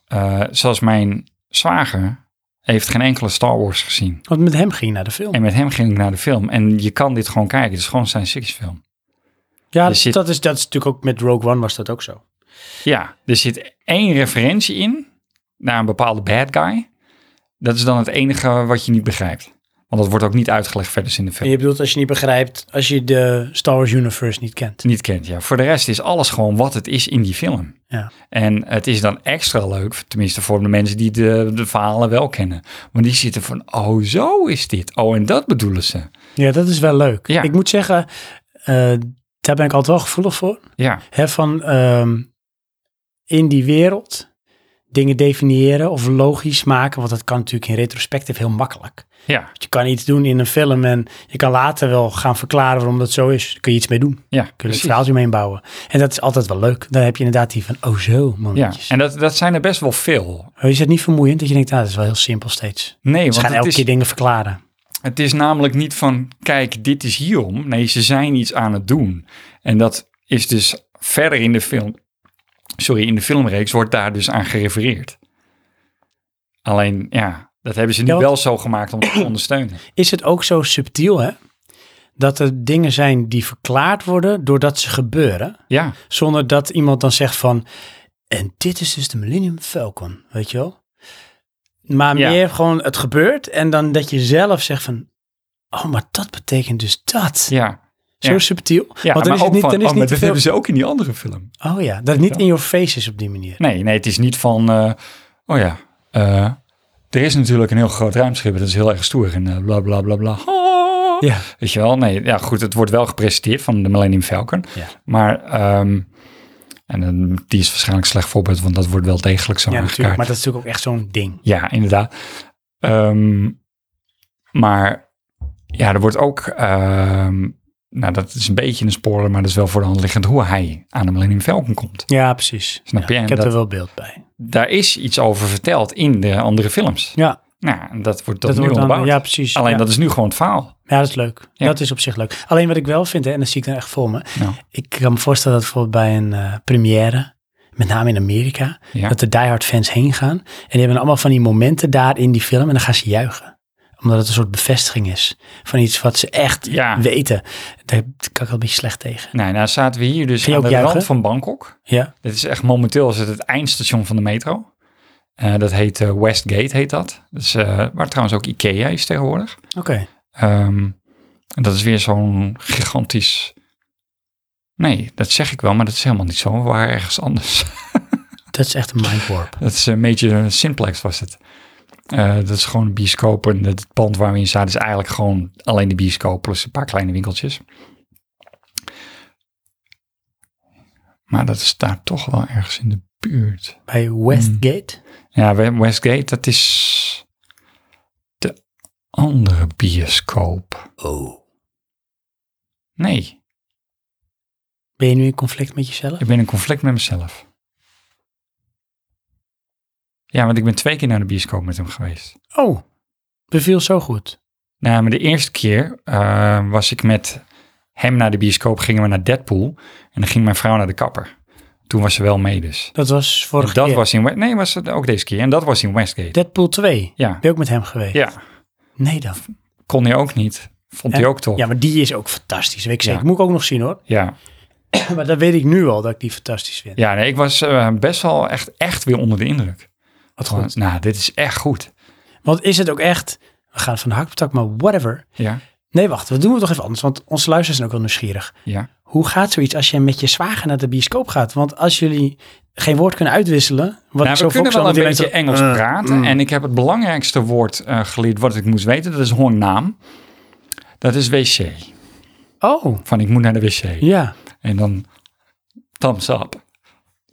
C: eh, zoals mijn zwager, heeft geen enkele Star Wars gezien.
A: Want met hem ging je naar de film.
C: En met hem ging ik naar de film. En je kan dit gewoon kijken. Het is gewoon een science fiction film.
A: ja,
C: er zit-
A: dat, is, dat is natuurlijk ook met Rogue One was dat ook zo.
C: Ja, er zit één referentie in naar een bepaalde bad guy. Dat is dan het enige wat je niet begrijpt. Want dat wordt ook niet uitgelegd verder in de
A: En
C: film.
A: je bedoelt als je niet begrijpt, als je de Star Wars universe niet kent.
C: Niet kent, ja. Voor de rest is alles gewoon wat het is in die film.
A: Ja.
C: En het is dan extra leuk, tenminste voor de mensen die de, de verhalen wel kennen. Want die zitten van, oh zo is dit. Oh, en dat bedoelen ze.
A: Ja, dat is wel leuk.
C: Ja.
A: Ik moet zeggen, eh, daar ben ik altijd wel gevoelig voor.
C: Ja,
A: Hè, van ehm, in die wereld dingen definiëren of logisch maken. Want dat kan natuurlijk in retrospectief heel makkelijk.
C: ja,
A: Want je kan iets doen in een film en je kan later wel gaan verklaren waarom dat zo is. Daar kun je iets mee doen. Kun
C: ja.
A: je een
C: precies.
A: verhaaltje mee bouwen. En dat is altijd wel leuk. Dan heb je inderdaad die van, oh zo,
C: Ja,
A: momentjes.
C: en dat, dat zijn er best wel veel.
A: Is het niet vermoeiend dat je denkt, ah, dat is wel heel simpel steeds.
C: Nee,
A: Ze
C: want
A: gaan
C: het
A: elke
C: is,
A: keer dingen verklaren.
C: het is namelijk niet van, kijk, dit is hierom. Nee, ze zijn iets aan het doen. En dat is dus verder in de film, sorry, in de filmreeks wordt daar dus aan gerefereerd. Alleen, ja, dat hebben ze nu
A: Ja, want-
C: wel zo gemaakt om het te ondersteunen.
A: is het ook zo subtiel, hè? Dat er dingen zijn die verklaard worden doordat ze gebeuren.
C: Ja,
A: Zonder dat iemand dan zegt van, en dit is dus de Millennium Falcon, weet je wel? Maar
C: Ja.
A: meer gewoon, het gebeurt en dan dat je zelf zegt van, oh, maar dat betekent dus dat.
C: ja.
A: Zo
C: ja.
A: subtiel.
C: Ja,
A: Want dan
C: maar
A: is het
C: ook
A: niet,
C: van,
A: dan is
C: oh,
A: het
C: maar
A: niet
C: dat dus-
A: veel...
C: hebben ze ook in die andere film.
A: Oh ja, dat het niet in your face is op die manier.
C: Nee, nee, het is niet van, eh, oh ja, eh, er is natuurlijk een heel groot ruimschip, dat is heel erg stoer en eh, bla bla bla bla. Ah.
A: Ja.
C: Weet je wel, nee, ja goed, het wordt wel gepresenteerd van de Millennium Falcon,
A: Ja.
C: maar ehm, en eh, die is waarschijnlijk een slecht voorbeeld, want dat wordt wel degelijk zo
A: Ja, natuurlijk.
C: aangekaart.
A: Maar dat is natuurlijk ook echt zo'n ding.
C: Ja, inderdaad. Ehm, maar ja, er wordt ook, ehm, nou dat is een beetje een spoiler, maar dat is wel voor de hand liggend hoe hij aan de Millennium Falcon komt.
A: Ja, precies.
C: Snap
A: Ja,
C: je? En
A: Ik heb
C: dat-
A: er wel beeld bij.
C: daar is iets over verteld in de andere films.
A: Ja,
C: Nou, en dat wordt dat, nu
A: wordt dan-
C: onderbouwd.
A: Ja, precies.
C: Alleen
A: ja.
C: dat is nu gewoon het verhaal.
A: Ja, dat is leuk.
C: Ja.
A: Dat is op zich leuk. Alleen wat ik wel vind, hè, en dat zie ik dan echt voor me.
C: Ja.
A: Ik kan me voorstellen dat bijvoorbeeld bij een eh, première, met name in Amerika,
C: Ja.
A: dat de diehard fans heen gaan. En die hebben allemaal van die momenten daar in die film en dan gaan ze juichen. Omdat het een soort bevestiging is van iets wat ze echt
C: Ja.
A: weten. Daar kan ik wel een beetje slecht tegen.
C: Nou, nou zaten we hier dus
A: Ging je
C: aan de
A: ook juichen?
C: rand van Bangkok.
A: Ja,
C: Dit is echt momenteel is het, het eindstation van de metro. Eh, dat heet eh, Westgate, heet dat. Dus, eh, waar trouwens ook Ikea is tegenwoordig.
A: oké.
C: Ehm, En dat is weer zo'n gigantisch... Nee, dat zeg ik wel, maar dat is helemaal niet zo. We waren ergens anders.
A: Dat is echt een mindwarp.
C: Dat is een beetje simplex was het. Eh, dat is gewoon een bioscoop en het pand waar we in zaten is eigenlijk gewoon alleen de bioscoop plus een paar kleine winkeltjes. Maar dat is daar toch wel ergens in de buurt.
A: Bij Westgate.
C: Ja, we- Westgate, dat is de andere bioscoop.
A: Oh.
C: Nee,
A: Ben je nu in conflict met jezelf?
C: ik ben in conflict met mezelf. Ja, want ik ben twee keer naar de bioscoop met hem geweest.
A: Oh, beviel zo goed.
C: Nou, maar de eerste keer eh, was ik met hem naar de bioscoop, gingen we naar Deadpool. En dan ging mijn vrouw naar de kapper. Toen was ze wel mee dus.
A: Dat was
C: En
A: vorige
C: dat
A: keer.
C: was in West- Nee, was het ook deze keer. En dat was in Westgate.
A: Deadpool 2.
C: Ja.
A: Ben je ook met hem geweest?
C: ja,
A: Nee dan.
C: kon hij ook niet. Vond hij
A: En-
C: ook top.
A: Ja, maar die is ook fantastisch. Weet ik zeker.
C: Ja.
A: Moet ik ook nog zien hoor.
C: ja.
A: Maar dat weet ik nu al, dat ik die fantastisch vind.
C: Ja, nee, ik was eh, best wel echt, echt weer onder de indruk.
A: Wat
C: Gewoon,
A: goed.
C: Nou, dit is echt goed.
A: Want is het ook echt, we gaan van de hakpatak, maar whatever.
C: Ja,
A: Nee, wacht, we doen het toch even anders. Want onze luisteraars zijn ook wel nieuwsgierig.
C: ja.
A: Hoe gaat zoiets als je met je zwager naar de bioscoop gaat? Want als jullie geen woord kunnen uitwisselen... Wat ik
C: Nou,
A: zo
C: we kunnen
A: volksal
C: wel een
A: natuurlijk
C: beetje Engels
A: Eh,
C: praten. En ik heb het belangrijkste woord eh, geleerd wat ik moest weten. Dat is gewoon naam. Dat is wc.
A: Oh,
C: Van ik moet naar de wc.
A: ja.
C: En dan thumbs up.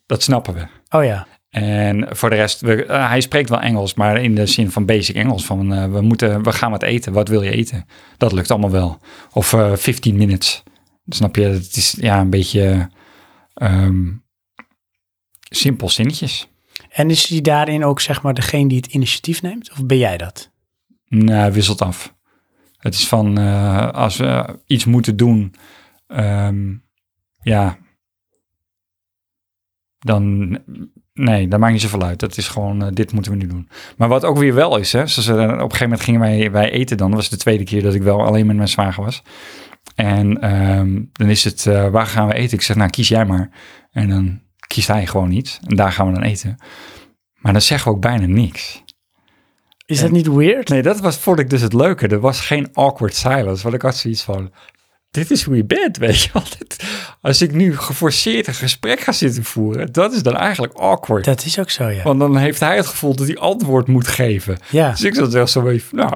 C: Dat snappen we.
A: Oh ja.
C: En voor de rest, we, eh, hij spreekt wel Engels, maar in de zin van basic Engels. Van eh, we, moeten, we gaan wat eten. Wat wil je eten? Dat lukt allemaal wel. Of eh 15 minutes. Snap je? Het is ja, een beetje ehm, simpel zinnetjes.
A: En is hij daarin ook zeg maar degene die het initiatief neemt? Of ben jij dat?
C: Nou, wisselt af. Het is van eh, als we iets moeten doen, ehm, ja, dan nee, dat maakt niet zoveel uit. Dat is gewoon, eh, dit moeten we nu doen. Maar wat ook weer wel is, hè, zoals, eh, op een gegeven moment gingen wij, wij eten dan. Dat was de tweede keer dat ik wel alleen met mijn zwager was. En ehm, dan is het, eh, waar gaan we eten? Ik zeg, nou, kies jij maar. En dan kiest hij gewoon iets. En daar gaan we dan eten. Maar dan zeggen we ook bijna niks.
A: Is dat niet weird?
C: Nee, dat was, vond ik dus het leuke. Er was geen awkward silence. Want ik had zoiets van, dit is hoe je bent, weet je wel. Dit- Als ik nu geforceerd een gesprek ga zitten voeren, dat is dan eigenlijk awkward.
A: Dat is ook zo, ja.
C: Want dan heeft hij het gevoel dat hij antwoord moet geven.
A: Ja.
C: Dus ik zat wel zo even, nou,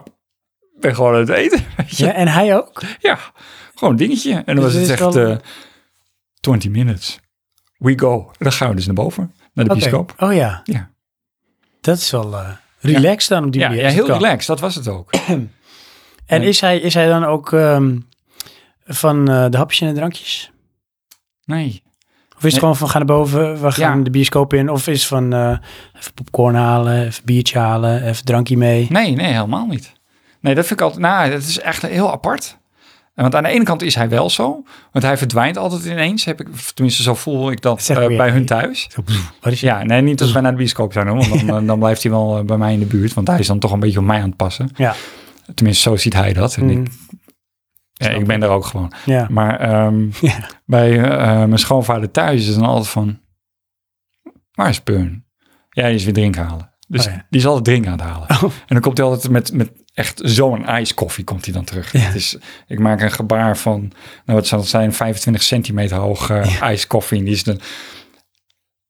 C: ik ben gewoon aan het eten. weet je.
A: ja. En hij ook?
C: Ja, gewoon een dingetje. En dan
A: Dus
C: was
A: dit
C: het
A: is
C: echt
A: wel-
C: eh 20 minutes. We go. En dan gaan we dus naar boven, naar de
A: Oké.
C: bioscoop.
A: Oh ja.
C: Ja.
A: Dat is wel eh, relaxed dan op die
C: Ja,
A: manier.
C: ja,
A: als het
C: heel
A: kan.
C: relaxed. Dat was het ook.
A: En is hij, is hij dan ook ehm, van eh, de hapjes en de drankjes?
C: Nee.
A: Of is het
C: Nee.
A: gewoon van, we gaan naar boven, we gaan
C: Ja.
A: de bioscoop in. Of is het van, eh, even popcorn halen, even biertje halen, even drankje mee.
C: Nee, nee, helemaal niet. Nee, dat vind ik altijd. Nou, dat is echt heel apart. En Want aan de ene kant is hij wel zo, want hij verdwijnt altijd ineens. Heb ik, of tenminste, zo voel ik dat
A: Zeg maar
C: eh,
A: weer. Dus-
C: bij hun thuis.
A: Wat is
C: Ja, nee, niet als wij naar de bioscoop zijn, hoor, want dan, eh, dan blijft hij wel eh, bij mij in de buurt, want hij is dan toch een beetje op mij aan het passen.
A: Ja.
C: Tenminste, zo ziet hij dat. En
A: Mm.
C: ik, ja, ik ben er ook gewoon.
A: Ja.
C: Maar ehm,
A: Ja.
C: bij eh, mijn schoonvader thuis is het dan altijd van, waar is Peun? Ja, die is weer drinken halen. Dus
A: Oh ja. Oh.
C: die is altijd drinken aan het halen. En dan komt hij altijd met, met echt zo'n ijskoffie komt hij dan terug. Het is, ik maak een gebaar van, nou wat zal het zijn, 25 centimeter hoog eh, ijskoffie. En die is dan,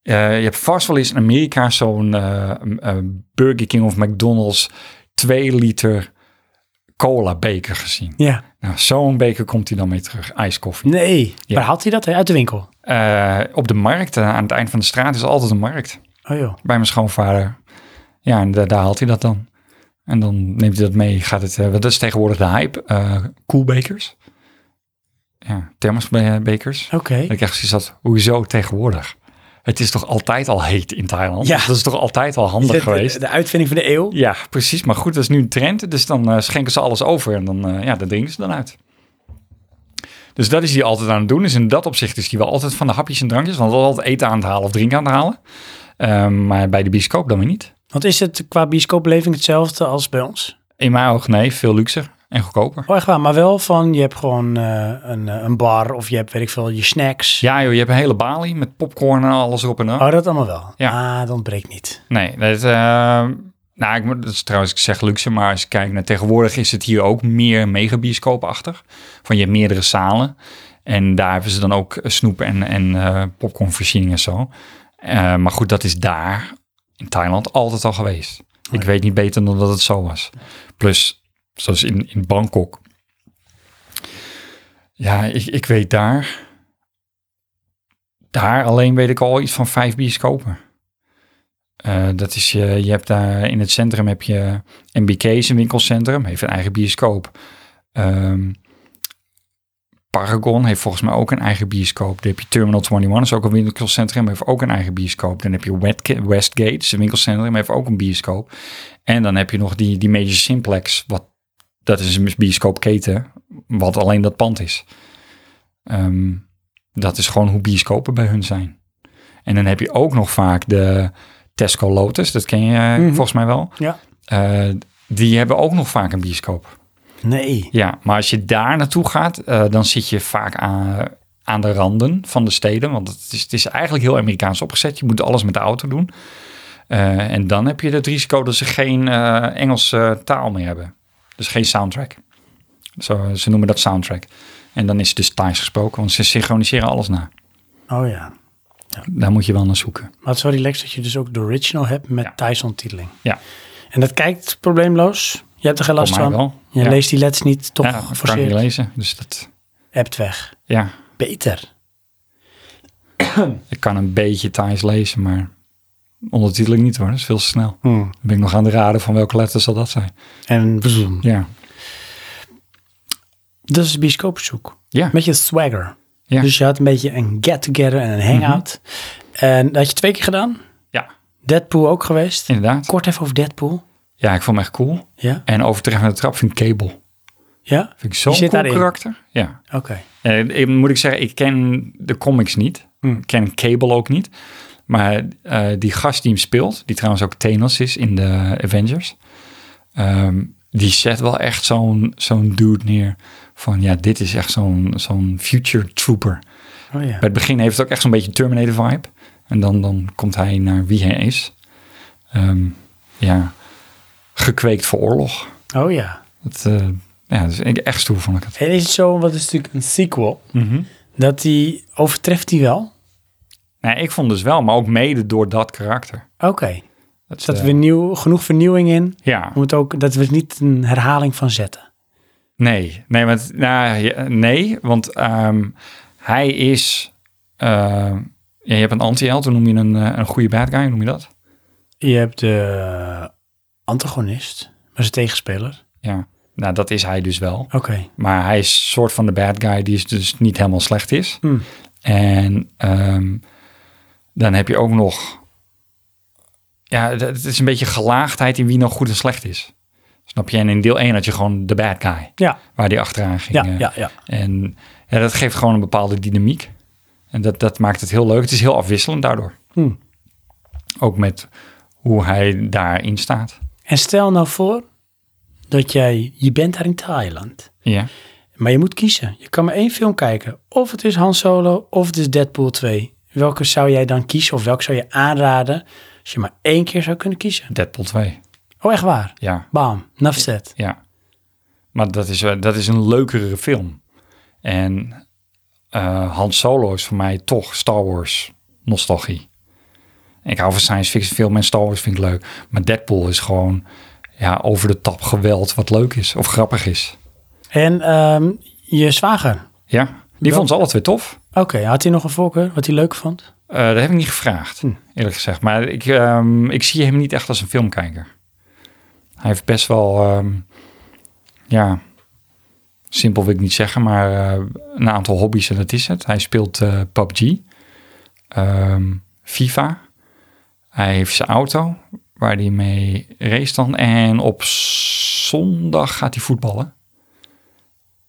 C: eh, je hebt vast wel eens in Amerika zo'n eh, m- eh, Burger King of McDonald's 2 liter cola beker gezien.
A: ja.
C: Nou, zo'n beker komt hij dan mee terug, ijskoffie.
A: Nee.
C: Ja.
A: Waar haalt hij dat hè? uit de winkel?
C: Eh, op de markt, eh, aan het eind van de straat, is altijd een markt
A: Oh joh.
C: bij mijn schoonvader. Ja, en daar, daar haalt hij dat dan. En dan neemt hij dat mee, gaat het... eh, want dat is tegenwoordig de hype. eh koelbekers. Ja, thermosbekers.
A: Oké.
C: En ik echt zoiets had, hoezo tegenwoordig? Het is toch altijd al heet in Thailand?
A: Ja.
C: Dat is toch altijd al
A: Is
C: handig
A: dit
C: geweest?
A: De, de uitvinding van de eeuw.
C: Ja, precies. Maar goed, dat is nu een trend. Dus dan eh, schenken ze alles over en dan, eh ja, dat drinken ze dan uit. Dus dat is die altijd aan het doen. Dus in dat opzicht is die wel altijd van de hapjes en drankjes. Want altijd eten aan het halen of drinken aan het halen. Eh, maar bij de bioscoop dan weer niet.
A: Want is het qua bioscoopbeleving hetzelfde als bij ons?
C: In mijn oog, nee, veel luxer en goedkoper.
A: Oh, echt waar. Maar wel van, je hebt gewoon eh, een, eh, een bar of je hebt, weet ik veel, je snacks.
C: Ja joh, je hebt een hele balie met popcorn en alles erop en aan.
A: Oh, dat allemaal wel.
C: Ja.
A: Ah, dat ontbreekt niet.
C: Nee, dat, eh, Nou, ik, moet- dat is trouwens, ik zeg luxe, maar als je kijkt naar tegenwoordig is het hier ook meer megabioscoopachtig. Van je hebt meerdere zalen en daar hebben ze dan ook eh, snoep en, en eh popcornvoorziening en zo. Eh, maar goed, dat is daar in Thailand altijd al geweest. Ik weet niet beter dan dat het zo was. Plus, zoals in, in Bangkok. Ja, ik, ik weet daar. Daar alleen weet ik al iets van vijf bioscopen. Eh, dat is, je, je hebt daar in het centrum heb je MBK's, een winkelcentrum, heeft een eigen bioscoop. Ehm, Paragon heeft volgens mij ook een eigen bioscoop. Dan heb je Terminal 21, is ook een winkelcentrum, heeft ook een eigen bioscoop. Dan heb je Wet- Westgate, is een winkelcentrum, heeft ook een bioscoop. En dan heb je nog die, die Major Simplex, wat, dat is een bioscoopketen, wat alleen dat pand is. Ehm, dat is gewoon hoe bioscopen bij hun zijn. En dan heb je ook nog vaak de Tesco Lotus, dat ken je eh, volgens mij wel.
A: Ja.
C: Eh, die hebben ook nog vaak een bioscoop.
A: Nee.
C: Ja, maar als je daar naartoe gaat, eh, dan zit je vaak aan, aan de randen van de steden. Want het is, het is eigenlijk heel Amerikaans opgezet. Je moet alles met de auto doen. Eh, en dan heb je het risico dat ze geen eh, Engelse taal meer hebben. Dus geen soundtrack. Zo, ze noemen dat soundtrack. En dan is het dus Thais gesproken, want ze synchroniseren alles na.
A: Oh ja.
C: Daar moet je wel naar zoeken.
A: Maar het is wel relaxed dat je dus ook de original hebt met
C: Ja.
A: Thijs ondertiteling.
C: Ja,
A: En dat kijkt probleemloos. Je hebt er geen last
C: Voor mij
A: van.
C: wel.
A: Je
C: Ja.
A: leest die lets niet toch
C: ja dat kan ik niet
A: geforceerd.
C: lezen. Dus dat,
A: Appt weg.
C: ja,
A: Beter.
C: ik kan een beetje Thais lezen, maar ondertiteling niet hoor. Dat is veel te snel.
A: Hmm.
C: Dan ben ik nog aan het raden van welke letters zal dat zijn.
A: En boem.
C: Ja,
A: Dat is bioscoopzoek.
C: ja.
A: Een beetje swagger.
C: Ja. Mhm.
A: Dus je had een beetje een get-together en een hangout. En dat had je twee keer gedaan.
C: ja.
A: Deadpool ook geweest.
C: inderdaad.
A: Kort even over Deadpool.
C: Ja, ik vond hem echt cool.
A: Ja?
C: En overtreffende trap vind ik Cable.
A: Ja?
C: Vind ik zo'n
A: Die zit
C: cool
A: daarin.
C: karakter. Ja.
A: Oké.
C: Eh, ik- moet ik zeggen, ik ken de comics niet. Ik ken Cable ook niet. Maar eh, die gast die hem speelt, die trouwens ook Thanos is in de Avengers. ehm, die zet wel echt zo'n zo'n dude neer van ja, dit is echt zo'n zo'n future trooper.
A: Oh ja.
C: Bij het begin heeft het ook echt zo'n beetje Terminator vibe. En dan, dan komt hij naar wie hij is. Ehm, ja, gekweekt voor oorlog.
A: Oh ja.
C: Dat, eh, ja, dus ik- echt stoer vond ik het.
A: En is het zo, wat is natuurlijk een sequel,
C: Mhm.
A: dat die overtreft die wel?
C: Nee, ik vond dus wel, maar ook mede door dat karakter.
A: Oké. Dus
C: Dat, is,
A: Dat
C: eh,
A: we nieuw, genoeg vernieuwing in.
C: Ja,
A: Moet ook, dat we er niet een herhaling van zetten.
C: nee. Nee, want, nou, ja, nee, want ehm, hij is... eh, ja, je hebt een anti-held, hoe noem je een, eh, een goede bad guy, hoe noem je dat?
A: Je hebt de antagonist, maar zijn tegenspeler.
C: Ja, nou dat is hij dus wel.
A: Oké.
C: Maar hij is soort van de bad guy die is dus niet helemaal slecht is.
A: Hmm.
C: En ehm, dan heb je ook nog... Ja, het- het is een beetje gelaagdheid in wie nou goed en slecht is. Snap je? En in deel 1 had je gewoon de bad guy.
A: Ja,
C: Waar die achteraan ging.
A: ja,
C: eh.
A: ja, ja.
C: En ja, dat geeft gewoon een bepaalde dynamiek. En dat, dat maakt het heel leuk. Het is heel afwisselend daardoor.
A: Hmm.
C: Ook met hoe hij daarin staat.
A: En stel nou voor dat jij, je bent daar in Thailand.
C: Ja.
A: Maar je moet kiezen. Je kan maar één film kijken. Of het is Han Solo, of het is Deadpool 2. Welke zou jij dan kiezen of welke zou je aanraden als je maar één keer zou kunnen kiezen?
C: Deadpool 2.
A: Oh, echt waar?
C: Ja.
A: Bam, enough said.
C: Ja. Maar dat is, eh, dat is een leukere film. En eh Han Solo is voor mij toch Star Wars nostalgie. Ik hou van science fiction film en Star Wars vind ik leuk. Maar Deadpool is gewoon ja, over de top geweld wat leuk is of grappig is.
A: En ehm, je zwager.
C: Ja, die
A: Ja.
C: vond ze alle twee tof.
A: Oké, had hij nog een voorkeur wat hij leuk vond?
C: Eh, dat heb ik niet gevraagd, eerlijk gezegd. Maar ik, ehm, ik zie hem niet echt als een filmkijker. Hij heeft best wel, ehm, ja, simpel wil ik niet zeggen, maar eh, een aantal hobby's en dat is het. Hij speelt eh, PUBG, ehm, FIFA. Hij heeft zijn auto waar hij mee race dan. En op zondag gaat hij voetballen.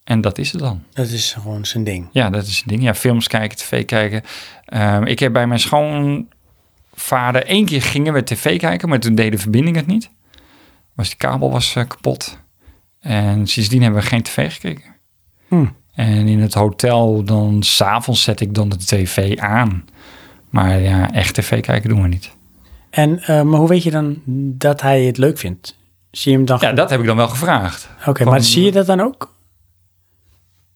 C: En dat is het dan.
A: Dat is gewoon zijn ding.
C: Ja, dat is het ding. Ja, films kijken, tv kijken. Ehm, ik heb bij mijn schoonvader één keer gingen we tv kijken, maar toen deed de verbinding het niet. Was die kabel was eh, kapot. En sindsdien hebben we geen tv gekeken.
A: Hmm.
C: En in het hotel dan s'avonds zet ik dan de tv aan. Maar ja, echt tv kijken doen we niet.
A: En, eh, maar hoe weet je dan dat hij het leuk vindt? Zie je hem dan...
C: Ja, dat heb ik dan wel gevraagd.
A: Oké, maar
C: Van-
A: zie je dat dan ook?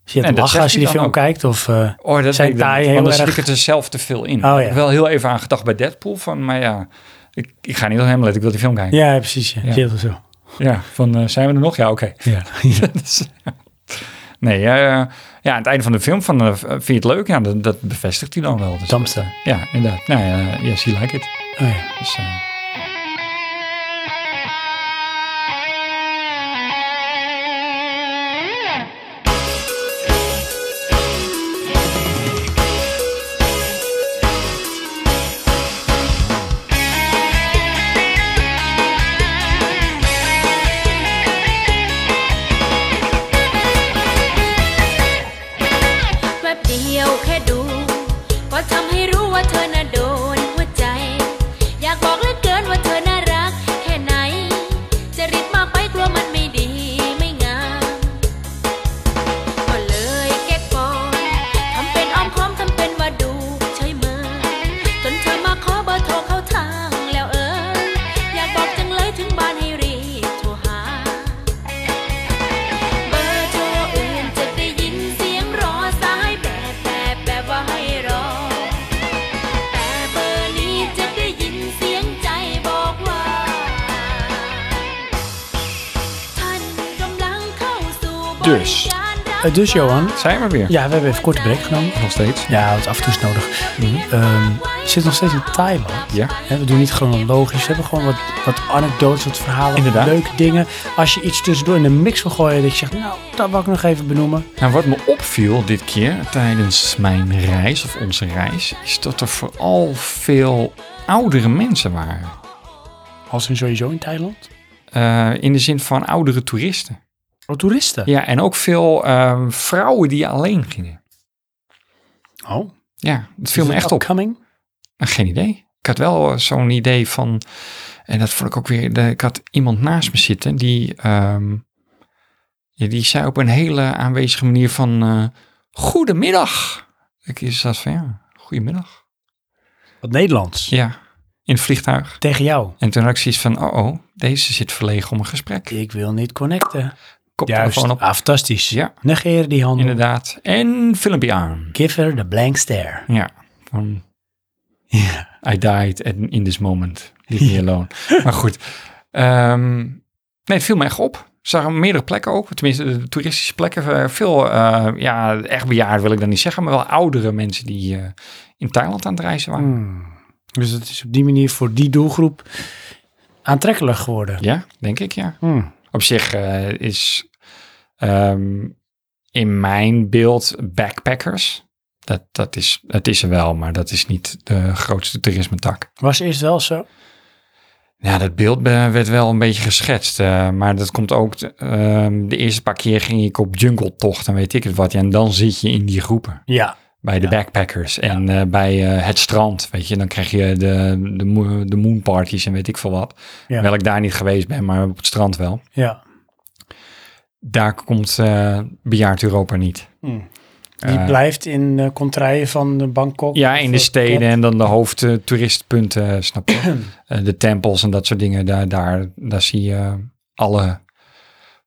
A: Zie je
C: Nee,
A: het
C: dat
A: lachen
C: zegt
A: als je
C: hij
A: die
C: dan
A: film
C: ook.
A: kijkt? Of eh,
C: Oh, dat
A: zijn
C: weet ik dan
A: taai
C: niet, want
A: heel
C: dan stik
A: erg... Oh,
C: ik het er zelf te veel in.
A: ja.
C: Ik heb wel heel even aan gedacht bij Deadpool van, maar ja, ik, ik ga niet op hem letten, ik wil die film kijken. Ja,
A: Ja, precies. Ja.
C: Ja.
A: Zie je dat zo?
C: van eh, zijn we er nog? Ja, oké.
A: Ja.
C: Dus, nee, ja, eh, ja, aan het einde van de film van, eh, vind je het leuk? Ja, dat, dat bevestigt hij dan wel. Dus,
A: Damster.
C: ja, inderdaad. Nou ja, yes, he like it.
A: Oh, ja.
C: Dus, eh,
F: แวบเดียวแค่ดู ก็ทำให้รู้ว่าเธอน่ะโดนหัวใจ อยากบอกเหลือเกินว่าเธอน่ารักแค่ไหน จะริดมากไปกลัวมันไม่ดีไม่งาม ก็เลยเก็บก่อนทำเป็นอ้อมค้อมทำเป็นว่าดูเฉยเมยจนเธอมาขอเบอร์โทรเข้าทางแล้วเออ อยากบอกจังเลยถึงบ้านให้รีบโทรหา เบอร์โทรอื่นจะได้ยินเสียงรอสายแบบแบบแบบว่าให้รอ แต่เบอร์นี้จะได้ยินเสียงใจบอกว่า ท่านกำลังเข้าสู่บริการรับ
A: Eh, dus Johan,
C: zijn we weer.
A: ja, we hebben even korte break genomen.
C: Nog steeds. Mhm.
A: Ja, het is af en toe is nodig. Ehm, je zit nog steeds in Thailand.
C: Ja.
A: Hè, we doen niet gewoon logisch. We hebben gewoon wat, wat anekdotes, wat verhalen,
C: Inderdaad.
A: leuke dingen. Als je iets tussendoor in de mix wil gooien, dat je zegt, nou, dat wil ik nog even benoemen.
C: En wat me opviel dit keer tijdens mijn reis, of onze reis, is dat er vooral veel oudere mensen waren.
A: Als in sowieso in Thailand.
C: Eh, in de zin van oudere toeristen.
A: Oh, toeristen.
C: Ja, en ook veel ehm, vrouwen die alleen gingen.
A: Oh,
C: Ja, het viel me echt op.
A: Coming.
C: Nou, geen idee. Ik had wel eh, zo'n idee van, en dat vond ik ook weer, de- ik had iemand naast me zitten die, ehm, ja, die zei op een hele aanwezige manier van, eh, goedemiddag. Ik is dat van, ja, goedemiddag.
A: Wat Nederlands.
C: Ja, in het vliegtuig.
A: Tegen jou.
C: En toen had ik zoiets van, oh oh, deze zit verlegen om een gesprek.
A: Ik wil niet connecten.
C: Koptelefoon op,
A: Ah, fantastisch.
C: Ja.
A: Negeer die handen.
C: inderdaad. En filmpje aan.
A: Give her the blank stare.
C: Ja, van,
A: Ja.
C: I died at, in this moment. Leave me alone. maar goed. Ehm, nee, het viel me echt op. Ik zag hem meerdere plekken ook. Tenminste, de toeristische plekken. eh, Veel, eh, ja, echt bejaard wil ik dan niet zeggen. Maar wel oudere mensen die eh, in Thailand aan het reizen
A: Hmm.
C: waren.
A: Dus het is op die manier voor die doelgroep aantrekkelijk geworden.
C: Ja, denk ik, ja.
A: Hmm.
C: Op zich eh, is ehm, in mijn beeld backpackers. Dat, dat, is, dat is er wel, maar dat is niet de grootste toerisme-tak.
A: Was eerst wel zo.
C: Ja, dat beeld eh, werd wel een beetje geschetst. eh, maar dat komt ook. t- ehm, de eerste paar keer ging ik op jungletocht en weet ik het wat. Ja, en dan zit je in die groepen.
A: Ja.
C: Bij de backpackers en eh, bij eh, het strand. Weet je, dan krijg je de, de, mo- de moonparties en weet ik veel wat.
A: Ja.
C: Wel ik daar niet geweest ben, maar op het strand wel.
A: Ja.
C: Daar komt eh, bejaard Europa niet.
A: Die blijft in de contraien van eh, Bangkok.
C: Eh. Ja, in de
A: Of, eh,
C: steden
A: Phuket.
C: en dan de hoofdtoeristpunten, snap je? Eh, de tempels en dat soort dingen. Daar, daar, daar zie je alle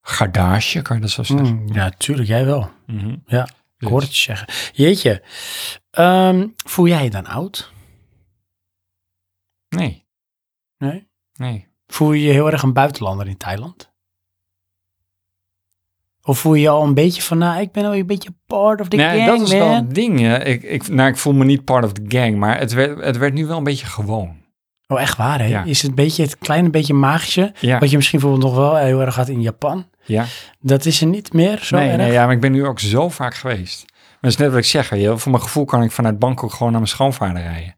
C: gardage, kan je dat zo zeggen.
A: Hmm, Ja, tuurlijk. Jij wel.
C: Mhm.
A: Ja. Ik
C: Dus.
A: hoor het je zeggen. Jeetje. Ehm, voel jij je dan oud?
C: Nee,
A: Nee.
C: nee.
A: Voel je je heel erg een buitenlander in Thailand? Of voel je je al een beetje van, nou, ik ben al een beetje part of the
C: nee
A: gang,
C: dat is wel
A: man?
C: het ding. hè. Ik, ik, nou, ik voel me niet part of the gang, maar het werd, het werd nu wel een beetje gewoon.
A: Oh, echt waar, hè?
C: Ja.
A: Is het een beetje het kleine beetje magische,
C: Ja,
A: wat je misschien bijvoorbeeld nog wel eh, heel erg had in Japan?
C: ja.
A: Dat is er niet meer zo
C: nee,
A: erg?
C: nee, ja, maar ik ben nu ook zo vaak geweest. Maar dat is net wat ik zeg. weet je wel. Voor mijn gevoel kan ik vanuit Bangkok gewoon naar mijn schoonvader rijden.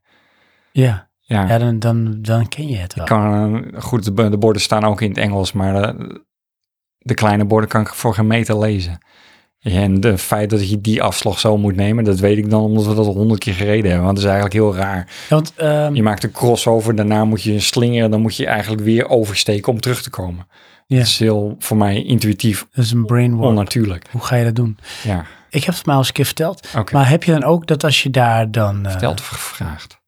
A: Ja,
C: Ja,
A: ja dan, dan, dan ken je het wel.
C: kan, eh, goed, de, b- de borden staan ook in het Engels, maar eh, de kleine borden kan ik voor geen meter lezen. En de feit dat je die afslag zo moet nemen, dat weet ik dan omdat we dat al honderd keer gereden hebben. Want dat is eigenlijk heel raar.
A: Ja, want ehm,
C: Je maakt een crossover, daarna moet je slingeren, dan moet je eigenlijk weer oversteken om terug te komen.
A: Ja.
C: Dat is heel voor mij intuïtief
A: dat is een brainwarp.
C: onnatuurlijk.
A: Hoe ga je dat doen?
C: Ja,
A: Ik heb het mij al eens een keer verteld.
C: Oké.
A: Maar heb je dan ook dat als je daar dan... eh,
C: verteld of gevraagd.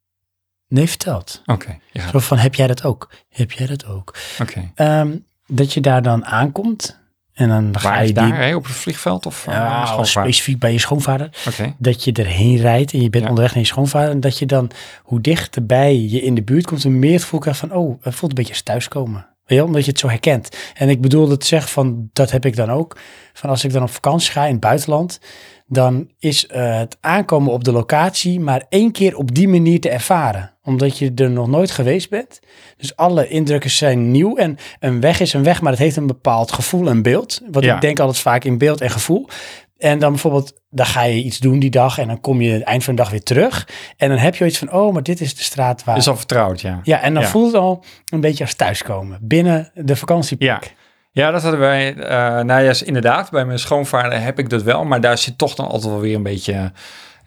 A: Nee, verteld.
C: Oké, ja,
A: Zo van, heb jij dat ook? Heb jij dat ook?
C: oké.
A: Ehm, dat je daar dan aankomt en dan ga
C: Waar
A: je
C: is
A: die...
C: daar, hè? Op het vliegveld of eh,
A: Ja,
C: schoonvaar?
A: specifiek bij je schoonvader.
C: Oké,
A: dat je erheen rijdt en je bent
C: Ja.
A: onderweg naar je schoonvader. En dat je dan, hoe dichterbij je in de buurt komt, hoe meer het voelt krijgt van, oh, het voelt een beetje als thuiskomen. Weet je, omdat je het zo herkent. En ik bedoel dat zeg van, dat heb ik dan ook. Van als ik dan op vakantie ga in het buitenland, dan is eh, het aankomen op de locatie maar één keer op die manier te ervaren. Omdat je er nog nooit geweest bent. Dus alle indrukken zijn nieuw. En een weg is een weg, maar het heeft een bepaald gevoel en beeld. Wat
C: Ja.
A: ik denk altijd vaak in beeld en gevoel. En dan bijvoorbeeld, dan ga je iets doen die dag en dan kom je het eind van de dag weer terug. En dan heb je iets van, oh, maar dit is de straat waar...
C: is al vertrouwd, ja.
A: ja, en dan
C: ja.
A: voelt het al een beetje als thuiskomen. Binnen de
C: Ja.
A: vakantieplek.
C: Ja, dat hadden wij. eh nou ja, is inderdaad, bij mijn schoonvader heb ik dat wel. Maar daar zit toch dan altijd wel weer een beetje eh,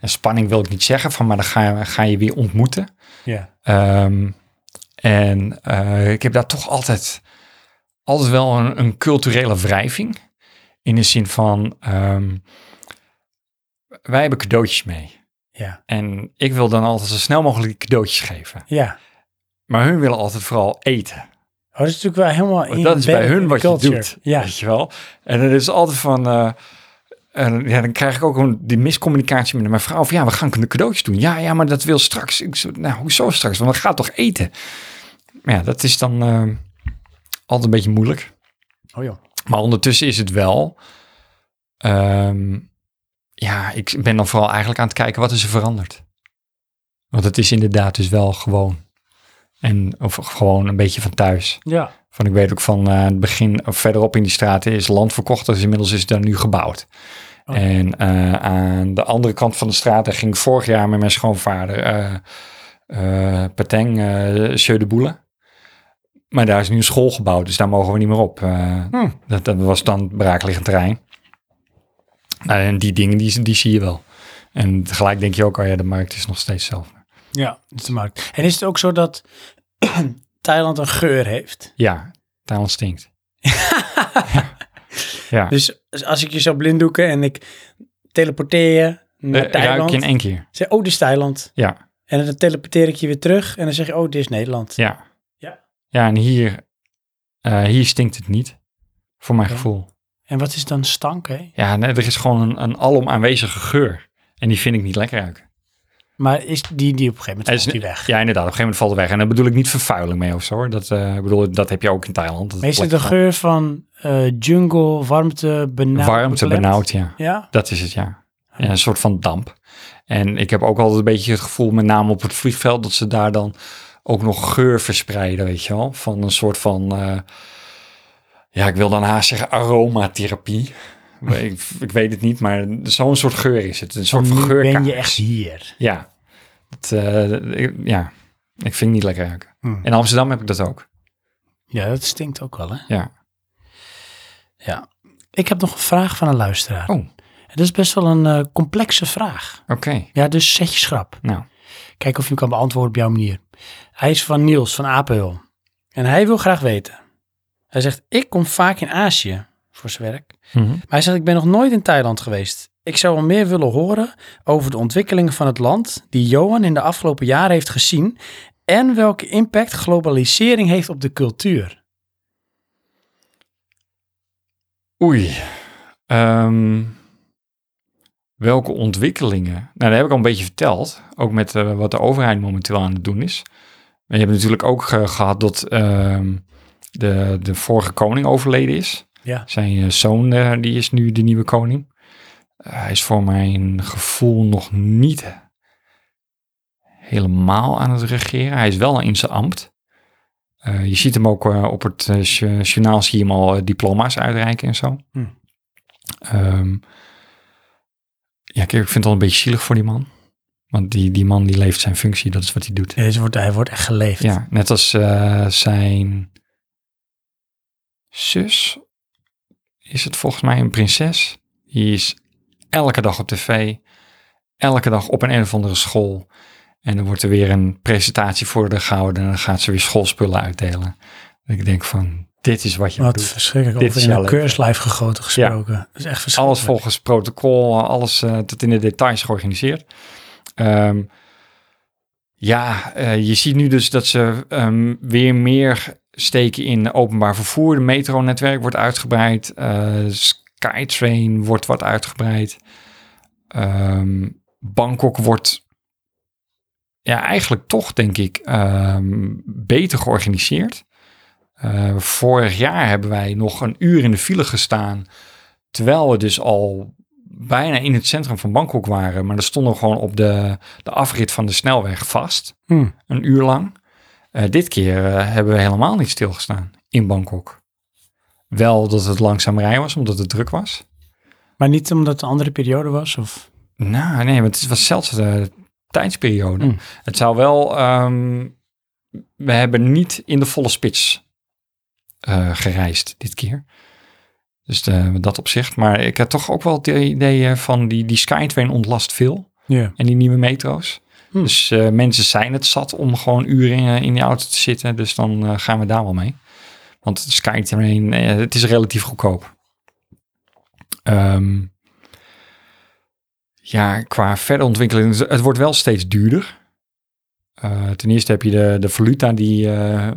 C: een spanning, wil ik niet zeggen. Van, maar dan ga je, ga je weer ontmoeten.
A: Ja.
C: Ehm, en eh, ik heb daar toch altijd, altijd wel een, een culturele wrijving. In de zin van, ehm, wij hebben cadeautjes mee.
A: Ja.
C: En ik wil dan altijd zo snel mogelijk die cadeautjes geven.
A: ja.
C: Maar hun willen altijd vooral eten.
A: Oh, dat is natuurlijk wel helemaal
C: Want dat is bij
A: embedded
C: hun
A: in
C: wat
A: culture.
C: je doet,
A: Ja,
C: weet je wel. En het is altijd van... eh, en ja, dan krijg ik ook een, die miscommunicatie met mijn vrouw. Van ja, we gaan cadeautjes doen. Ja, ja, maar dat wil straks. Ik zo, nou, hoezo straks? Want we gaan toch eten? Maar ja, dat is dan eh, altijd een beetje moeilijk.
A: oh joh.
C: Maar ondertussen is het wel... ehm, ja, ik ben dan vooral eigenlijk aan het kijken wat is er veranderd. Want het is inderdaad dus wel gewoon. En of gewoon een beetje van thuis.
A: Ja.
C: Van ik weet ook van eh, het begin of verderop in die straten is land verkocht. Dus inmiddels is het daar nu gebouwd.
A: Oh.
C: En eh, aan de andere kant van de straat daar ging ik vorig jaar met mijn schoonvader eh eh Pateng, eh Jeu de Boele. Maar daar is nu een school gebouwd, dus daar mogen we niet meer op. Eh, dat, dat was dan braakliggend terrein. Nou, en die dingen, die, die zie je wel. En tegelijk denk je ook, oh ja, de markt is nog steeds zelf.
A: Ja, dat is de markt. En is het ook zo dat Thailand een geur heeft?
C: Ja, Thailand stinkt. ja,
A: Dus als ik je zou blinddoeken en ik teleporteer je naar
C: Eh, ruik
A: Thailand.
C: je in één keer.
A: Zeg, oh, dit is Thailand.
C: Ja.
A: En dan teleporteer ik je weer terug en dan zeg je, oh, dit is Nederland.
C: Ja.
A: Ja.
C: Ja, en hier, eh, hier stinkt het niet. Voor mijn
A: Ja.
C: gevoel.
A: En wat is dan stank, hè?
C: Ja, nee, er is gewoon een, een alom aanwezige geur. En die vind ik niet lekker ruiken.
A: Maar is die, die op een gegeven moment
C: Het
A: valt
C: is
A: die
C: een-
A: weg?
C: Ja, inderdaad. Op een gegeven moment valt het weg. En daar bedoel ik niet vervuiling mee of zo. hoor. Dat, eh, ik bedoel, dat heb je ook in Thailand. Dat het
A: Meestal de
C: plek-
A: geur van eh, jungle, warmte, benauwd.
C: Warmte,
A: beklemd.
C: benauwd, ja.
A: Ja?
C: Dat is het, ja. Ja, een soort van damp. En ik heb ook altijd een beetje het gevoel, met name op het vliegveld, dat ze daar dan ook nog geur verspreiden, weet je wel. Van een soort van, eh, ja, ik wil dan haast zeggen aromatherapie. Maar ik, ik weet het niet, maar zo'n soort geur is het. Een soort van
A: Nu
C: geurkaars.
A: ben je echt hier.
C: Ja. Het, eh, ik- ja, ik vind het niet lekker ruiken.
A: Hmm.
C: In Amsterdam heb ik dat ook.
A: Ja, dat stinkt ook wel, hè?
C: Ja.
A: Ja. Ik heb nog een vraag van een luisteraar.
C: Oh.
A: Het is best wel een eh, complexe vraag.
C: Oké,
A: Ja, dus zet je schrap.
C: nou,
A: Kijk of je hem kan beantwoorden op jouw manier. Hij is van Niels van Apel. En hij wil graag weten. Hij zegt, ik kom vaak in Azië voor zijn werk.
C: Mhm.
A: Maar hij zegt, ik ben nog nooit in Thailand geweest. Ik zou wel meer willen horen over de ontwikkelingen van het land die Johan in de afgelopen jaren heeft gezien en welke impact globalisering heeft op de cultuur.
C: Oei. Ehm, welke ontwikkelingen? Nou, dat heb ik al een beetje verteld. Ook met eh, wat de overheid momenteel aan het doen is. We hebben natuurlijk ook ge- gehad dat ehm, de, de vorige koning overleden is.
A: Ja.
C: Zijn eh, zoon eh, die is nu de nieuwe koning. Eh, hij is voor mijn gevoel nog niet helemaal aan het regeren. Hij is wel in zijn ambt. Eh, je ziet hem ook eh, op het eh, jo- journaal, zie je hem al eh, diploma's uitreiken en zo.
A: Hm.
C: Ehm, ja, kijk, ik vind het al een beetje zielig voor die man. Want die, die man die leeft zijn functie, dat is wat hij doet.
A: Deze wordt, hij wordt echt geleefd.
C: Ja, net als eh, zijn zus is het volgens mij een prinses. Die is elke dag op tv, elke dag op een, een of andere school. En dan wordt er weer een presentatie voor de gehouden en dan gaat ze weer schoolspullen uitdelen. En ik denk van, dit is wat je
A: Wat
C: doet.
A: verschrikkelijk.
C: Dit
A: Over
C: is
A: in
C: jouw
A: een
C: leven.
A: keurslijf gegoten gesproken. Dat is echt verschrikkelijk.
C: Alles volgens protocol, alles eh, tot in de details georganiseerd. Ehm, Ja, eh, je ziet nu dus dat ze ehm, weer meer steken in openbaar vervoer. De metronetwerk wordt uitgebreid. eh, Skytrain wordt wat uitgebreid. Ehm, Bangkok wordt ja, eigenlijk toch, denk ik, ehm, beter georganiseerd. Eh, vorig jaar hebben wij nog een uur in de file gestaan. Terwijl we dus al bijna in het centrum van Bangkok waren. Maar er stonden we gewoon op de, de afrit van de snelweg vast.
A: Hmm.
C: Een uur lang. Eh, dit keer eh, hebben we helemaal niet stilgestaan in Bangkok. Wel dat het langzaam rijden was, omdat het druk was.
A: Maar niet omdat het een andere periode was? Of?
C: Nou, nee, want het was zelfs de tijdsperiode.
A: Mm.
C: Het zou wel... ehm, we hebben niet in de volle spits eh, gereisd dit keer. Dus eh, dat op zich. Maar ik had toch ook wel het idee eh, van die, die Skytrain ontlast veel.
A: Ja.
C: En die nieuwe metro's.
A: Hmm.
C: Dus eh, mensen zijn het zat om gewoon uren in, in die auto te zitten. Dus dan eh, gaan we daar wel mee. Want de Skytrain, eh, het is relatief goedkoop. Ehm, ja, qua verder ontwikkeling, het- het wordt wel steeds duurder. Eh, ten eerste heb je de, de valuta die, eh,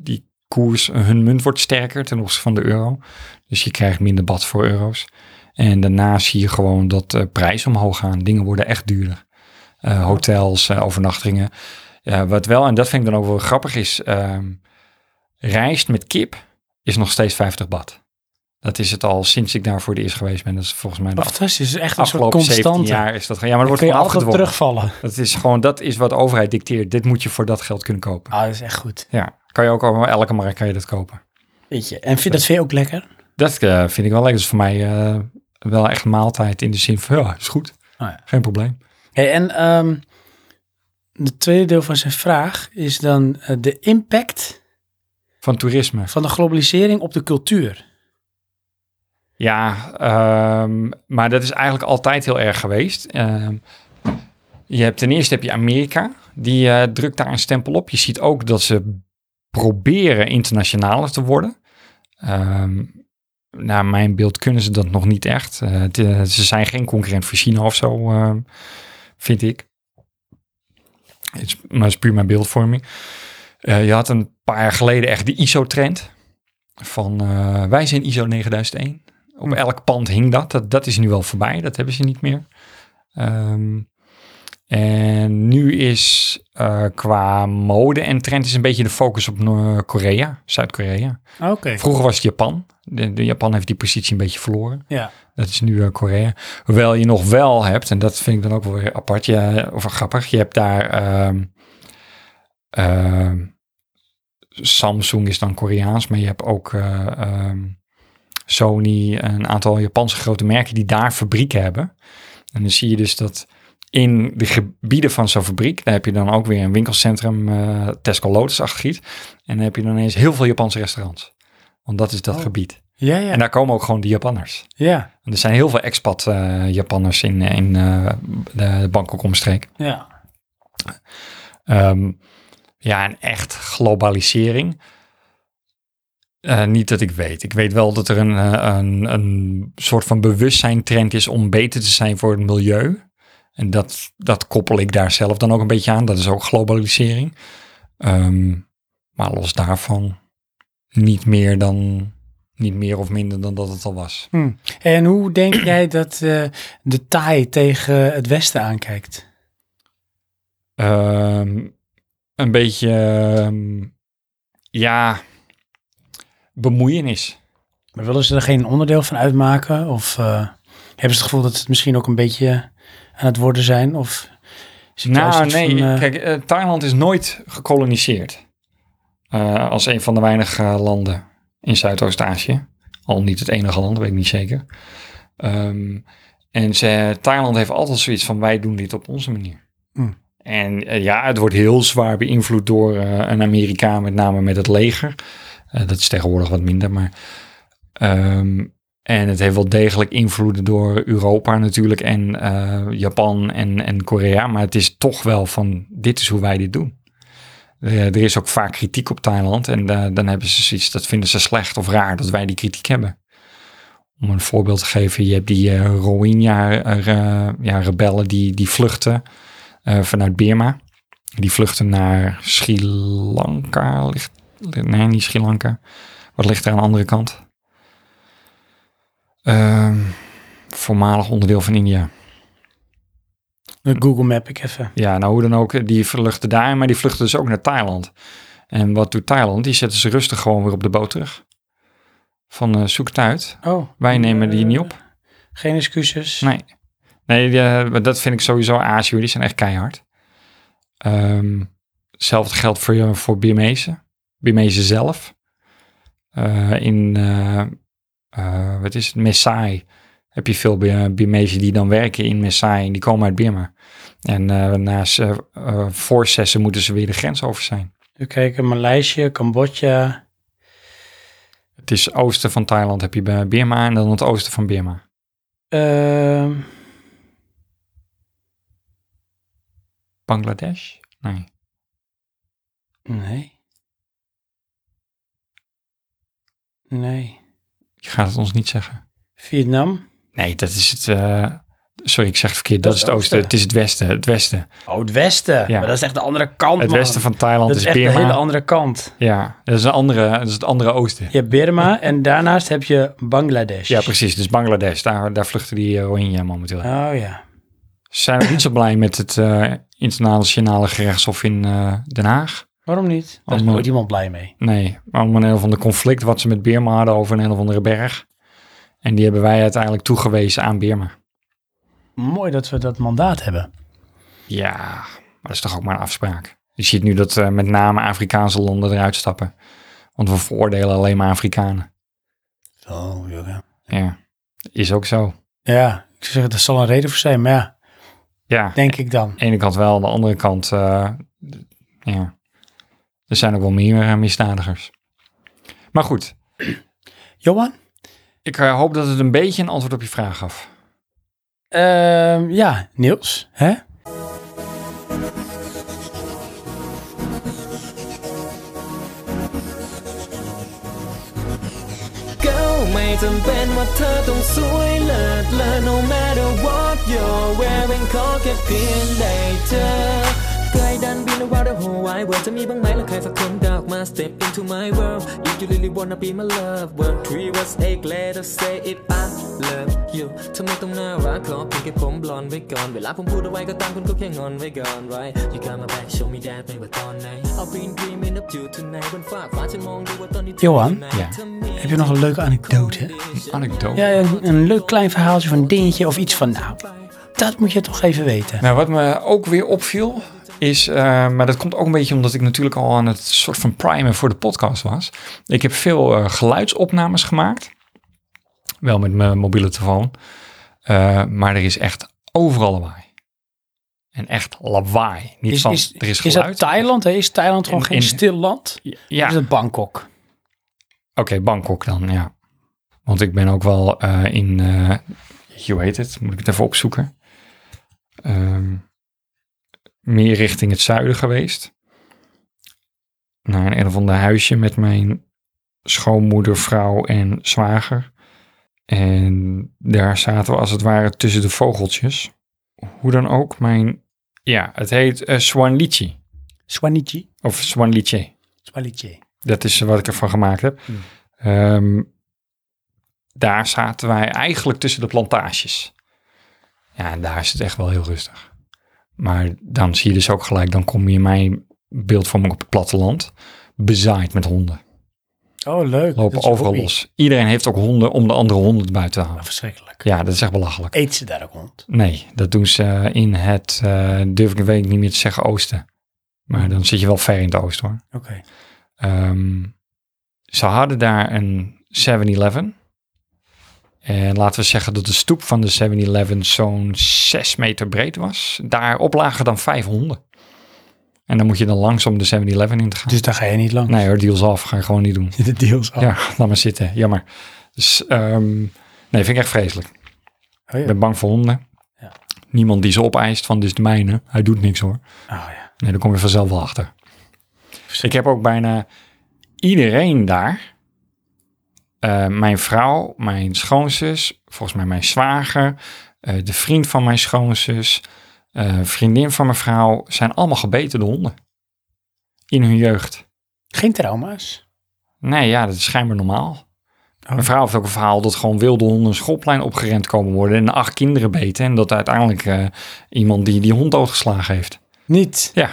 C: die koers, hun munt wordt sterker ten opzichte van de euro. Dus je krijgt minder bad voor euro's. En daarna zie je gewoon dat eh, prijzen omhoog gaan. Dingen worden echt duurder. Eh, hotels, eh, overnachtingen. Ja, wat wel, en dat vind ik dan ook wel grappig, is ehm, rijst met kip is nog steeds 50 bad. Dat is het al sinds ik daar voor het eerst geweest ben. Dat is volgens mij de
A: Wat
C: af-
A: fantastisch. Het is echt een soort
C: afgelopen 17
A: constante.
C: jaar is dat. ge- Ja, maar dat wordt
A: Kun je
C: gewoon
A: altijd op
C: afgedwongen.
A: terugvallen.
C: Dat is gewoon, dat is wat de overheid dicteert. Dit moet je voor dat geld kunnen kopen.
A: Ah, dat is echt goed.
C: Ja, kan je ook over elke markt kan je dat kopen.
A: Weet je. En vind, dat vind je ook lekker?
C: Dat eh, vind ik wel lekker. Dat is voor mij eh, wel echt maaltijd in de zin van, ja, is goed.
A: Oh ja.
C: Geen probleem.
A: Hey, en ehm het tweede deel van zijn vraag is dan eh, de impact
C: Van toerisme.
A: van de globalisering op de cultuur.
C: Ja, ehm, maar dat is eigenlijk altijd heel erg geweest. Ehm, je hebt ten eerste heb je Amerika, die eh, drukt daar een stempel op. Je ziet ook dat ze proberen internationaler te worden. Ehm naar mijn beeld kunnen ze dat nog niet echt. Eh, het, eh, ze zijn geen concurrent voor China of zo, ehm, vind ik. Het is, maar het is puur mijn beeldvorming. Eh, je had een paar jaar geleden echt de ISO-trend. Van eh, wij zijn ISO 9001. Op elk pand hing dat. dat. Dat is nu wel voorbij. Dat hebben ze niet meer. Ehm, en nu is eh, qua mode en trend is een beetje de focus op Noord-Korea, Zuid-Korea.
A: Ah, Oké.
C: Vroeger was het Japan. De, de Japan heeft die positie een beetje verloren.
A: Ja.
C: Dat is nu eh, Korea. Hoewel je nog wel hebt, en dat vind ik dan ook wel weer apart, ja, of grappig, je hebt daar ehm, ehm, Samsung is dan Koreaans, maar je hebt ook eh, ehm, Sony, een aantal Japanse grote merken die daar fabrieken hebben. En dan zie je dus dat in de gebieden van zo'n fabriek, daar heb je dan ook weer een winkelcentrum, eh, Tesco Lotus achtergiet. En dan heb je dan ineens heel veel Japanse restaurants. Want dat is dat gebied.
A: Ja, ja.
C: En daar komen ook gewoon de Japanners.
A: ja,
C: En er zijn heel veel expat-Japanners in, in eh, de Bangkok-omstreek.
A: ja.
C: Ehm, ja, en echt globalisering. Eh, niet dat ik weet. Ik weet wel dat er een, eh, een, een soort van bewustzijntrend is om beter te zijn voor het milieu. En dat, dat koppel ik daar zelf dan ook een beetje aan. Dat is ook globalisering. Ehm, maar los daarvan niet meer dan niet meer of minder dan dat het al was.
A: Hm. En hoe denk jij dat eh, de Thai tegen het Westen aankijkt?
C: Ehm, een beetje, ehm, ja, bemoeienis.
A: Maar willen ze er geen onderdeel van uitmaken? Of eh, hebben ze het gevoel dat ze het misschien ook een beetje aan het worden zijn? Of is het juist
C: Nou,
A: iets
C: nee,
A: van, eh,
C: kijk, eh, Thailand is nooit gekoloniseerd. Eh, als een van de weinige landen in Zuidoost-Azië. Al niet het enige land, weet ik niet zeker. Ehm, en ze, Thailand heeft altijd zoiets van: wij doen dit op onze manier.
A: Hmm.
C: En eh, ja, het wordt heel zwaar beïnvloed door eh, een Amerikaan, met name met het leger. Eh, dat is tegenwoordig wat minder, maar. ehm, en het heeft wel degelijk invloeden door Europa natuurlijk en eh, Japan en, en Korea. Maar het is toch wel van, dit is hoe wij dit doen. Eh, er is ook vaak kritiek op Thailand. En eh, dan hebben ze zoiets, dat vinden ze slecht of raar dat wij die kritiek hebben. Om een voorbeeld te geven, je hebt die eh, Rohingya-rebellen die, die vluchten eh, vanuit Burma. Die vluchten naar Sri Lanka. Ligt, nee, niet Sri Lanka. Wat ligt er aan de andere kant? Ehm, voormalig onderdeel van India.
A: Een Google Map ik even.
C: Ja, nou hoe dan ook, die vluchten daar, maar die vluchten dus ook naar Thailand. En wat doet Thailand? Die zetten ze rustig gewoon weer op de boot terug. Van eh, zoek het uit.
A: Oh,
C: Wij nemen die niet op.
A: geen excuses.
C: Nee. Nee, die, eh, maar dat vind ik sowieso Azië. Die zijn echt keihard. Ehm, hetzelfde geldt voor, je- voor Birmezen. Birmezen zelf. Eh, in, eh, eh, wat is het, Messai heb je veel Bi- eh, Birmezen die dan werken in Messai. En die komen uit Birma. En eh, na ze- eh, voorzessen moeten ze weer de grens over zijn.
A: Even kijken, Maleisië, Cambodja.
C: Het is oosten van Thailand heb je bij Birma en dan het oosten van Birma.
A: Ehm,
C: Bangladesh? Nee.
A: nee. Nee.
C: Je gaat het ons niet zeggen.
A: Vietnam.
C: Nee, dat is het. eh, sorry, ik zeg het verkeerd. Dat, is het oosten. Het is het westen. Het westen.
A: Oh, het westen.
C: Ja.
A: Maar dat is echt de andere kant,
C: Het
A: man.
C: westen van Thailand
A: Dat is
C: is,
A: echt de
C: Birma.
A: hele andere kant.
C: Ja, dat is een andere. Dat is het andere oosten.
A: Je hebt Birma en daarnaast heb je Bangladesh.
C: Ja, precies. Dus Bangladesh. Daar, daar vluchten die eh, Rohingya momenteel.
A: Oh ja.
C: Ze Zijn we niet zo blij met het eh, internationale gerechtshof in eh, Den Haag?
A: Waarom niet? Daar is
C: Allemaal-
A: nooit iemand blij mee.
C: Nee, maar om een heel van de conflict wat ze met Birma hadden over een heel van de berg. En die hebben wij uiteindelijk toegewezen aan Birma.
A: Mooi dat we dat mandaat hebben.
C: Ja, maar dat is toch ook maar een afspraak. Je ziet nu dat eh, met name Afrikaanse landen eruit stappen. Want we veroordelen alleen maar Afrikanen.
A: Oh, ja.
C: Ja, is ook zo.
A: Ja, ik zou zeggen, er zal een reden voor zijn, maar ja,
C: Ja, aan
A: denk ik dan.
C: de ene kant wel, aan de andere kant, eh, d- ja. Er zijn ook wel meer eh, misdadigers. Maar goed,
A: Johan?
C: ik eh, hoop dat het een beetje een antwoord op je vraag gaf.
A: Ehm, ja, Niels, hè?
H: Girl ไม่จำเป็นว่าเธอต้องสวยเลิศเลอ No matter what you're wearing ขอแค่เพียงได้เจอเคยดันบินว่าเรื่องหัวไว้ว่าจะมีบ้างไหมล่ะใครสักคนเดาออกมา Step into my world If you really wanna be my love Word three words eight letters say it I love you ทำไมต้องน่ารักขอเพียงแค่ผมบลอนไว้ก่อน เวลาผมพูดเอาไว้ก็ตามคุณก็แค่งอนไว้ก่อน right You got my back show me that ไม่ว่าตอนไหน I've been dreaming of you tonight บนฟ้ากฟ้าฉันมองดูว่าตอนนี้เธออยู่
A: โย
H: ไหน
C: น
H: เธอมี
A: Heb je nog een leuke anekdote?
C: Anekdote.
A: Ja, een, een leuk klein verhaaltje van een dingetje of iets van, nou, dat moet je toch even weten.
C: Nou, wat me ook weer opviel is, eh, maar dat komt ook een beetje omdat ik natuurlijk al aan het soort van primen voor de podcast was. Ik heb veel eh, geluidsopnames gemaakt, wel met mijn mobiele telefoon, Eh, maar er is echt overal lawaai. En echt lawaai. Niet
A: Is,
C: van,
A: is,
C: er is
A: is dat
C: geluid.
A: Thailand? hè? Is Thailand gewoon
C: In-
A: geen
C: in-
A: stil land?
C: Ja,
A: Of Is
C: oké,
A: het Bangkok?
C: Bangkok dan, ja. Want ik ben ook wel eh, in, eh je weet het, moet ik het even opzoeken. Ehm, meer richting het zuiden geweest. Naar een een of ander huisje met mijn schoonmoeder, vrouw en zwager. En daar zaten we als het ware tussen de vogeltjes. Hoe dan ook, mijn... Ja, het heet eh Swanlichi.
A: Swanichi?
C: Of Swanliche.
A: Swanichi.
C: Dat is wat ik ervan gemaakt heb.
A: Hmm.
C: Ehm, daar zaten wij eigenlijk tussen de plantages. Ja, en daar is het echt wel heel rustig. Maar dan zie je dus ook gelijk, dan kom je in mijn beeldvorming op het platteland. Bezaaid met honden.
A: Oh, leuk. Dat
C: Lopen
A: is een
C: overal
A: hobby.
C: los. Iedereen heeft ook honden om de andere honden buiten te houden.
A: Oh, Verschrikkelijk.
C: Ja, dat is echt belachelijk.
A: Eet ze daar ook hond?
C: Nee, dat doen ze eh, in het, eh, durf ik weet ik niet meer te zeggen, oosten. Maar dan zit je wel ver in het oosten hoor.
A: Oké.
C: Ehm, ze hadden daar een 7-Eleven. En laten we zeggen dat de stoep van de 7-Eleven zo'n 6 meter breed was. Daarop lagen dan vijf honden. En dan moet je dan langs om de 7-Eleven in te gaan.
A: Dus daar ga je niet lang.
C: Nee hoor, deals af. Ga ik gewoon niet doen.
A: De deals af.
C: Ja, laat maar zitten. Jammer. Dus, ehm, nee, vind ik echt vreselijk.
A: Oh, ja.
C: Ik ben bang voor honden.
A: Ja.
C: Niemand die ze opeist van dit is de mijne. Hij doet niks hoor.
A: Oh, ja.
C: Nee, daar kom je vanzelf wel achter. Ik heb ook bijna iedereen daar. Eh, mijn vrouw, mijn schoonzus, volgens mij mijn zwager, eh, de vriend van mijn schoonzus, eh, vriendin van mijn vrouw zijn allemaal gebeten door honden. In hun jeugd.
A: Geen trauma's.
C: Nee, ja, dat is schijnbaar normaal. Mijn vrouw heeft ook een verhaal dat gewoon wilde honden een schoolplein opgerend komen worden en acht kinderen beten. En dat uiteindelijk eh, iemand die die hond doodgeslagen heeft.
A: Niet.
C: Ja.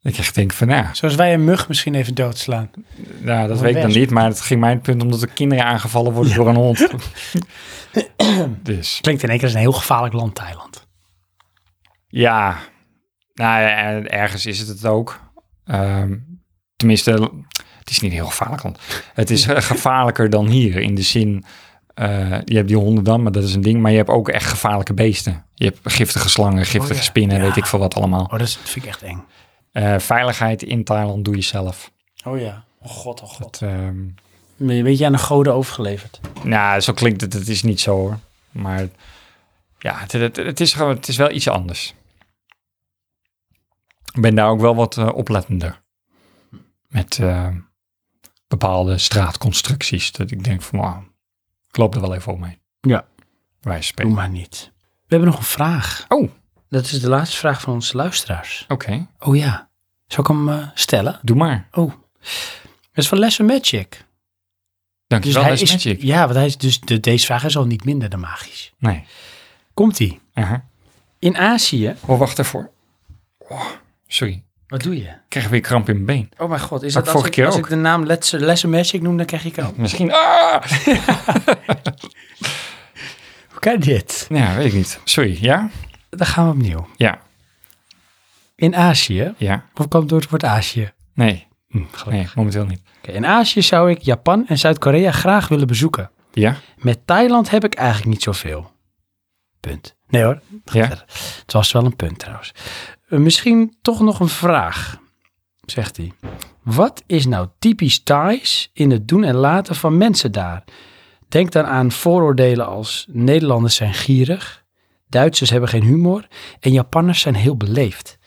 C: Ik echt denk van, nou ja,
A: Zoals wij een mug misschien even doodslaan.
C: nou, dat
A: Een
C: weet ik dan
A: wesp.
C: niet. Maar het ging mij het punt omdat de kinderen aangevallen worden door een hond. dus,
A: Klinkt in één keer als een heel gevaarlijk land, Thailand.
C: ja. Nou ja, en ergens is het het ook. Ehm, tenminste, het is niet heel gevaarlijk. Want het is eh, gevaarlijker dan hier. In de zin, eh, je hebt die honden dan, maar dat is een ding. Maar je hebt ook echt gevaarlijke beesten. Je hebt giftige slangen, giftige
A: Oh ja.
C: spinnen, weet ik veel wat allemaal.
A: Oh, dat is- dat vind ik echt eng.
C: Eh, veiligheid in Thailand doe je zelf.
A: Oh ja. Oh god, oh god.
C: Dat, ehm,
A: Ben je een beetje aan de goden overgeleverd.
C: Nou, zo klinkt het. Het is niet zo hoor. Maar ja, het, het, het is, gewoon- het is wel iets anders. Ik ben daar ook wel wat eh, oplettender. Met eh, bepaalde straatconstructies. Dat ik denk van, wauw, ik loop er wel even omheen.
A: Ja.
C: Wij
A: Doe
C: spelen.
A: maar niet. We hebben nog een vraag.
C: Oh, oké.
A: Dat is de laatste vraag van onze luisteraars. Oh ja. Zal ik hem eh, stellen?
C: Doe maar.
A: Oh. Dat is van Lesser Magic.
C: Dankjewel, dus
A: is,
C: Magic.
A: Ja, want hij is dus, de, deze vraag is al niet minder dan magisch.
C: Nee.
A: Komt-ie.
C: Aha.
A: In Azië.
C: Oh, wacht ervoor. Oh, sorry.
A: Wat doe je?
C: Ik krijg weer kramp in mijn been.
A: Oh mijn god, is
C: Had
A: dat
C: ik
A: als,
C: vorige
A: ik,
C: keer
A: als
C: ook.
A: ik de naam Lesser, Lesser Magic noem, dan krijg ik ook.
C: Misschien. Ah!
A: Hoe kan dit?
C: Ja, Nou, weet ik niet. Sorry. Ja?
A: Dan gaan we opnieuw.
C: Ja.
A: In Azië.
C: Ja.
A: Of komt het door het woord Azië?
C: Nee.
A: Hm, gelukkig.
C: Nee, momenteel niet.
A: Oké, in Azië zou ik Japan en Zuid-Korea graag willen bezoeken.
C: Ja?
A: Met Thailand heb ik eigenlijk niet zoveel. Punt. Nee hoor,
C: Ja?
A: het was wel een punt trouwens. Eh, misschien toch nog een vraag, zegt hij. Wat is nou typisch Thais in het doen en laten van mensen daar? Denk dan aan vooroordelen als Nederlanders zijn gierig, Duitsers hebben geen humor en Japanners zijn heel beleefd.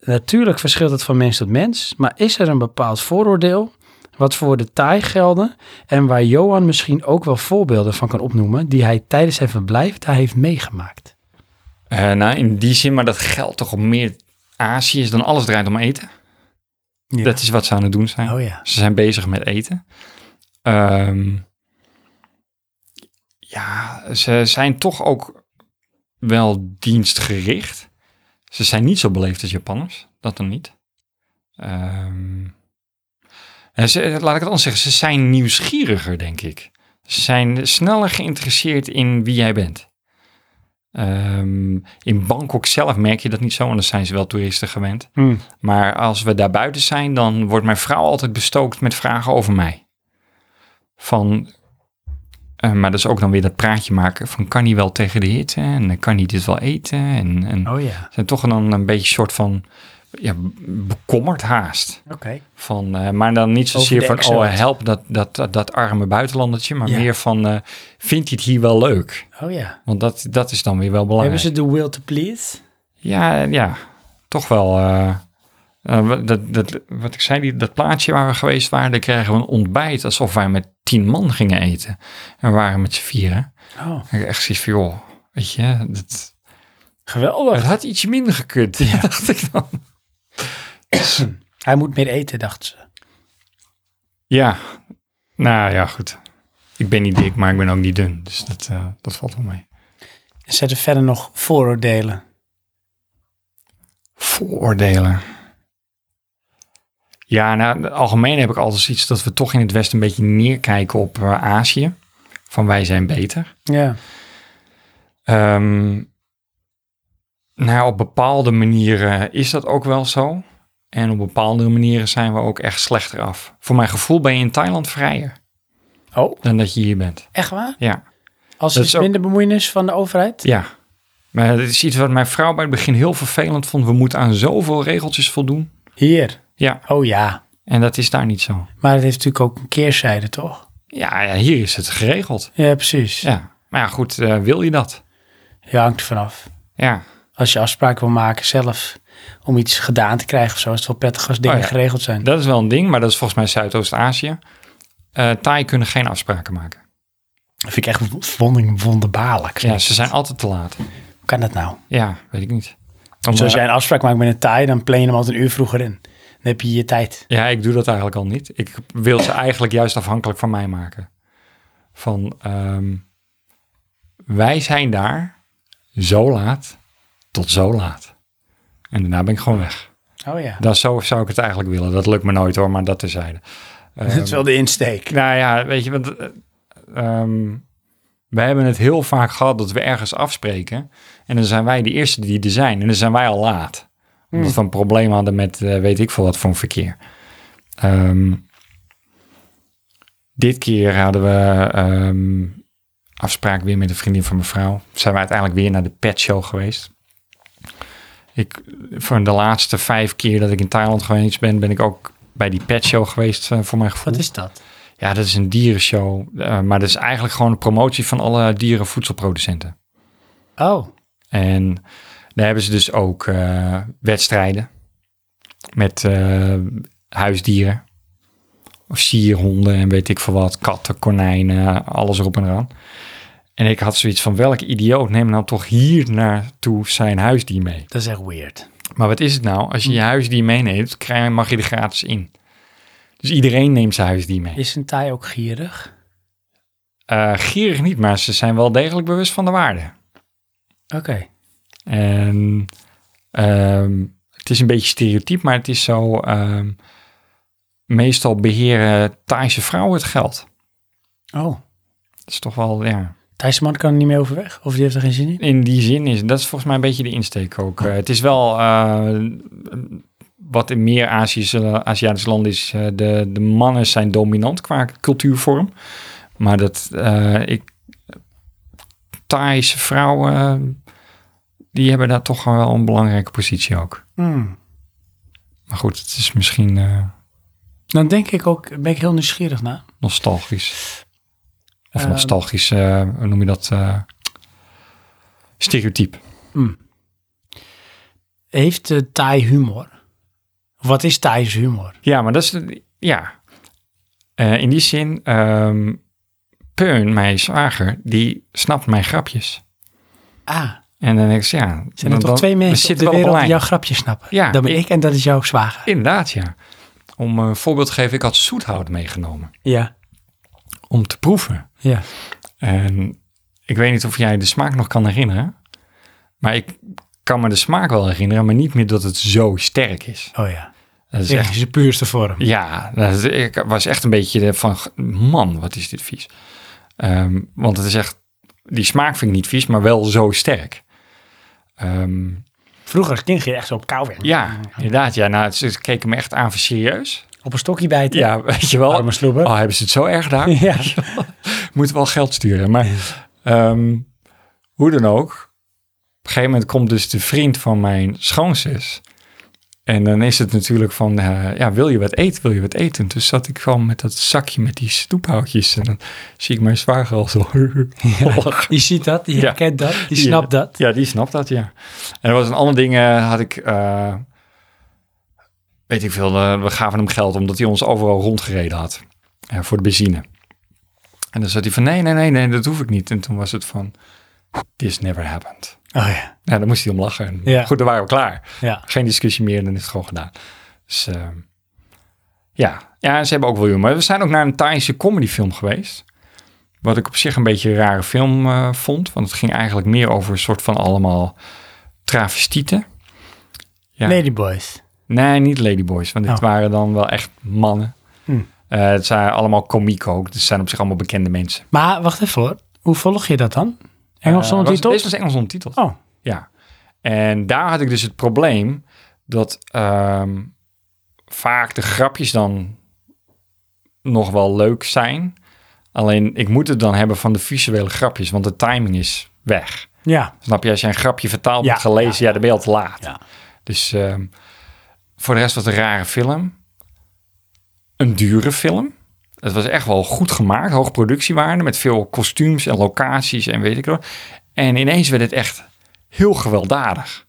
A: Natuurlijk verschilt het van mens tot mens, maar is er een bepaald vooroordeel wat voor de Thai gelden en waar Johan misschien ook wel voorbeelden van kan opnoemen die hij tijdens zijn verblijf daar heeft meegemaakt?
C: Eh, nou, in die zin, maar dat geldt toch op meer Azië is dan alles draait om eten.
A: Ja.
C: Dat is wat ze aan het doen zijn.
A: Oh ja.
C: Ze zijn bezig met eten. Ehm, ja, ze zijn toch ook wel dienstgericht. Ze zijn niet zo beleefd als Japanners. Dat dan niet. Ehm, en ze, laat ik het anders zeggen. Ze zijn nieuwsgieriger, denk ik. Ze zijn sneller geïnteresseerd in wie jij bent. Ehm, in Bangkok zelf merk je dat niet zo, want dan zijn ze wel toeristen gewend. Maar als we daar buiten zijn, dan wordt mijn vrouw altijd bestookt met vragen over mij. Van, eh, maar dat is ook dan weer dat praatje maken van kan hij wel tegen de hitte en eh, kan hij dit wel eten? En, en
A: Oh ja.
C: zijn toch dan een beetje soort van ja, bekommerd haast.
A: Oké.
C: Van, eh, maar dan niet
A: Over
C: zozeer
A: de
C: van,
A: Excel.
C: oh help dat, dat, dat, dat arme buitenlandertje, maar
A: Ja.
C: meer van, eh, vindt hij het hier wel leuk?
A: Oh ja.
C: Want dat, dat is dan weer wel belangrijk.
A: Hebben ze de will to please?
C: Ja, ja, toch wel. eh, eh, wat- dat, dat, wat ik zei, die, dat plaatje waar we geweest waren, daar kregen we een ontbijt alsof wij met tien man gingen eten. En we waren met z'n vieren.
A: Oh,
C: En ik echt zoiets van, joh, weet je, dat, het
A: geweldig.
C: had iets minder gekund, dacht ik dan.
A: Hij moet meer eten, dacht ze.
C: Ja, nou ja, goed. Ik ben niet dik, maar ik ben ook niet dun. Dus dat, eh, dat valt wel mee.
A: En zetten verder nog vooroordelen.
C: Vooroordelen. Ja, nou, algemeen heb ik altijd iets dat we toch in het Westen een beetje neerkijken op eh, Azië. Van wij zijn beter.
A: Ja.
C: Ehm, nou, op bepaalde manieren is dat ook wel zo. En op bepaalde manieren zijn we ook echt slechter af. Voor mijn gevoel ben je in Thailand vrijer
A: Oh,
C: dan dat je hier bent.
A: echt waar?
C: Ja,
A: Als
C: Dat
A: er is
C: is ook-
A: minder bemoeienis van de overheid?
C: ja. Maar dat is iets wat mijn vrouw bij het begin heel vervelend vond. We moeten aan zoveel regeltjes voldoen.
A: Hier.
C: Ja,
A: Oh ja.
C: en dat is daar niet zo.
A: Maar het heeft natuurlijk ook een keerzijde, toch?
C: Ja, ja, hier is het geregeld.
A: Ja, precies.
C: Ja, maar ja, goed, eh, wil je dat?
A: Je hangt er vanaf.
C: Ja,
A: Als je afspraken wil maken zelf om iets gedaan te krijgen of zo, is het wel prettig als dingen
C: Oh ja.
A: geregeld zijn.
C: dat is wel een ding, maar dat is volgens mij Zuidoost-Asië. Eh Thai kunnen geen afspraken maken.
A: Dat vind ik echt wondering, wonderbaarlijk.
C: Ja, ze zijn altijd te laat.
A: kan dat nou?
C: Ja, weet ik niet. eh, Maar-
A: Dus als jij een afspraak maakt met een Thai, dan plan je hem altijd een uur vroeger in. Dan heb je je tijd.
C: Ja, ik doe dat eigenlijk al niet. Ik wil ze eigenlijk juist afhankelijk van mij maken. Van ehm, wij zijn daar zo laat tot zo laat. En daarna ben ik gewoon weg.
A: Oh ja,
C: Dat zo zou ik het eigenlijk willen. Dat lukt me nooit hoor, maar dat terzijde.
A: dat is wel de insteek.
C: Nou ja, weet je, want eh, ehm, wij hebben het heel vaak gehad dat we ergens afspreken. En dan zijn wij de eerste die er zijn. En dan zijn wij al laat. Omdat we een probleem hadden met eh, weet ik veel wat voor een verkeer. Ehm, dit keer hadden we ehm, afspraak weer met een vriendin van mijn vrouw. Zijn we uiteindelijk weer naar de pet show geweest. Ik, voor de laatste vijf keer dat ik in Thailand geweest ben, ben ik ook bij die pet show geweest eh, voor mijn gevoel.
A: Wat is dat?
C: Ja, dat is een dierenshow. eh, maar dat is eigenlijk gewoon een promotie van alle dierenvoedselproducenten.
A: Oh,
C: En daar hebben ze dus ook eh, wedstrijden met eh, huisdieren. Of sierhonden en weet ik veel wat. Katten, konijnen, alles erop en eraan. En ik had zoiets van, welk idioot neemt nou toch hier naartoe zijn huisdier mee?
A: dat is echt weird.
C: Maar wat is het nou? Als je je huisdier meeneemt, krijg- mag je er gratis in. Dus iedereen neemt zijn huisdier mee.
A: Is een Thai ook gierig?
C: Eh, gierig niet, maar ze zijn wel degelijk bewust van de waarde.
A: Oké.
C: En ehm, het is een beetje stereotyp, maar het is zo... ehm, meestal beheren Thaise vrouwen het geld.
A: Oh,
C: Dat is toch wel, ja...
A: Thaise man kan er niet meer overweg? Of die heeft er geen zin in?
C: In die zin is dat is volgens mij een beetje de insteek ook. Eh, het is wel eh, wat in meer Aziëse, Aziatische landen is. eh, de, de mannen zijn dominant qua cultuurvorm. Maar dat eh ik. Thaise vrouwen. die hebben daar toch wel een belangrijke positie ook.
A: Hmm.
C: Maar goed, het is misschien eh,
A: Dan denk ik ook, ben ik heel nieuwsgierig naar.
C: nostalgisch. Of
A: Ehm.
C: nostalgisch, eh, hoe noem je dat? eh, stereotype.
A: Heeft eh, Thai humor? Wat is Thais humor?
C: Ja, maar dat is... Ja. Eh, in die zin, ehm Peun, mijn zwager, die snapt mijn grapjes.
A: Ah, Nou,
C: En dan denk ik, ja...
A: zijn er toch twee mensen op de wereld die jouw grapje snappen?
C: Ja,
A: Dat ben
C: ik-
A: ik en dat is jouw zwager.
C: Inderdaad, ja. Om een voorbeeld te geven, ik had zoethout meegenomen.
A: Ja,
C: Om te proeven.
A: ja.
C: En ik weet niet of jij de smaak nog kan herinneren. Maar ik kan me de smaak wel herinneren, maar niet meer dat het zo sterk is.
A: Oh ja.
C: Dat is
A: Dit
C: echt
A: is de puurste vorm.
C: Ja, dat, ik was echt een beetje de van, man, wat is dit vies. Ehm, want het is echt, die smaak vind ik niet vies, maar wel zo sterk. Ehm,
A: Vroeger als kind ging je echt zo op kou weg.
C: ja, inderdaad. Ja, nou, ze ze keken me echt aan voor serieus.
A: Op een stokje bijten.
C: Ja, weet je wel.
A: Arme sloeber.
C: Oh, hebben ze het zo erg gedaan?
A: Ja.
C: Moet wel geld sturen. Maar ehm, hoe dan ook. Op een gegeven moment komt dus de vriend van mijn schoonzus. En dan is het natuurlijk van, eh, ja, wil je wat eten? Wil je wat eten? Dus zat ik gewoon met dat zakje met die snoephoutjes. En dan zie ik mijn zwager al zo. lachen.
A: Die ziet dat, die
C: Ja.
A: herkent dat, die
C: Ja.
A: snapt dat.
C: Ja, die snapt dat, ja. En er was een ander ding, eh, had ik... eh, weet ik veel, eh, we gaven hem geld omdat hij ons overal rondgereden had. eh, voor de benzine. En dan zat hij van, nee, nee, nee, nee, dat hoef ik niet. En toen was het van, this never happened.
A: Oh ja.
C: Nou, dan moest hij om lachen. En
A: Ja.
C: Goed, dan waren we klaar.
A: Ja.
C: Geen discussie meer, dan is het gewoon gedaan. Dus ehm, ja. ja, ze hebben ook wel humor. We zijn ook naar een Thaise comedyfilm geweest. Wat ik op zich een beetje een rare film eh, vond. Want het ging eigenlijk meer over een soort van allemaal travestieten. Ja.
A: Ladyboys.
C: Nee, niet ladyboys. Want dit
A: Oh.
C: waren dan wel echt mannen. Eh, het zijn allemaal komieken ook. Dus het zijn op zich allemaal bekende mensen.
A: Maar wacht even hoor. Hoe volg je dat dan? Engels
C: Eh,
A: zonder
C: was-
A: titels?
C: Deze was Engels ondertiteld.
A: Oh,
C: Ja. En daar had ik dus het probleem dat ehm, vaak de grapjes dan nog wel leuk zijn. Alleen ik moet het dan hebben van de visuele grapjes, want de timing is weg.
A: ja.
C: Snap je, als je een grapje vertaald
A: Ja,
C: hebt gelezen, ja, dan ben je al te laat.
A: Ja.
C: Dus ehm, voor de rest was het een rare film. Een dure film. Het was echt wel goed gemaakt, hoog productiewaarde, met veel kostuums en locaties en weet ik wat. En ineens werd het echt heel gewelddadig.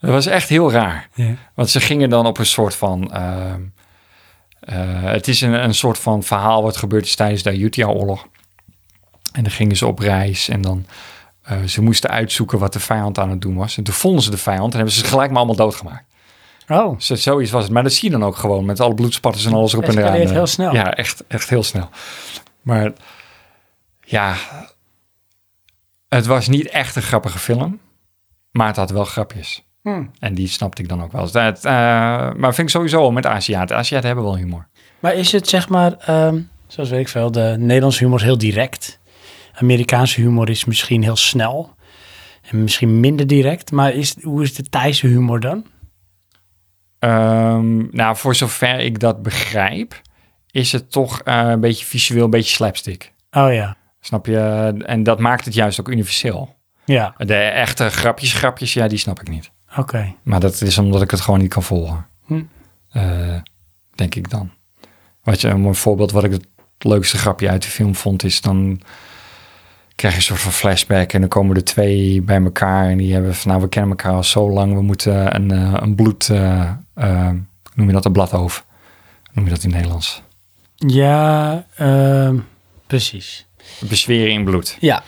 C: Dat was echt heel raar.
A: Ja.
C: Want ze gingen dan op een soort van... ehm, eh, het is een, een soort van verhaal wat gebeurd is tijdens de Ayutthaya-oorlog. En dan gingen ze op reis en dan eh, ze moesten uitzoeken wat de vijand aan het doen was. En toen vonden ze de vijand en hebben ze ze gelijk maar allemaal doodgemaakt.
A: Oh,
C: Zo- Zoiets was het. Maar dat zie je dan ook gewoon met alle bloedspatters en alles erop en eraan. eh.
A: escaleert heel snel.
C: Ja, echt, echt heel snel. Maar ja, het was niet echt een grappige film, maar het had wel grapjes.
A: Hmm.
C: En die snapte ik dan ook wel. Dus Dat, eh, maar vind ik sowieso al met Aziaten. Aziaten hebben wel humor.
A: maar is het zeg maar, ehm, zoals weet ik veel, de Nederlandse humor is heel direct. Amerikaanse humor is misschien heel snel en misschien minder direct. Maar is, hoe is de Thaise humor dan?
C: Ehm, nou, voor zover ik dat begrijp, is het toch eh, een beetje visueel, een beetje slapstick.
A: Oh ja,
C: Snap je? En dat maakt het juist ook universeel.
A: ja,
C: De echte grapjes, grapjes, ja, die snap ik niet.
A: oké.
C: Maar dat is omdat ik het gewoon niet kan volgen.
A: Hm.
C: Eh, denk ik dan. Wat je, een mooi voorbeeld wat ik het leukste grapje uit de film vond, is dan krijg je een soort van flashback en dan komen er twee bij elkaar en die hebben van nou, we kennen elkaar al zo lang, we moeten een, eh, een bloed, eh, eh, noem je dat een bladhoofd? Noem je dat in Nederlands?
A: Ja, ehm, precies.
C: Bezweren in bloed.
A: Ja,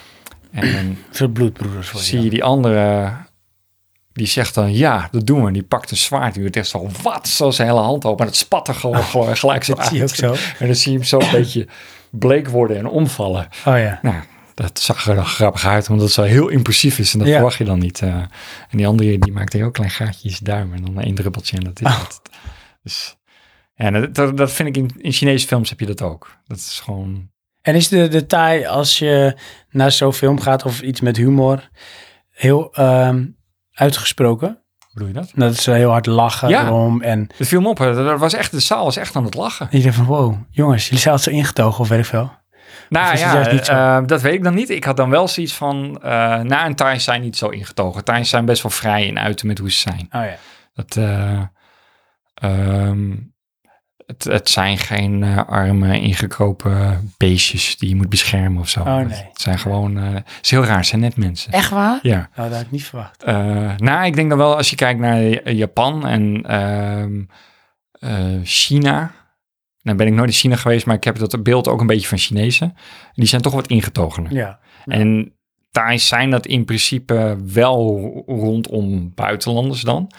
C: En dan
A: veel bloedbroeders voor
C: zie je die andere, die zegt dan ja, dat doen we. En die pakt een zwaard en die zegt zo, wat? Zo zijn hele hand open. En het spat er gewoon, gewoon gelijk zo
A: Dat zie je
C: uit.
A: Oh, ook zo.
C: En dan zie je hem zo een beetje bleek worden en omvallen.
A: Oh ja.
C: Nou, dat zag er dan grappig uit, omdat het zo heel impulsief is. En dat
A: Ja.
C: verwacht je dan niet. eh. en die andere, die maakt een heel klein gaatje in zijn duim. En dan één druppeltje en dat is
A: Oh.
C: het. Dus, en dat- dat, dat vind ik in, in Chinese films heb je dat ook. Dat is gewoon...
A: En is de, de Thai, als je naar zo'n film gaat of iets met humor, heel ehm, uitgesproken?
C: Bedoel je dat?
A: Dat is heel hard lachen
C: Ja.
A: erom en
C: Het viel me op. hè. Dat was echt, de zaal was echt aan het lachen.
A: je denkt van wow, jongens, jullie zijn altijd zo ingetogen of weet ik veel. Of
C: Nou
A: is het
C: ja,
A: juist niet zo?
C: eh, dat weet ik dan niet. Ik had dan wel zoiets van, eh na een Thais zijn niet zo ingetogen. Thais zijn best wel vrij in uiten met hoe ze zijn.
A: Oh ja.
C: Dat, eh, ehm, het, het zijn geen eh, arme, ingekropen beestjes die je moet beschermen of zo.
A: Oh, nee.
C: Het zijn gewoon, eh, het is heel raar, het zijn net mensen.
A: Echt waar?
C: Ja.
A: Nou, dat had ik niet verwacht.
C: Eh, nou, ik denk dan wel als je kijkt naar Japan en ehm, eh, China. Nou ben ik nooit in China geweest, maar ik heb dat beeld ook een beetje van Chinezen. Die zijn toch wat ingetogener.
A: Ja.
C: En Thais zijn dat in principe wel rondom buitenlanders dan.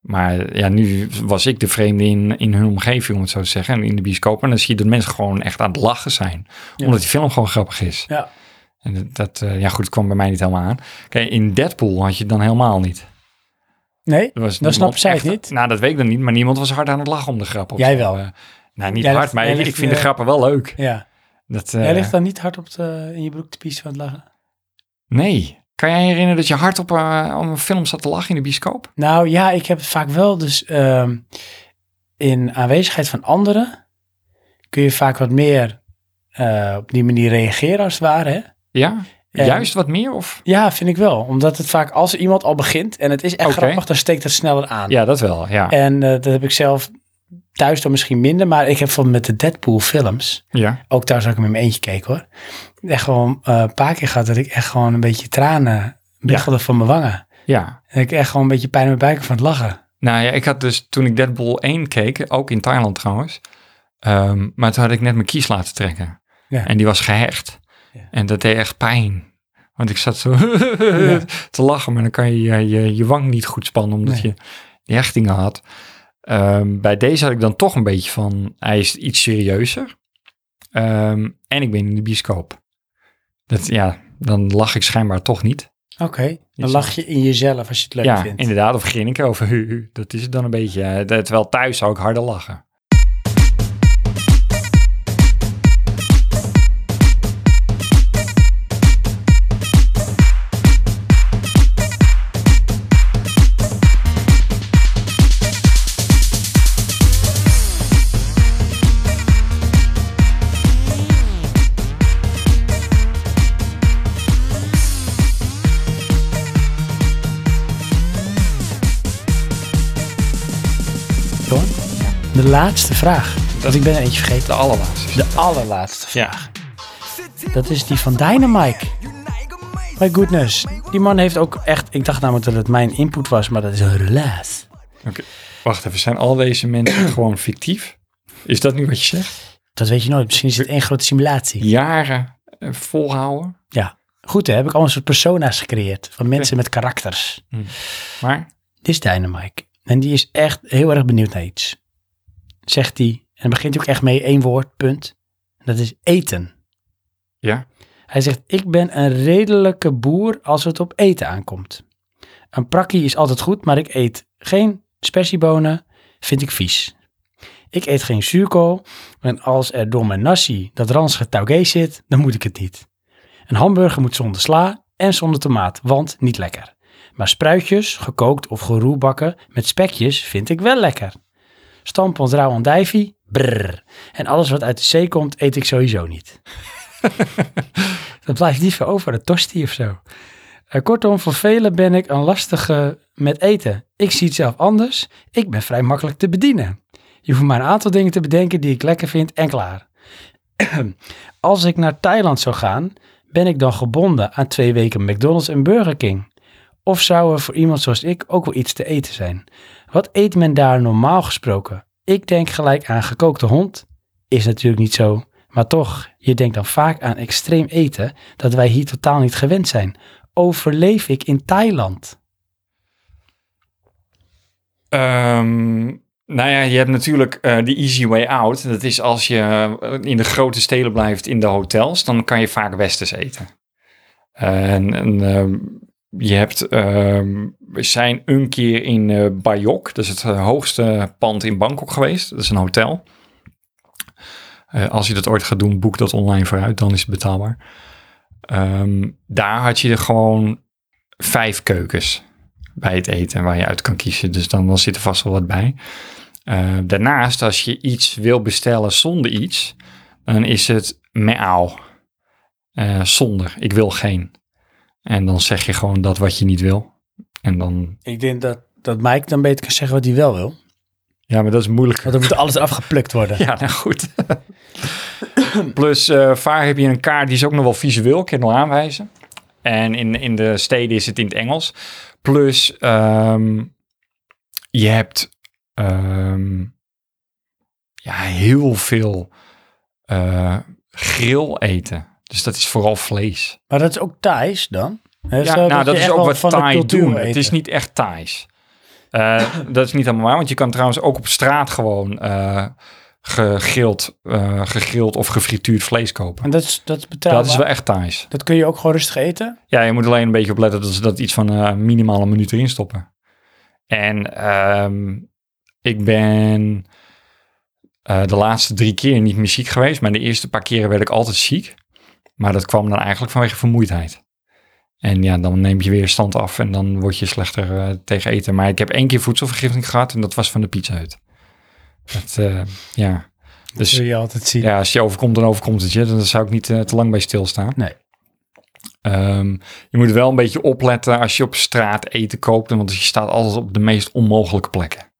C: Maar ja, nu was ik de vreemde in, in hun omgeving, om het zo te zeggen. En in de bioscoop. En dan zie je dat mensen gewoon echt aan het lachen zijn.
A: Ja.
C: Omdat die film gewoon grappig is.
A: Ja.
C: En dat- dat, eh, ja goed, het kwam bij mij niet helemaal aan. Kijk, in Deadpool had je het dan helemaal niet.
A: Nee?
C: Er was
A: Dan
C: niemand
A: snappen zij het
C: echt-
A: niet.
C: Nou, dat weet ik dan niet. Maar niemand was hard aan het lachen om de grap. of
A: Jij
C: zo.
A: wel.
C: Eh, nou, niet
A: Jij
C: hard,
A: ligt-
C: maar
A: jij
C: ik,
A: ligt,
C: ik vind
A: eh,
C: de grappen wel leuk.
A: Ja.
C: Dat,
A: Jij
C: eh,
A: ligt dan niet hard op de, in je broek te piezen van het lachen?
C: Nee. Kan jij je herinneren dat je hard op eh, om een film zat te lachen in de bioscoop?
A: Nou ja, ik heb het vaak wel. Dus ehm, in aanwezigheid van anderen kun je vaak wat meer eh, op die manier reageren als het ware. Hè?
C: Ja?
A: En-
C: Juist wat meer? Of?
A: Ja, vind ik wel. Omdat het vaak als iemand al begint en het is echt
C: Oké.
A: grappig, dan steekt het sneller aan.
C: Ja, dat wel. Ja.
A: En eh, dat heb ik zelf thuis dan misschien minder. Maar ik heb bijvoorbeeld met de Deadpool films,
C: ja.
A: ook thuis had ik hem in mijn eentje gekeken hoor. Echt gewoon eh, een paar keer gehad dat ik echt gewoon een beetje tranen biggelde van mijn wangen.
C: ja.
A: En ik echt gewoon een beetje pijn in mijn buik had van het lachen.
C: Nou ja, ik had dus toen ik Deadpool 1 keek, ook in Thailand trouwens. ehm, maar toen had ik net mijn kies laten trekken.
A: Ja.
C: En die was gehecht.
A: Ja.
C: En dat deed echt pijn. Want ik zat zo te lachen, maar dan kan je je, je je wang niet goed spannen omdat
A: Nee.
C: je die hechtingen had. Ehm, bij deze had ik dan toch een beetje van, hij is iets serieuzer. Ehm, en ik ben in de bioscoop. Dat, ja, dan lach ik schijnbaar toch niet.
A: Oké, dan lach je in jezelf als je het leuk
C: ja,
A: vindt.
C: inderdaad. Of grinniken over hu, hu. Dat is het dan een beetje. eh, dat- Terwijl thuis zou ik harder lachen.
A: Hoor. De laatste vraag. Want ik ben er eentje vergeten.
C: De allerlaatste.
A: De allerlaatste vraag. Dat is die van Dynamite. My goodness. Die man heeft ook echt... Ik dacht namelijk dat het mijn input was, maar dat is een relaas.
C: Oké. Wacht even, zijn al deze mensen gewoon fictief? Is dat nu wat je zegt?
A: Dat weet je nooit. Misschien is het één grote simulatie.
C: Jaren eh, volhouden?
A: Ja. Goed, hè? Heb ik al een soort persona's gecreëerd van mensen met karakters.
C: Maar?
A: Dit is Dynamite. En die is echt heel erg benieuwd naar iets. Zegt hij. En dan begint hij ook echt mee één woord, punt. En dat is eten.
C: Ja.
A: Hij zegt, ik ben een redelijke boer als het op eten aankomt. Een prakkie is altijd goed, maar ik eet geen spersiebonen, vind ik vies. Ik eet geen zuurkool en als er door mijn nasi dat ranzige taugé zit, dan moet ik het niet. Een hamburger moet zonder sla en zonder tomaat, want niet lekker. Maar spruitjes, gekookt of geroebakken met spekjes vind ik wel lekker. Stampot rauw andijvie, brrr. En alles wat uit de zee komt, eet ik sowieso niet. Dat blijft liever over, een tosti of zo. Eh, kortom, voor velen ben ik een lastige met eten. Ik zie het zelf anders. Ik ben vrij makkelijk te bedienen. Je hoeft maar een aantal dingen te bedenken die ik lekker vind en klaar. Als ik naar Thailand zou gaan, ben ik dan gebonden aan twee weken McDonald's en Burger King? Of zou er voor iemand zoals ik ook wel iets te eten zijn? Wat eet men daar normaal gesproken? Ik denk gelijk aan gekookte hond. Is natuurlijk niet zo. Maar toch, je denkt dan vaak aan extreem eten dat wij hier totaal niet gewend zijn. Overleef ik in Thailand?
C: Ehm, nou ja, je hebt natuurlijk eh, de easy way out. Dat is als je eh, in de grote steden blijft in de hotels, dan kan je vaak westers eten. En, en, ehm, je hebt, ehm, we zijn een keer in eh Bayok, dat is het eh, hoogste pand in Bangkok geweest. Dat is een hotel. Eh, als je dat ooit gaat doen, boek dat online vooruit, dan is het betaalbaar. Ehm, daar had je er gewoon vijf keukens bij het eten waar je uit kan kiezen. Dus dan, dan zit er vast wel wat bij. Eh, daarnaast, als je iets wil bestellen zonder iets, dan is het meauw. Eh, zonder, ik wil geen. En dan zeg je gewoon dat wat je niet wil. En dan,
A: Ik denk dat, dat Mike dan beter kan zeggen wat hij wel wil.
C: ja, maar dat is moeilijk.
A: Want dan moet alles eraf geplukt worden.
C: Ja, nou goed. Plus, eh vaak heb je een kaart die is ook nog wel visueel, kan je nog aanwijzen. En in, in de steden is het in het Engels. Plus, ehm, je hebt ehm, ja, heel veel eh grill eten. Dus dat is vooral vlees.
A: Maar dat is ook Thais dan? Hè,
C: Ja,
A: zo
C: nou,
A: je
C: dat is
A: echt
C: ook
A: wel
C: wat
A: van de
C: Thai
A: cultuur
C: doen. Het
A: eten.
C: is niet echt Thais. Eh, dat is niet helemaal waar, want je kan trouwens ook op straat gewoon eh gegrild, eh, gegrild of gefrituurd vlees kopen.
A: En dat is, dat is betaalbaar.
C: Dat is wel echt Thais.
A: Dat kun je ook gewoon rustig eten.
C: Ja, je moet alleen een beetje opletten dat ze dat iets van eh minimaal een minuut erin stoppen. En ehm, ik ben eh, de laatste drie keer niet meer ziek geweest, maar de eerste paar keren werd ik altijd ziek. Maar dat kwam dan eigenlijk vanwege vermoeidheid. En ja, dan neem je weer stand af en dan word je slechter eh, tegen eten. Maar ik heb één keer voedselvergiftiging gehad en dat was van de pizza hut. Dat, eh, ja.
A: Dat
C: Dus
A: zul je altijd zien.
C: ja, als je overkomt, dan overkomt het je. Dan zou ik niet eh, te lang bij stilstaan.
A: Nee.
C: Ehm, je moet wel een beetje opletten als je op straat eten koopt, want je staat altijd op de meest onmogelijke plekken.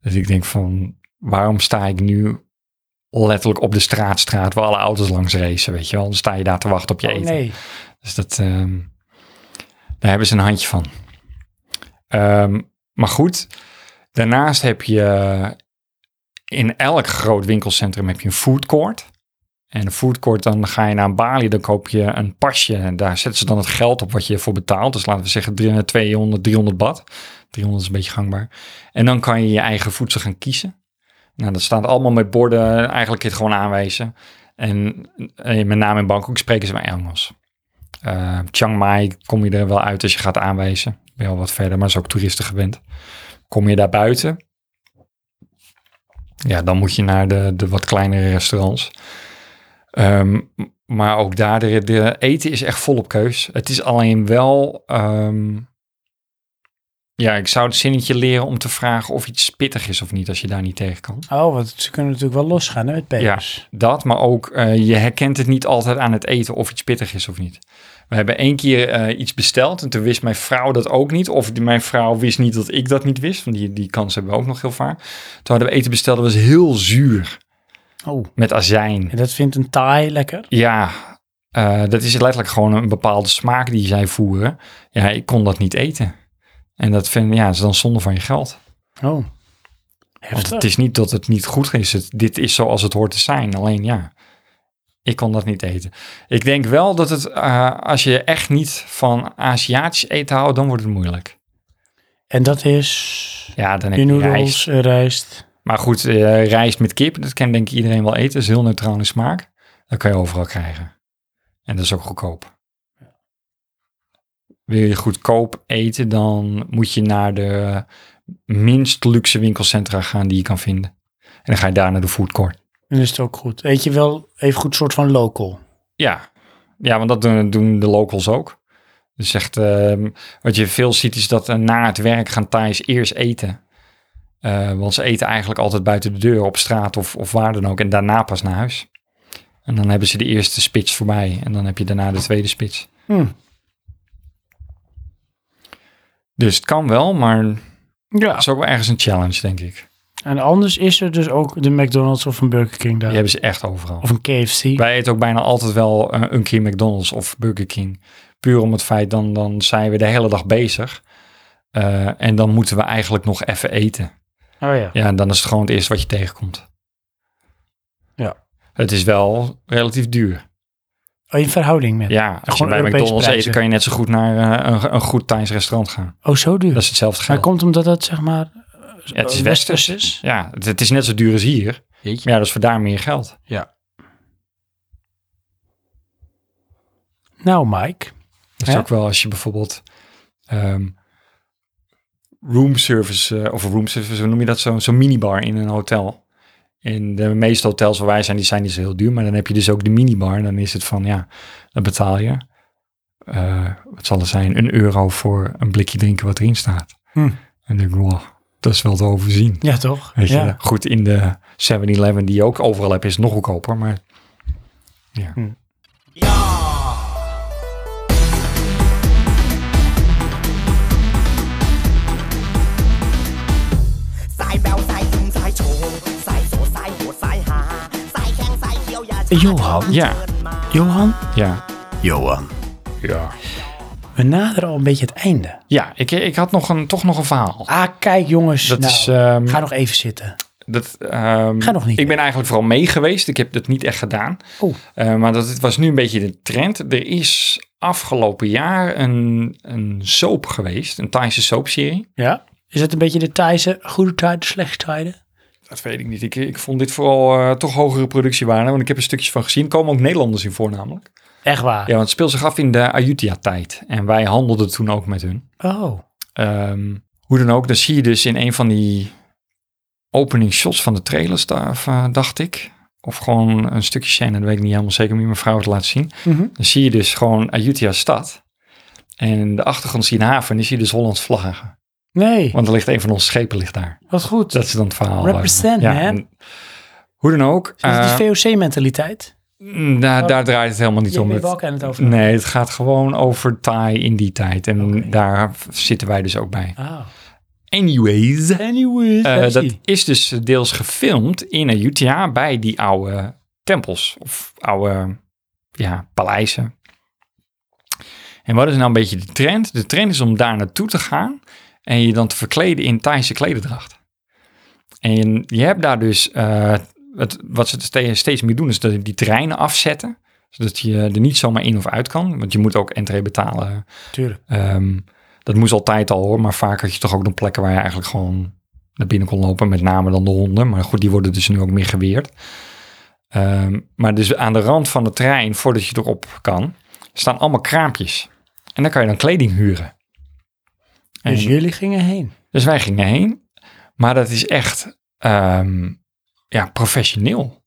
C: Dus ik denk van, waarom sta ik nu letterlijk op de straatstraat waar alle auto's langs racen, weet je wel? Dan sta je daar te wachten op je
A: Oh,
C: eten.
A: nee.
C: Dus dat, ehm, daar hebben ze een handje van. Ehm, maar goed, daarnaast heb je in elk groot winkelcentrum heb je een food court. En een food court, dan ga je naar een balie, dan koop je een pasje. En daar zetten ze dan het geld op wat je ervoor betaalt. Dus laten we zeggen 300, 200, 300 bad. 300 is een beetje gangbaar. En dan kan je je eigen voedsel gaan kiezen. Nou, dat staat allemaal met borden. Eigenlijk het gewoon aanwijzen. En, eh, met name in Bangkok spreken ze maar Engels. Eh, Chiang Mai kom je er wel uit als je gaat aanwijzen. Ben je al wat verder, maar is ook toeristen gewend. Kom je daar buiten? Ja, dan moet je naar de, de wat kleinere restaurants. Ehm, m- maar ook daar, de, de eten is echt volop keus. Het is alleen wel... ehm, ja, ik zou het zinnetje leren om te vragen of iets pittig is of niet, als je daar niet tegen kan.
A: Oh, want ze kunnen natuurlijk wel losgaan hè, met pepers.
C: Dat, maar ook eh, je herkent het niet altijd aan het eten of iets pittig is of niet. We hebben één keer eh, iets besteld en toen wist mijn vrouw dat ook niet. Of die- mijn vrouw wist niet dat ik dat niet wist, want die, die kans hebben we ook nog heel vaak. Toen hadden we eten besteld, dat was heel zuur,
A: Oh,
C: met azijn.
A: en dat vindt een Thai lekker.
C: Ja, eh, dat is letterlijk gewoon een bepaalde smaak die zij voeren. Ja, ik kon dat niet eten. En dat vind, ja, is dan zonde van je geld.
A: Oh,
C: Want
A: heftig.
C: het is niet dat het niet goed is. Het, dit is zoals het hoort te zijn. Alleen ja, Ik kon dat niet eten. Ik denk wel dat het, eh, als je echt niet van Aziatisch eten houdt, dan wordt het moeilijk.
A: En dat is
C: Ja, dan heb
A: je
C: je
A: noedels,
C: rijst.
A: eh, rijst.
C: Maar goed, eh, rijst met kip, dat kan denk ik iedereen wel eten. Dat is heel neutraal in smaak. Dat kan je overal krijgen. En dat is ook goedkoop. Wil je goedkoop eten, dan moet je naar de minst luxe winkelcentra gaan die je kan vinden. En dan ga je daar naar de foodcourt.
A: En is het ook goed. Eet je wel even goed soort van local.
C: Ja. ja, want dat doen, doen de locals ook. Dus echt, ehm, wat je veel ziet is dat eh, na het werk gaan Thais eerst eten. Eh, want ze eten eigenlijk altijd buiten de deur op straat of, of waar dan ook. En daarna pas naar huis. En dan hebben ze de eerste spits voorbij. En dan heb je daarna de tweede spits.
A: Hmm.
C: Dus het kan wel, maar het
A: Ja.
C: is ook wel ergens een challenge, denk ik.
A: En anders is er dus ook de McDonald's of een Burger King daar.
C: Die hebben ze echt overal.
A: Of een KFC.
C: Wij eten ook bijna altijd wel eh, een keer McDonald's of Burger King. Puur om het feit, dan, dan zijn we de hele dag bezig. Eh, en dan moeten we eigenlijk nog even eten.
A: Oh ja.
C: Ja, en dan is het gewoon het eerste wat je tegenkomt.
A: Ja.
C: Het is wel relatief duur.
A: Oh, in verhouding met.
C: Ja, als je
A: Gewoon
C: bij
A: Europese
C: McDonald's
A: prijzen.
C: eet, dan kan je net zo goed naar eh, een, een goed Thais restaurant gaan.
A: Oh, zo duur.
C: Dat is hetzelfde
A: Maar
C: geld.
A: komt omdat dat zeg maar
C: Ja, het is
A: eh,
C: westers.
A: is?
C: Ja, het, het is net zo duur als hier.
I: Jeetje.
C: Maar ja, dat is voor daar meer geld.
A: Nou, Mike.
C: Dat is
A: Ja.
C: ook wel als je bijvoorbeeld ehm room service, eh, of room service, hoe noem je dat? Zo- Zo'n minibar in een hotel. In de meeste hotels waar wij zijn, die zijn niet zo heel duur. Maar dan heb je dus ook de minibar. En dan is het van, ja, dan betaal je, eh, wat zal het zijn, een euro voor een blikje drinken wat erin staat.
A: Hm.
C: En dan denk ik, wow, dat is wel te overzien.
A: Ja, toch?
C: Weet
A: ja.
C: je, goed, in de 7-Eleven die je ook overal hebt, is het nog goedkoper. Maar ja.
A: Hm. Eh, Johan.
C: Ja,
A: Johan,
C: ja,
I: Johan.
C: ja.
A: we naderen al een beetje het einde.
C: Ja, ik, ik had nog een, toch nog een verhaal.
A: Ah, kijk jongens.
C: Dat
A: nou,
C: is, ehm,
A: Ga nog even zitten.
C: Dat, ehm,
A: Ga nog niet.
C: Ik ben eigenlijk vooral mee geweest. Ik heb dat niet echt gedaan.
A: Oh.
C: Eh, maar dat, het was nu een beetje de trend. Er is afgelopen jaar een, een soap geweest. Een Thaise soapserie.
A: Ja? Is het een beetje de Thaise goede tijden, slechte tijden?
C: Dat weet ik niet. Ik, ik vond dit vooral eh, toch hogere productiewaarde. Want ik heb er stukjes van gezien. Er komen ook Nederlanders in voor namelijk.
A: Echt waar?
C: Ja, want het speelt zich af in de Ayutthaya-tijd. En wij handelden toen ook met hun.
A: Oh.
C: Ehm, hoe dan ook, dan zie je dus in een van die opening shots van de trailers, da- of, eh, dacht ik. Of gewoon een stukje scène, dat weet ik niet helemaal zeker, maar mijn vrouw het laat zien.
A: Mhm.
C: Dan zie je dus gewoon Ayutthaya stad. En in de achtergrond zie je een haven en dan zie je dus Hollands vlaggen.
A: Nee,
C: Want er ligt een van onze schepen ligt daar. Dus
A: wat goed.
C: Dat is dan het verhaal. eh.
A: Represent,
C: Ja,
A: man.
C: en Hoe dan ook,
A: Is dat
C: eh,
A: die VOC-mentaliteit?
C: mm, daar, daar draait het helemaal niet om.
A: JP
C: Het-
A: Balken aan het over.
C: nee, het gaat gewoon over Thai in die tijd. En daar zitten wij dus ook bij.
A: Ah.
C: Anyways.
A: Anyways,
C: Eh,
A: daar is
C: dat
A: die.
C: is dus deels gefilmd in Ayutthaya bij die oude tempels of oude ja, paleizen. En wat is nou een beetje de trend? De trend is om daar naartoe te gaan en je dan te verkleden in Thaise klederdracht. En je hebt daar dus, eh, het, wat ze ste- steeds meer doen, is dat die terreinen afzetten. Zodat je er niet zomaar in of uit kan. Want je moet ook entree betalen.
A: Tuurlijk.
C: Ehm, dat moest altijd al hoor, maar vaak had je toch ook nog plekken waar je eigenlijk gewoon naar binnen kon lopen, met name dan de honden. Maar goed, die worden dus nu ook meer geweerd. Ehm, maar dus aan de rand van de trein, voordat je erop kan, staan allemaal kraampjes. En daar kan je dan kleding huren. En-
A: Dus jullie gingen heen.
C: dus wij gingen heen. Maar dat is echt ehm, ja, professioneel.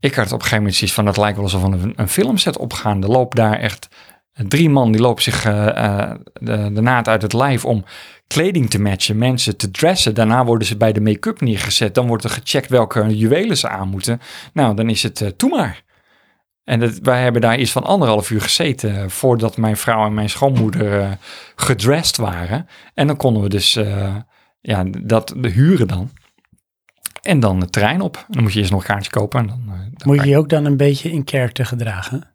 C: Ik had op een gegeven moment zoiets van, dat lijkt wel alsof we een, een filmset opgaan. Er loopt daar echt drie man, die lopen zich eh, eh, de, de naad uit het lijf om kleding te matchen, mensen te dressen. Daarna worden ze bij de make-up neergezet. Dan wordt er gecheckt welke juwelen ze aan moeten. Nou, dan is het eh toe maar. En dat, wij hebben daar iets van anderhalf uur gezeten eh, voordat mijn vrouw en mijn schoonmoeder eh, gedressed waren. En dan konden we dus eh, ja, dat de huren dan. En dan de trein op. En dan moet je eerst nog een kaartje kopen. En dan, eh, dan
A: Moet
C: kan
A: je je ook dan een beetje in karakter gedragen?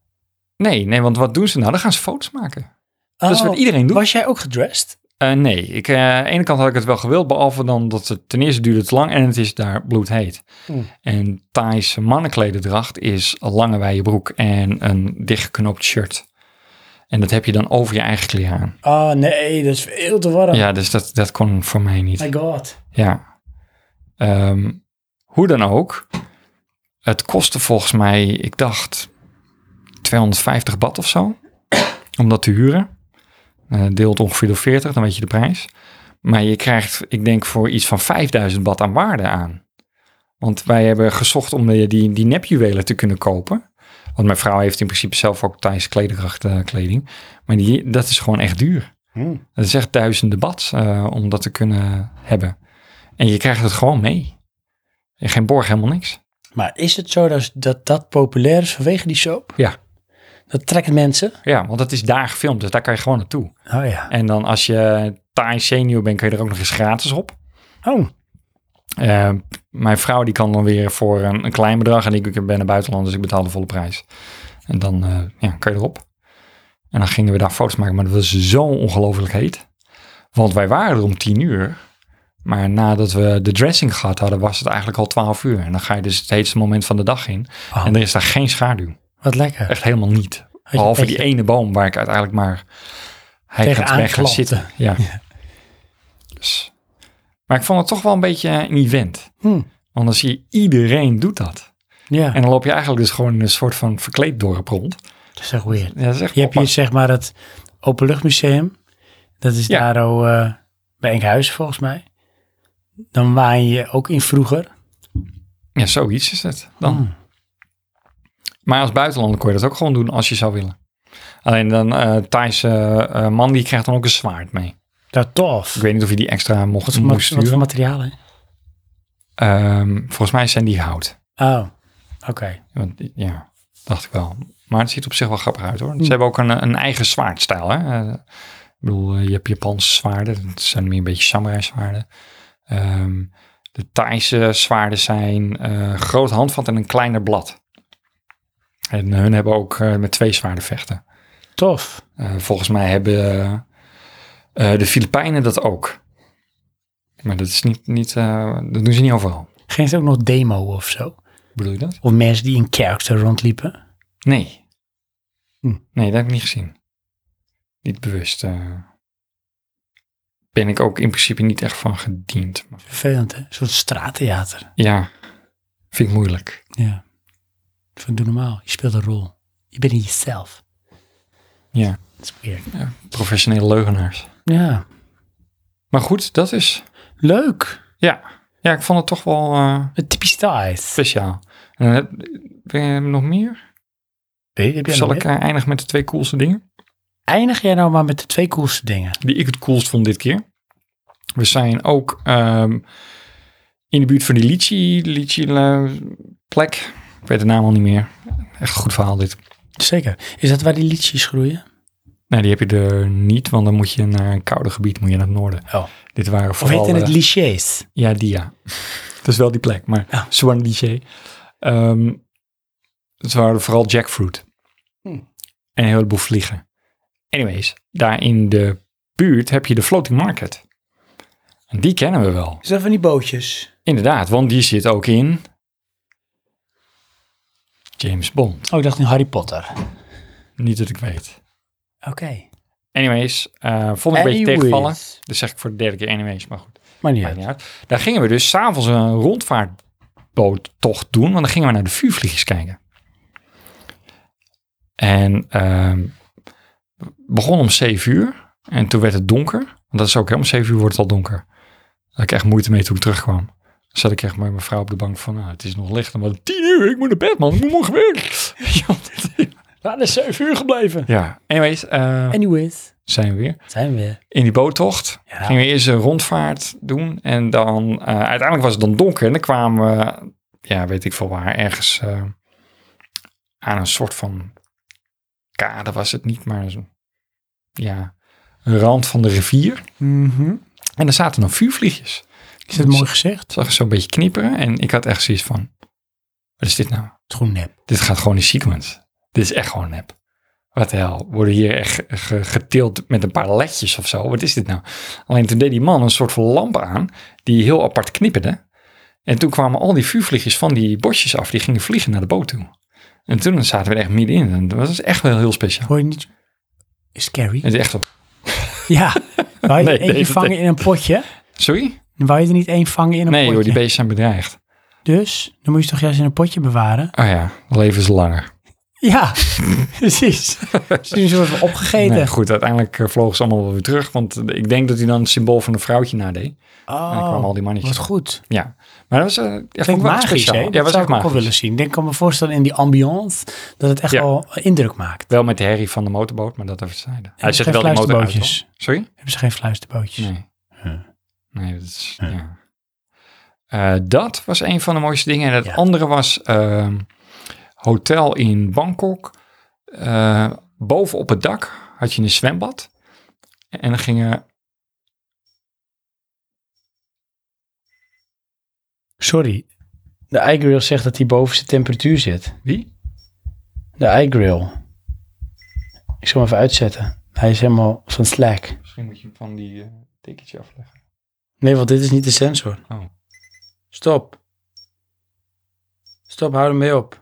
C: Nee, nee, want wat doen ze nou? Dan gaan ze foto's maken. Dat is
A: Oh,
C: wat iedereen doet.
A: Was jij ook gedressed?
C: Eh, nee, ik, eh, aan de ene kant had ik het wel gewild, behalve dan dat het ten eerste duurde het lang en het is daar bloedheet. En Thaise mannenklededracht is een lange wijde broek en een dichtgeknoopt shirt. En dat heb je dan over je eigen kleren aan.
A: Oh nee, dat is veel te warm.
C: Ja, dus dat, dat kon voor mij niet.
A: My god.
C: Ja. Ehm, hoe dan ook, het kostte volgens mij, ik dacht, 250 bad of zo. Om dat te huren. Eh, deelt ongeveer door 40, dan weet je de prijs. Maar je krijgt, ik denk, voor iets van 5000 bad aan waarde aan. Want wij hebben gezocht om die, die, die nepjuwelen te kunnen kopen. Want mijn vrouw heeft in principe zelf ook Thaise klederdracht, eh, kleding. Maar die, dat is gewoon echt duur. Dat is echt duizenden bad eh, om dat te kunnen hebben. En je krijgt het gewoon mee. En geen borg, helemaal niks.
A: Maar is het zo dat dat, dat populair is vanwege die soap?
C: Ja.
A: Dat trekken mensen?
C: Ja, want het is daar gefilmd, dus daar kan je gewoon naartoe.
A: Oh ja.
C: En dan als je Thai senior bent, kun je er ook nog eens gratis op.
A: Oh,
C: Eh, mijn vrouw die kan dan weer voor een, een klein bedrag. En ik, ik ben een buitenlander, dus ik betaal de volle prijs. En dan eh, ja, kan je erop. En dan gingen we daar foto's maken. Maar dat was zo ongelooflijk heet. Want wij waren er om tien uur. Maar nadat we de dressing gehad hadden, was het eigenlijk al twaalf uur. En dan ga je dus het heetste moment van de dag in.
A: Oh.
C: En er is daar geen schaduw.
A: wat lekker.
C: Echt helemaal niet.
A: je
C: Behalve
A: een
C: die
A: beetje-
C: ene boom waar ik uiteindelijk maar hij
A: Tegenaan
C: gaat gaan
A: klapte.
C: zitten. Ja. Dus. Maar ik vond het toch wel een beetje een event.
A: Hmm.
C: Want dan zie je iedereen doet dat.
A: Ja,
C: En dan loop je eigenlijk dus gewoon in een soort van verkleed dorp rond.
A: dat is echt weird.
C: Ja, dat is echt
A: Je hebt hier
C: oppas-
A: zeg maar het Openluchtmuseum. Dat is
C: Ja.
A: daar al eh, bij Enkhuizen volgens mij. Dan waai je ook in vroeger.
C: ja, zoiets is het dan.
A: Hmm.
C: Maar als buitenlander kon je dat ook gewoon doen als je zou willen. Alleen dan eh Thaise eh, man die krijgt dan ook een zwaard mee.
A: Dat tof.
C: Ik weet niet of je die extra mocht,
A: Wat voor,
C: moest
A: ma- wat voor
C: sturen.
A: materiaal, hè?
C: Ehm, volgens mij zijn die hout.
A: Oh, oké.
C: Want, ja, dacht ik wel. Maar het ziet op zich wel grappig uit hoor. Ze hebben ook een, een eigen zwaardstijl. Hè? Eh, ik bedoel, eh, je hebt Japanse zwaarden. Dat zijn meer een beetje samurai zwaarden. Ehm, de Thaise zwaarden zijn eh groot handvat en een kleiner blad. En hun hebben ook eh, met twee zwaarden vechten.
A: Tof.
C: Eh, volgens mij hebben eh, eh, de Filipijnen dat ook. Maar dat, is niet, niet, eh, dat doen ze niet overal.
A: Geen ze ook nog demo of zo?
C: Bedoel je dat?
A: Of mensen die in character rondliepen?
C: Nee.
A: Hm.
C: Nee, dat heb ik niet gezien. Niet bewust. eh. ben ik ook in principe niet echt van gediend. Maar
A: Vervelend, hè? Een soort straattheater.
C: ja, vind ik moeilijk.
A: Ja. Van doe normaal. Je speelt een rol. Je bent in jezelf.
C: Ja,
A: Dat is weird.
C: professionele leugenaars.
A: Ja.
C: Maar goed, dat is...
A: Leuk.
C: Ja, ja ik vond het toch wel eh,
A: Een typisch Thais.
C: speciaal. En, dan heb, ben je nog meer?
A: Hey, heb jij
C: Zal
A: nog
C: ik
A: meer?
C: eh, eindigen met de twee coolste dingen?
A: Eindig jij nou maar met de twee coolste dingen?
C: die ik het coolst vond dit keer. We zijn ook ehm, in de buurt van die Litchi, Litchi eh, plek. Ik weet de naam al niet meer. Echt een goed verhaal dit.
A: Zeker. Is dat waar die liedjes groeien?
C: Nee, die heb je er niet, want dan moet je naar een koude gebied, moet je naar het noorden.
A: Oh.
C: Dit waren
A: Of
C: vooral...
A: heet het
C: eh,
A: lichés?
C: Ja, die ja. Dat is wel die plek, maar
A: Ja.
C: Swan DJ. Ehm het waren vooral jackfruit. En een heleboel vliegen. Anyways, daar in de buurt heb je de floating market. En die kennen we wel.
A: Is dat van die bootjes?
C: Inderdaad, want die zit ook in James Bond.
A: Oh, ik dacht in Harry Potter.
C: Niet dat ik weet.
A: Oké.
C: Anyways, eh vond ik een beetje
A: Anyways.
C: tegenvallen. Dat zeg ik voor de derde keer anyways, maar goed.
A: Maar niet
C: Maakt
A: uit.
C: niet uit. Daar gingen we dus s'avonds een rondvaartboottocht doen, want dan gingen we naar de vuurvliegers kijken. En ehm, begon om 7 uur en toen werd het donker. Want dat is ook, hè, om 7 uur wordt het al donker. Daar had ik echt moeite mee toen ik terugkwam. Dan zat ik echt met mijn vrouw op de bank van, nou, het is nog licht. Maar 10 uur, ik moet naar bed man, ik moet morgen weer. Ja, dit-
A: Laat is 7 uur gebleven.
C: ja, anyways, eh,
A: Anyways.
C: zijn we weer
A: Zijn we weer.
C: in die boottocht.
A: Ja.
C: Gingen we eerst een rondvaart doen. En dan eh, uiteindelijk was het dan donker. En dan kwamen we, ja, weet ik veel waar, ergens eh, aan een soort van kade was het niet, maar zo, ja, een rand van de rivier. En daar zaten dan vuurvliegjes.
A: Mhm.
C: Dus
A: Is dat mooi gezegd?
C: Zag ik zo'n beetje knipperen. En ik had echt zoiets van, wat is dit nou?
A: Het is gewoon nep.
C: Dit gaat gewoon in sequence. Dit is echt gewoon nep. Wat de hel, worden hier echt ge- getild met een paar ledjes of zo? Wat is dit nou? Alleen toen deed die man een soort van lamp aan, die heel apart knipperde. En toen kwamen al die vuurvliegjes van die bosjes af, die gingen vliegen naar de boot toe. En toen zaten we er echt middenin. En dat was echt wel heel speciaal.
A: Hoor je niet? Scary.
C: Het is echt zo,
A: Ja. Wou je
C: Nee,
A: er eentje
C: nee, dat-
A: vangen in een potje?
C: sorry?
A: Wou je er niet één vangen in een
C: Nee
A: potje?
C: hoor, die beesten zijn bedreigd.
A: Dus, dan moet je ze toch juist in een potje bewaren?
C: Oh ja, leven is langer.
A: Ja, precies. Ze zijn zo even opgegeten.
C: Nee, goed, uiteindelijk eh, vlogen ze allemaal wel weer terug. Want eh, ik denk dat hij dan het symbool van een vrouwtje nadeed. En dan
A: oh,
C: kwamen al die mannetjes.
A: wat goed.
C: Ja, maar dat was eh, ja, vond ik
A: Klinkt
C: wel echt
A: magisch,
C: speciaal.
A: hè?
C: Ja,
A: Dat
C: was
A: zou
C: echt
A: ik ook wel
C: magisch.
A: willen zien. Ik denk, kan me voorstellen in die ambiance dat het echt
C: Ja.
A: wel indruk maakt.
C: Wel met de herrie van de motorboot, maar dat even zijde. Hij
A: geen
C: zet wel die motor uit,
A: fluisterbootjes.
C: hoor. Sorry?
A: Hebben ze geen fluisterbootjes?
C: Nee.
A: Huh.
C: Nee, dat is... Ja. Eh, dat was een van de mooiste dingen. En het
A: Ja.
C: andere was ehm, hotel in Bangkok. Eh, boven op het dak had je een zwembad. En dan gingen...
A: Sorry. De iGrill zegt dat hij boven zijn temperatuur zit.
C: Wie?
A: De iGrill. Ik zal hem even uitzetten. Hij is helemaal van slack.
C: Misschien moet je hem van die tikkertje dekentje afleggen.
A: Nee, want dit is niet de sensor.
C: Oh.
A: Stop. Stop, hou ermee op.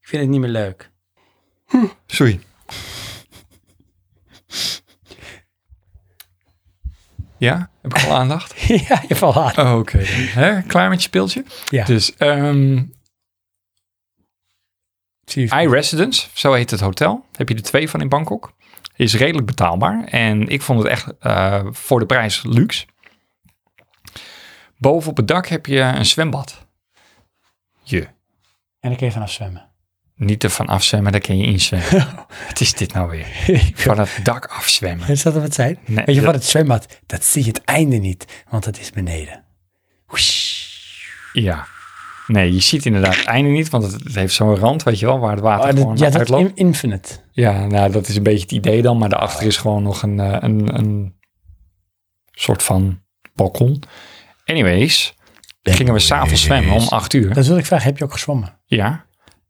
A: Ik vind het niet meer leuk.
C: Sorry. Ja, heb ik al aandacht?
A: ja, je valt hard.
C: Oh, Oké, dan. Hè, klaar met je speeltje?
A: Ja.
C: Dus ehm
A: Zie je.
C: iResidence, zo heet het hotel. Heb je er twee van in Bangkok. Is redelijk betaalbaar. En ik vond het echt eh, voor de prijs luxe. Boven op het dak heb je een zwembad. Je.
A: En dan kun je vanaf zwemmen.
C: Niet ervan afzwemmen, daar kun je inzwemmen. wat is dit nou weer? Van het dak afzwemmen.
A: Is dat wat zijn?
C: Nee,
A: Weet je
C: dat-
A: wat het zwembad? Dat zie je het einde niet, want het is beneden.
C: Ja. Nee, je ziet inderdaad het einde niet, want het, het heeft zo'n rand, weet je wel, waar het water
A: Oh, dat-
C: gewoon
A: ja, dat is
C: uitloopt.
A: in- infinite.
C: Ja, nou, dat is een beetje het idee dan. Maar daarachter is gewoon nog een, eh, een, een soort van balkon. Anyways, gingen we s'avonds zwemmen om acht uur.
A: Dat wil ik vragen. Heb je ook gezwommen?
C: Ja,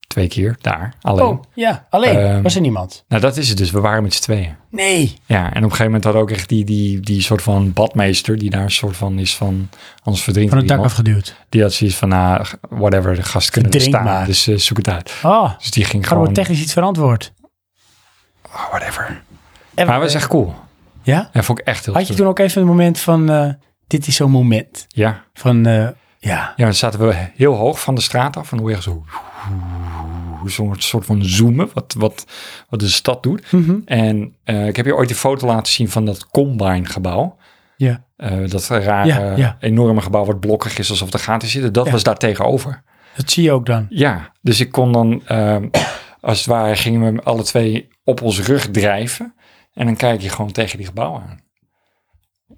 C: twee keer daar, alleen.
A: Oh, ja. Alleen?
C: Ehm,
A: was er niemand?
C: Nou, dat is het dus. We waren met z'n tweeën.
A: Nee.
C: Ja, en op een gegeven moment had ook echt die, die, die soort van badmeester... die daar een soort van is van... anders verdrinkt
A: Van het dak
C: iemand.
A: afgeduwd.
C: Die had zoiets van, nou, whatever, de gast kunnen er
A: Verdrink
C: staan.
A: maar.
C: Dus eh, zoek het uit.
A: Oh,
C: Dus die ging
A: gaan we
C: gewoon,
A: technisch iets verantwoord.
C: oh, whatever.
A: En- eh,
C: Maar het was echt cool.
A: Ja?
C: En vond ik echt heel
A: Had je
C: leuk.
A: toen ook even een moment van, eh, dit is zo'n moment.
C: Ja.
A: Van, eh, ja.
C: Ja, dan zaten we heel hoog van de straat af en hoe echt zo. Zo'n soort van zoomen, wat, wat, wat de stad doet.
A: Mhm.
C: En eh, ik heb je ooit een foto laten zien van dat Combine-gebouw.
A: Ja.
C: Eh, dat rare,
A: Ja, ja.
C: enorme gebouw wat blokkig is, alsof er gaten zitten. Dat
A: Ja.
C: was daar tegenover.
A: Dat zie je ook dan.
C: Ja, dus ik kon dan, ehm, als het ware, gingen we alle twee op ons rug drijven. En dan kijk je gewoon tegen die gebouwen aan.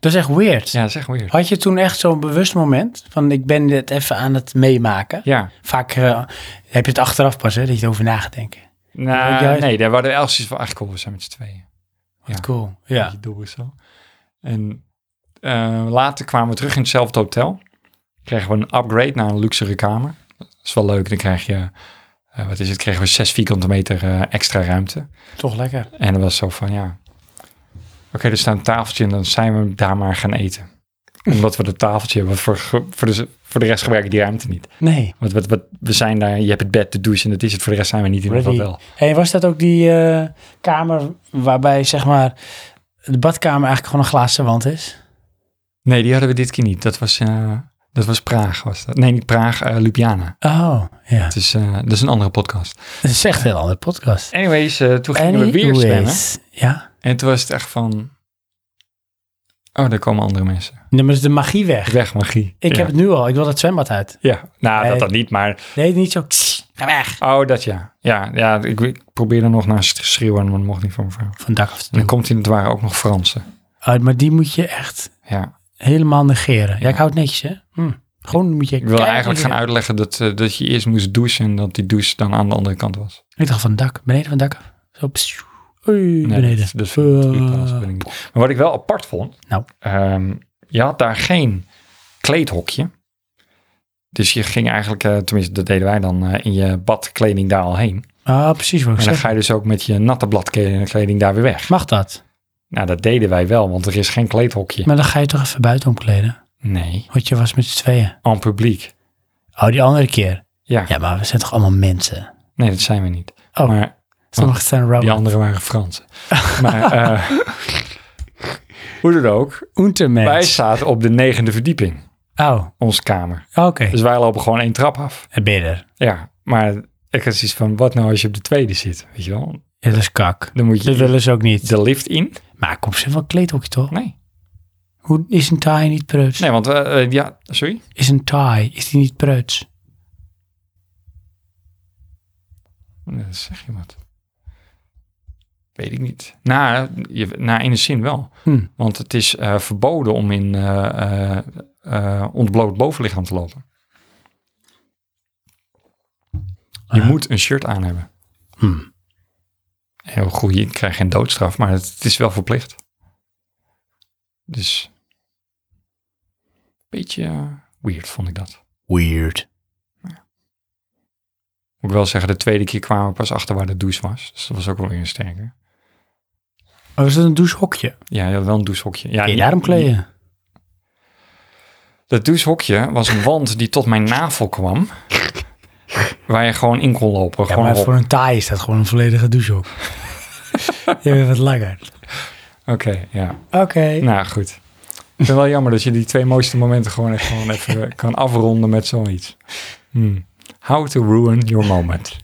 A: Dat is echt weird.
C: Ja, zeg maar weer.
A: Had je toen echt zo'n bewust moment van, ik ben dit even aan het meemaken?
C: Ja,
A: Vaak eh, heb je het achteraf pas, hè, dat je erover na gaat denken.
C: nou,
A: Jij-
C: nee, daar waren we elsies van. Ach, cool, we zijn met z'n tweeën. Ja.
A: Cool.
C: ja.
A: Ja.
C: je door zo. En eh, later kwamen we terug in hetzelfde hotel. Kregen we een upgrade naar een luxere kamer. Dat is wel leuk. Dan krijg je, eh, wat is het, kregen we zes vierkante meter eh, extra ruimte.
A: Toch lekker.
C: En dat was zo van, ja, oké, er staat een tafeltje en dan zijn we daar maar gaan eten. Omdat we dat tafeltje hebben, want voor, voor, de, voor de rest gebruiken die ruimte niet.
A: Nee.
C: Want wat, wat, we zijn daar, je hebt het bed, de douche en dat is het. Voor de rest zijn we niet in het
A: Ready.
C: hotel.
A: Hey, was dat ook die eh, kamer waarbij zeg maar de badkamer eigenlijk gewoon een glazen wand is?
C: Nee, die hadden we dit keer niet. Dat was, eh, dat was Praag, was dat. Nee, niet Praag, eh, Ljubljana.
A: Oh, ja.
C: Het is, eh, dat is een andere podcast.
A: Dat is echt een heel andere podcast.
C: Anyways, eh, toen gingen we weer
A: Anyways,
C: zwemmen.
A: Ja.
C: En toen was het echt van... Oh, daar komen andere mensen.
A: Dan is de magie weg.
C: Weg, magie.
A: Ik
C: ja.
A: heb het nu al. Ik wil dat zwembad uit.
C: Ja, nou,
A: Nee.
C: dat dat niet, maar...
A: Nee, niet zo. Ga weg.
C: Oh, dat ja. Ja, ja ik, ik probeerde nog naar te schreeuwen, maar dat mocht niet van mijn vrouw.
A: Van het dak af te
C: En dan
A: doen.
C: komt in het ware ook nog Fransen.
A: Oh, maar die moet je echt
C: Ja.
A: helemaal negeren. Ja, ik hou het netjes, hè? Hm. Gewoon moet je.
C: Ik wil eigenlijk gaan uitleggen dat, eh, dat je eerst moest douchen en dat die douche dan aan de andere kant was.
A: Ik dacht van het dak. Beneden van het dak. af. Zo. pssst. Oei,
C: Nee,
A: beneden.
C: dat- dus dat vind ik natuurlijk wel, dat
A: Eh,
C: ben ik niet. Maar wat ik wel apart vond,
A: Nou.
C: ehm, je had daar geen kleedhokje. Dus je ging eigenlijk, eh, tenminste dat deden wij dan, eh, in je badkleding daar al heen.
A: Ah, precies wat ik
C: En dan
A: zeg.
C: ga je dus ook met je natte bladkleding daar weer weg.
A: Mag dat?
C: Nou, dat deden wij wel, want er is geen kleedhokje.
A: Maar dan ga je toch even buiten omkleden?
C: Nee,
A: Want je was met z'n tweeën.
C: aan publiek.
A: Oh, die andere keer.
C: Ja.
A: Ja, maar we zijn toch allemaal mensen?
C: nee, dat zijn we niet.
A: Oh.
C: Maar
A: Sommigen zijn
C: die
A: Robert
C: anderen waren Fransen. maar eh, hoe dan ook, wij
A: Untermens.
C: zaten op de negende verdieping,
A: Oh,
C: onze kamer.
A: oké.
C: Dus wij lopen gewoon één trap af.
A: En bidder.
C: Ja, maar ik had zoiets van, wat nou als je op de tweede zit, weet je wel?
A: Ja, dat is kak.
C: Dan moet
A: Dat
C: je
A: willen ze ook niet.
C: de lift in.
A: Maar komt ze wel een kleedhokje toch?
C: Nee,
A: Hoe is een taai niet preuts?
C: nee want eh, eh, ja, sorry?
A: Is een taai, is die niet preuts?
C: Nee, dat zeg je wat. Weet ik niet. Na, je, na in de zin wel.
A: Hm.
C: Want het is eh, verboden om in eh, eh, eh, ontbloot bovenlichaam te lopen. Je moet een shirt aan hebben.
A: Ah. Hm.
C: Heel goed, je krijgt geen doodstraf, maar het, het is wel verplicht. Dus een beetje eh, weird vond ik dat.
A: Weird.
C: Moet ik wel zeggen, de tweede keer kwamen we pas achter waar de douche was. Dus dat was ook wel weer een sterker.
A: Oh, is dat een douchehokje?
C: Ja, je had wel een douchehokje. Ja,
A: Kun je
C: niet-
A: daarom kleden?
C: Dat douchehokje was een wand die tot mijn navel kwam. Waar je gewoon in kon lopen.
A: Ja,
C: gewoon
A: maar
C: op.
A: voor een taai is dat gewoon een volledige douchehok. Je bent wat langer.
C: Oké, ja.
A: Oké.
C: Nou, goed. Ik vind het wel jammer dat je die twee mooiste momenten gewoon even, gewoon even kan afronden met zoiets. Hmm. How to ruin your moment.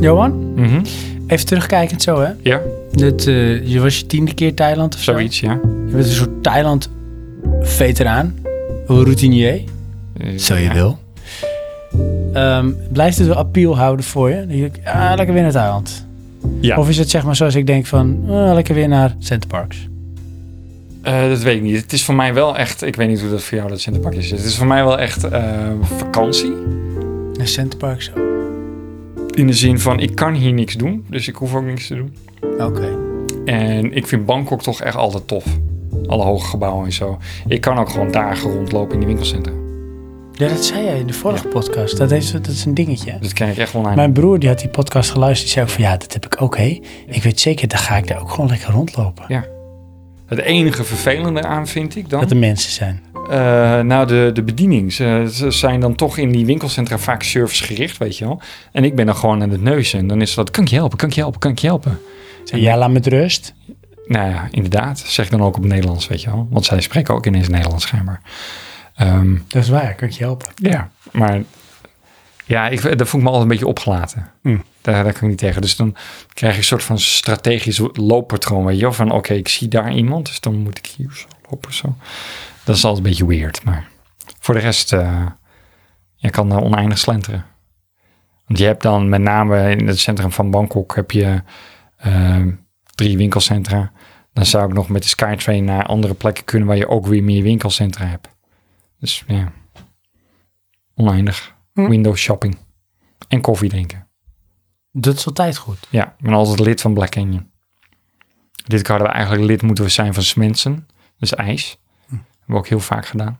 A: Johan,
C: Mhm.
A: even terugkijkend zo hè.
C: Ja,
A: Dit, eh, je was je tiende keer Thailand of zo?
C: zoiets, ja.
A: Je bent een soort Thailand-veteraan. Routinier.
C: Eh,
A: Zo je
C: ja.
A: wil. Ehm, blijft het wel appeal houden voor je? Dan denk je, ah, lekker weer naar Thailand.
C: Ja.
A: Of is het zeg maar zoals ik denk van, ah, lekker weer naar Center Parks.
C: Eh, dat weet ik niet. Het is voor mij wel echt... Ik weet niet hoe dat voor jou dat Sinterpakje zit. Het is voor mij wel echt eh, vakantie.
A: Naar Center Parks ook.
C: In de zin van, ik kan hier niks doen. Dus ik hoef ook niks te doen.
A: Oké.
C: En ik vind Bangkok toch echt altijd tof. Alle hoge gebouwen en zo. Ik kan ook gewoon dagen rondlopen in die winkelcentra.
A: Ja, dat zei jij in de vorige podcast. Dat is, dat is een dingetje. hè?
C: Dus dat krijg ik echt wel naar.
A: Mijn broer die had die podcast geluisterd. Die zei ook van, ja, dat heb ik ook, hé. Ik weet zeker, dan ga ik daar ook gewoon lekker rondlopen.
C: Het enige vervelende aan vind ik dan...
A: Dat er mensen zijn.
C: eh, nou, de, de bediening. Ze, ze zijn dan toch in die winkelcentra vaak servicegericht, weet je wel. En ik ben dan gewoon aan het neuzen. En dan is dat, kan ik je helpen, kan ik je helpen, kan ik je helpen?
A: Zeg, ja, laat me met rust.
C: Nou ja, inderdaad. Zeg ik dan ook op Nederlands, weet je wel. Want zij spreken ook ineens Nederlands schijnbaar. Ehm,
A: Dat is waar, kan ik je helpen.
C: Ja, maar ja, ik, dat vond ik me altijd een beetje opgelaten.
A: Hmm.
C: Daar, daar kan ik niet tegen. Dus dan krijg je een soort van strategisch looppatroon. Weet je wel, van oké, ik zie daar iemand, dus dan moet ik hier zo lopen. Zo. Dat is altijd een beetje weird, maar voor de rest, eh je kan daar oneindig slenteren. Want je hebt dan met name in het centrum van Bangkok heb je eh, drie winkelcentra. Dan zou ik nog met de Skytrain naar andere plekken kunnen waar je ook weer meer winkelcentra hebt. Dus ja oneindig. Windows shopping. En koffie drinken.
A: Dat is altijd goed.
C: Ja, ik ben altijd lid van Black Canyon. Dit keer hadden we eigenlijk lid moeten we zijn van Smensen. Dus ijs. Hebben we ook heel vaak gedaan. En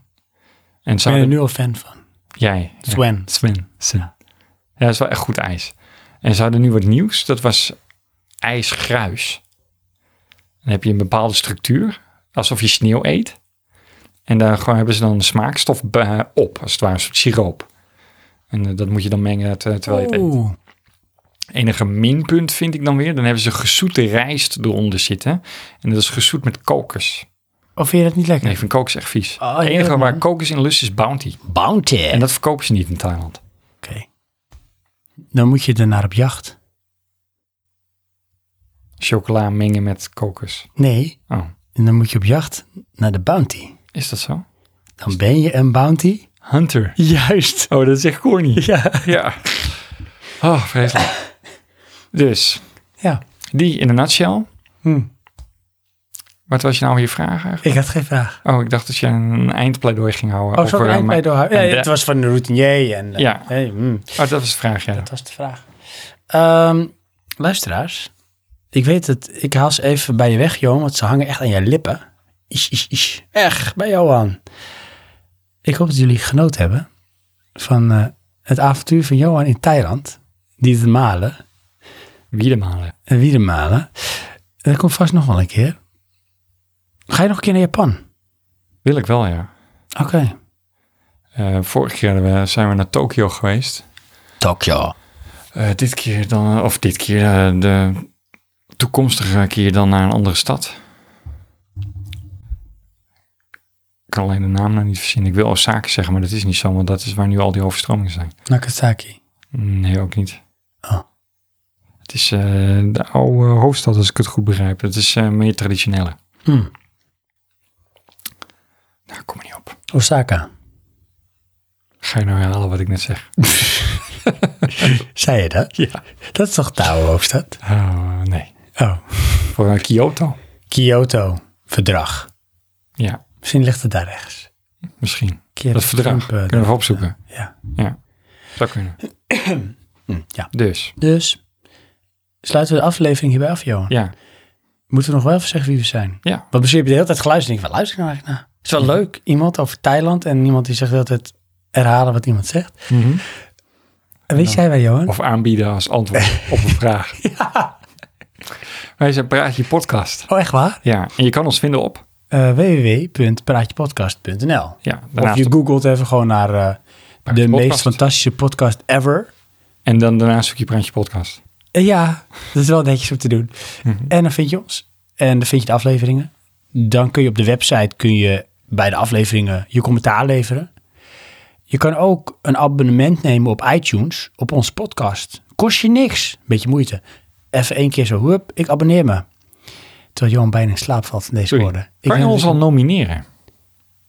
A: Ik ben
C: zouden...
A: er nu al fan van.
C: Jij. ja.
A: Swen.
C: Sven. Sven. Ja. dat is wel echt goed ijs. En ze hadden nu wat nieuws. Dat was ijsgruis. Dan heb je een bepaalde structuur. Alsof je sneeuw eet. En daar gewoon hebben ze dan een smaakstof eh, op. Als het ware een soort siroop. En eh, dat moet je dan mengen ter- terwijl je het eet
A: Oeh.
C: enige minpunt vind ik dan weer. Dan hebben ze gezoete rijst eronder zitten. En dat is gezoet met kokos.
A: Of vind je dat niet lekker?
C: Nee, ik vind kokos echt vies.
A: Oh,
C: het enige
A: heerlijk,
C: waar
A: man. Eh.
C: kokos in lust is Bounty.
A: Bounty.
C: En dat verkopen ze niet in Thailand.
A: Oké. Dan moet je ernaar op jacht.
C: Chocola mengen met kokos.
A: Nee.
C: Oh,
A: En dan moet je op jacht naar de bounty.
C: is dat zo?
A: Dan ben je een bounty.
C: Hunter.
A: Juist.
C: Oh, dat is echt corny.
A: Ja.
C: Ja. Oh, vreselijk. Dus,
A: Ja.
C: Hmm. die in een nutshell.
A: Hm.
C: Wat was nou je vraag eigenlijk?
A: Ik had geen vraag.
C: Oh, ik dacht dat je een eindpleidooi ging houden.
A: Oh, zo'n
C: over, eh, mijn-
A: eindpleidooi. Ja,
C: en de-
A: het was van de routinier en... eh,
C: Ja.
A: hey, mm,
C: Oh, dat was de vraag, ja.
A: dat was de vraag. Ehm, luisteraars, ik weet het. Ik haal ze even bij je weg, Johan, want ze hangen echt aan je lippen. Ish, ish, ish. Echt, bij jou aan. Ik hoop dat jullie genoten hebben van eh, het avontuur van Johan in Thailand. Die te malen.
C: Wiedemalen.
A: En Wiedemalen. Dat komt vast nog wel een keer. Ga je nog een keer naar Japan?
C: Wil ik wel, ja.
A: Oké.
C: Eh vorige keer eh, zijn we naar Tokio geweest.
A: Tokyo.
C: Eh, dit keer dan, of dit keer, eh, de toekomstige keer dan naar een andere stad. Ik kan alleen de naam nou niet verzinnen. Ik wil Osaka zeggen, maar dat is niet zo, want dat is waar nu al die overstromingen zijn.
A: Nagasaki.
C: Nee, ook niet.
A: Oh.
C: Het is eh, de oude hoofdstad, als ik het goed begrijp. Het is eh, meer traditionele.
A: Hmm.
C: Nou, kom er niet op.
A: Osaka.
C: Ga je nou herhalen wat ik net zeg?
A: Zei je dat?
C: Ja.
A: Dat is toch de oude hoofdstad?
C: Oh, nee.
A: Oh.
C: Voor eh, Kyoto.
A: Kyoto. Verdrag.
C: Ja,
A: Misschien ligt het daar rechts.
C: misschien.
A: Keer
C: dat verdrag.
A: Trump, eh,
C: Kunnen we even opzoeken.
A: Ja.
C: Ja, zou kunnen.
A: ja.
C: Dus,
A: Dus sluiten we de aflevering hierbij af, Johan.
C: ja.
A: Moeten we nog wel even zeggen wie we zijn?
C: Ja.
A: Want misschien heb je de hele tijd geluisterd en denk ik, waar luister ik nou eigenlijk naar? Het is wel leuk. Iemand over Thailand en iemand die zegt dat het herhalen wat iemand zegt.
C: Mhm.
A: En weet jij wel, Johan?
C: Of aanbieden als antwoord op een vraag. Wij zijn Praatje Podcast.
A: Oh, echt waar?
C: Ja, en je kan ons vinden op.
A: Eh, www.praatjepodcast.nl.
C: Ja,
A: Of
C: daarnaast
A: je
C: op-
A: googelt even gewoon naar eh, de
C: Podcast.
A: meest fantastische podcast ever.
C: En dan daarna zoek je Praatje Podcast.
A: Eh, ja, dat is wel netjes om te doen.
C: Mhm.
A: En dan vind je ons. En dan vind je de afleveringen. Dan kun je op de website kun je bij de afleveringen je commentaar leveren. Je kan ook een abonnement nemen op iTunes, op onze podcast. Kost je niks. Beetje moeite. Even één keer zo, hup, ik abonneer me. Terwijl Johan bijna in slaap valt van deze
C: Sorry.
A: woorden. Ik dus
C: Kan je
A: weet
C: ons
A: dat
C: al
A: ik-
C: nomineren?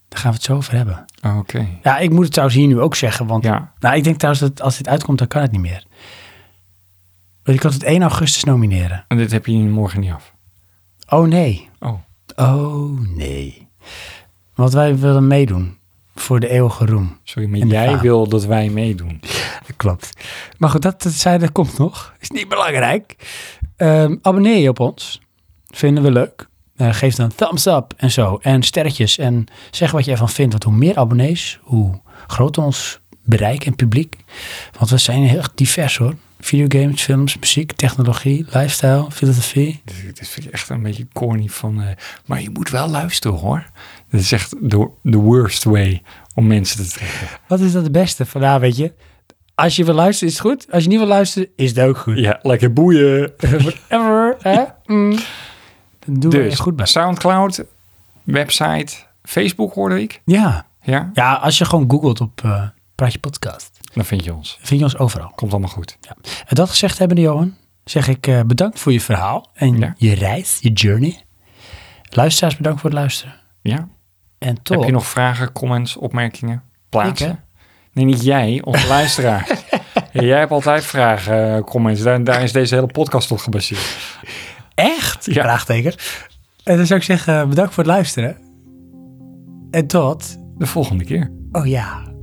A: Daar gaan we het zo over hebben.
C: Oké.
A: Ja, ik moet het trouwens hier nu ook zeggen, want
C: Ja.
A: nou, ik denk trouwens dat als dit uitkomt, dan kan het niet meer. Want ik kan het 1 augustus nomineren.
C: En dit heb je morgen niet af.
A: Oh nee.
C: Oh,
A: Oh nee. Want wij willen meedoen voor de eeuwige roem.
C: sorry, maar
A: En de
C: jij
A: faam.
C: wil dat wij meedoen.
A: Dat klopt. Maar goed, dat, dat, zei, dat komt nog. Is niet belangrijk. Ehm, abonneer je op ons. Vinden we leuk. Eh, geef dan thumbs up en zo. En sterretjes. En zeg wat je ervan vindt. Want hoe meer abonnees, hoe groter ons bereik en publiek. Want we zijn heel erg divers hoor. Videogames, films, muziek, technologie, lifestyle, filosofie.
C: Dit dit vind ik echt een beetje corny van... eh, maar je moet wel luisteren hoor. Dat is echt de, de worst way om mensen te trekken.
A: Wat is dat het beste? Vandaar weet je. Als je wil luisteren is het goed. Als je niet wil luisteren is het ook goed.
C: Ja, lekker boeien.
A: Whatever. Hè? Mm. Dan doen we er
C: Dus,
A: eh, goed bij.
C: Soundcloud, website, Facebook hoorde ik.
A: Ja.
C: Ja,
A: Ja, als je gewoon googelt op eh Praatje Podcast,
C: dan vind je ons.
A: vind je ons overal.
C: Komt allemaal goed.
A: En dat gezegd hebbende, Johan, zeg ik eh, bedankt voor je verhaal en
C: Ja.
A: je reis, je journey. Luisteraars, bedankt voor het luisteren.
C: Ja.
A: En tot.
C: Heb je nog vragen, comments, opmerkingen? Plaatsen?
A: Ik,
C: nee, niet jij, onze luisteraar. Ja, jij hebt altijd vragen, eh, comments. Daar, daar is deze hele podcast op gebaseerd.
A: Echt?
C: Ja.
A: Vraagteken. En dan zou ik zeggen, bedankt voor het luisteren. En tot.
C: De volgende keer.
A: Oh ja.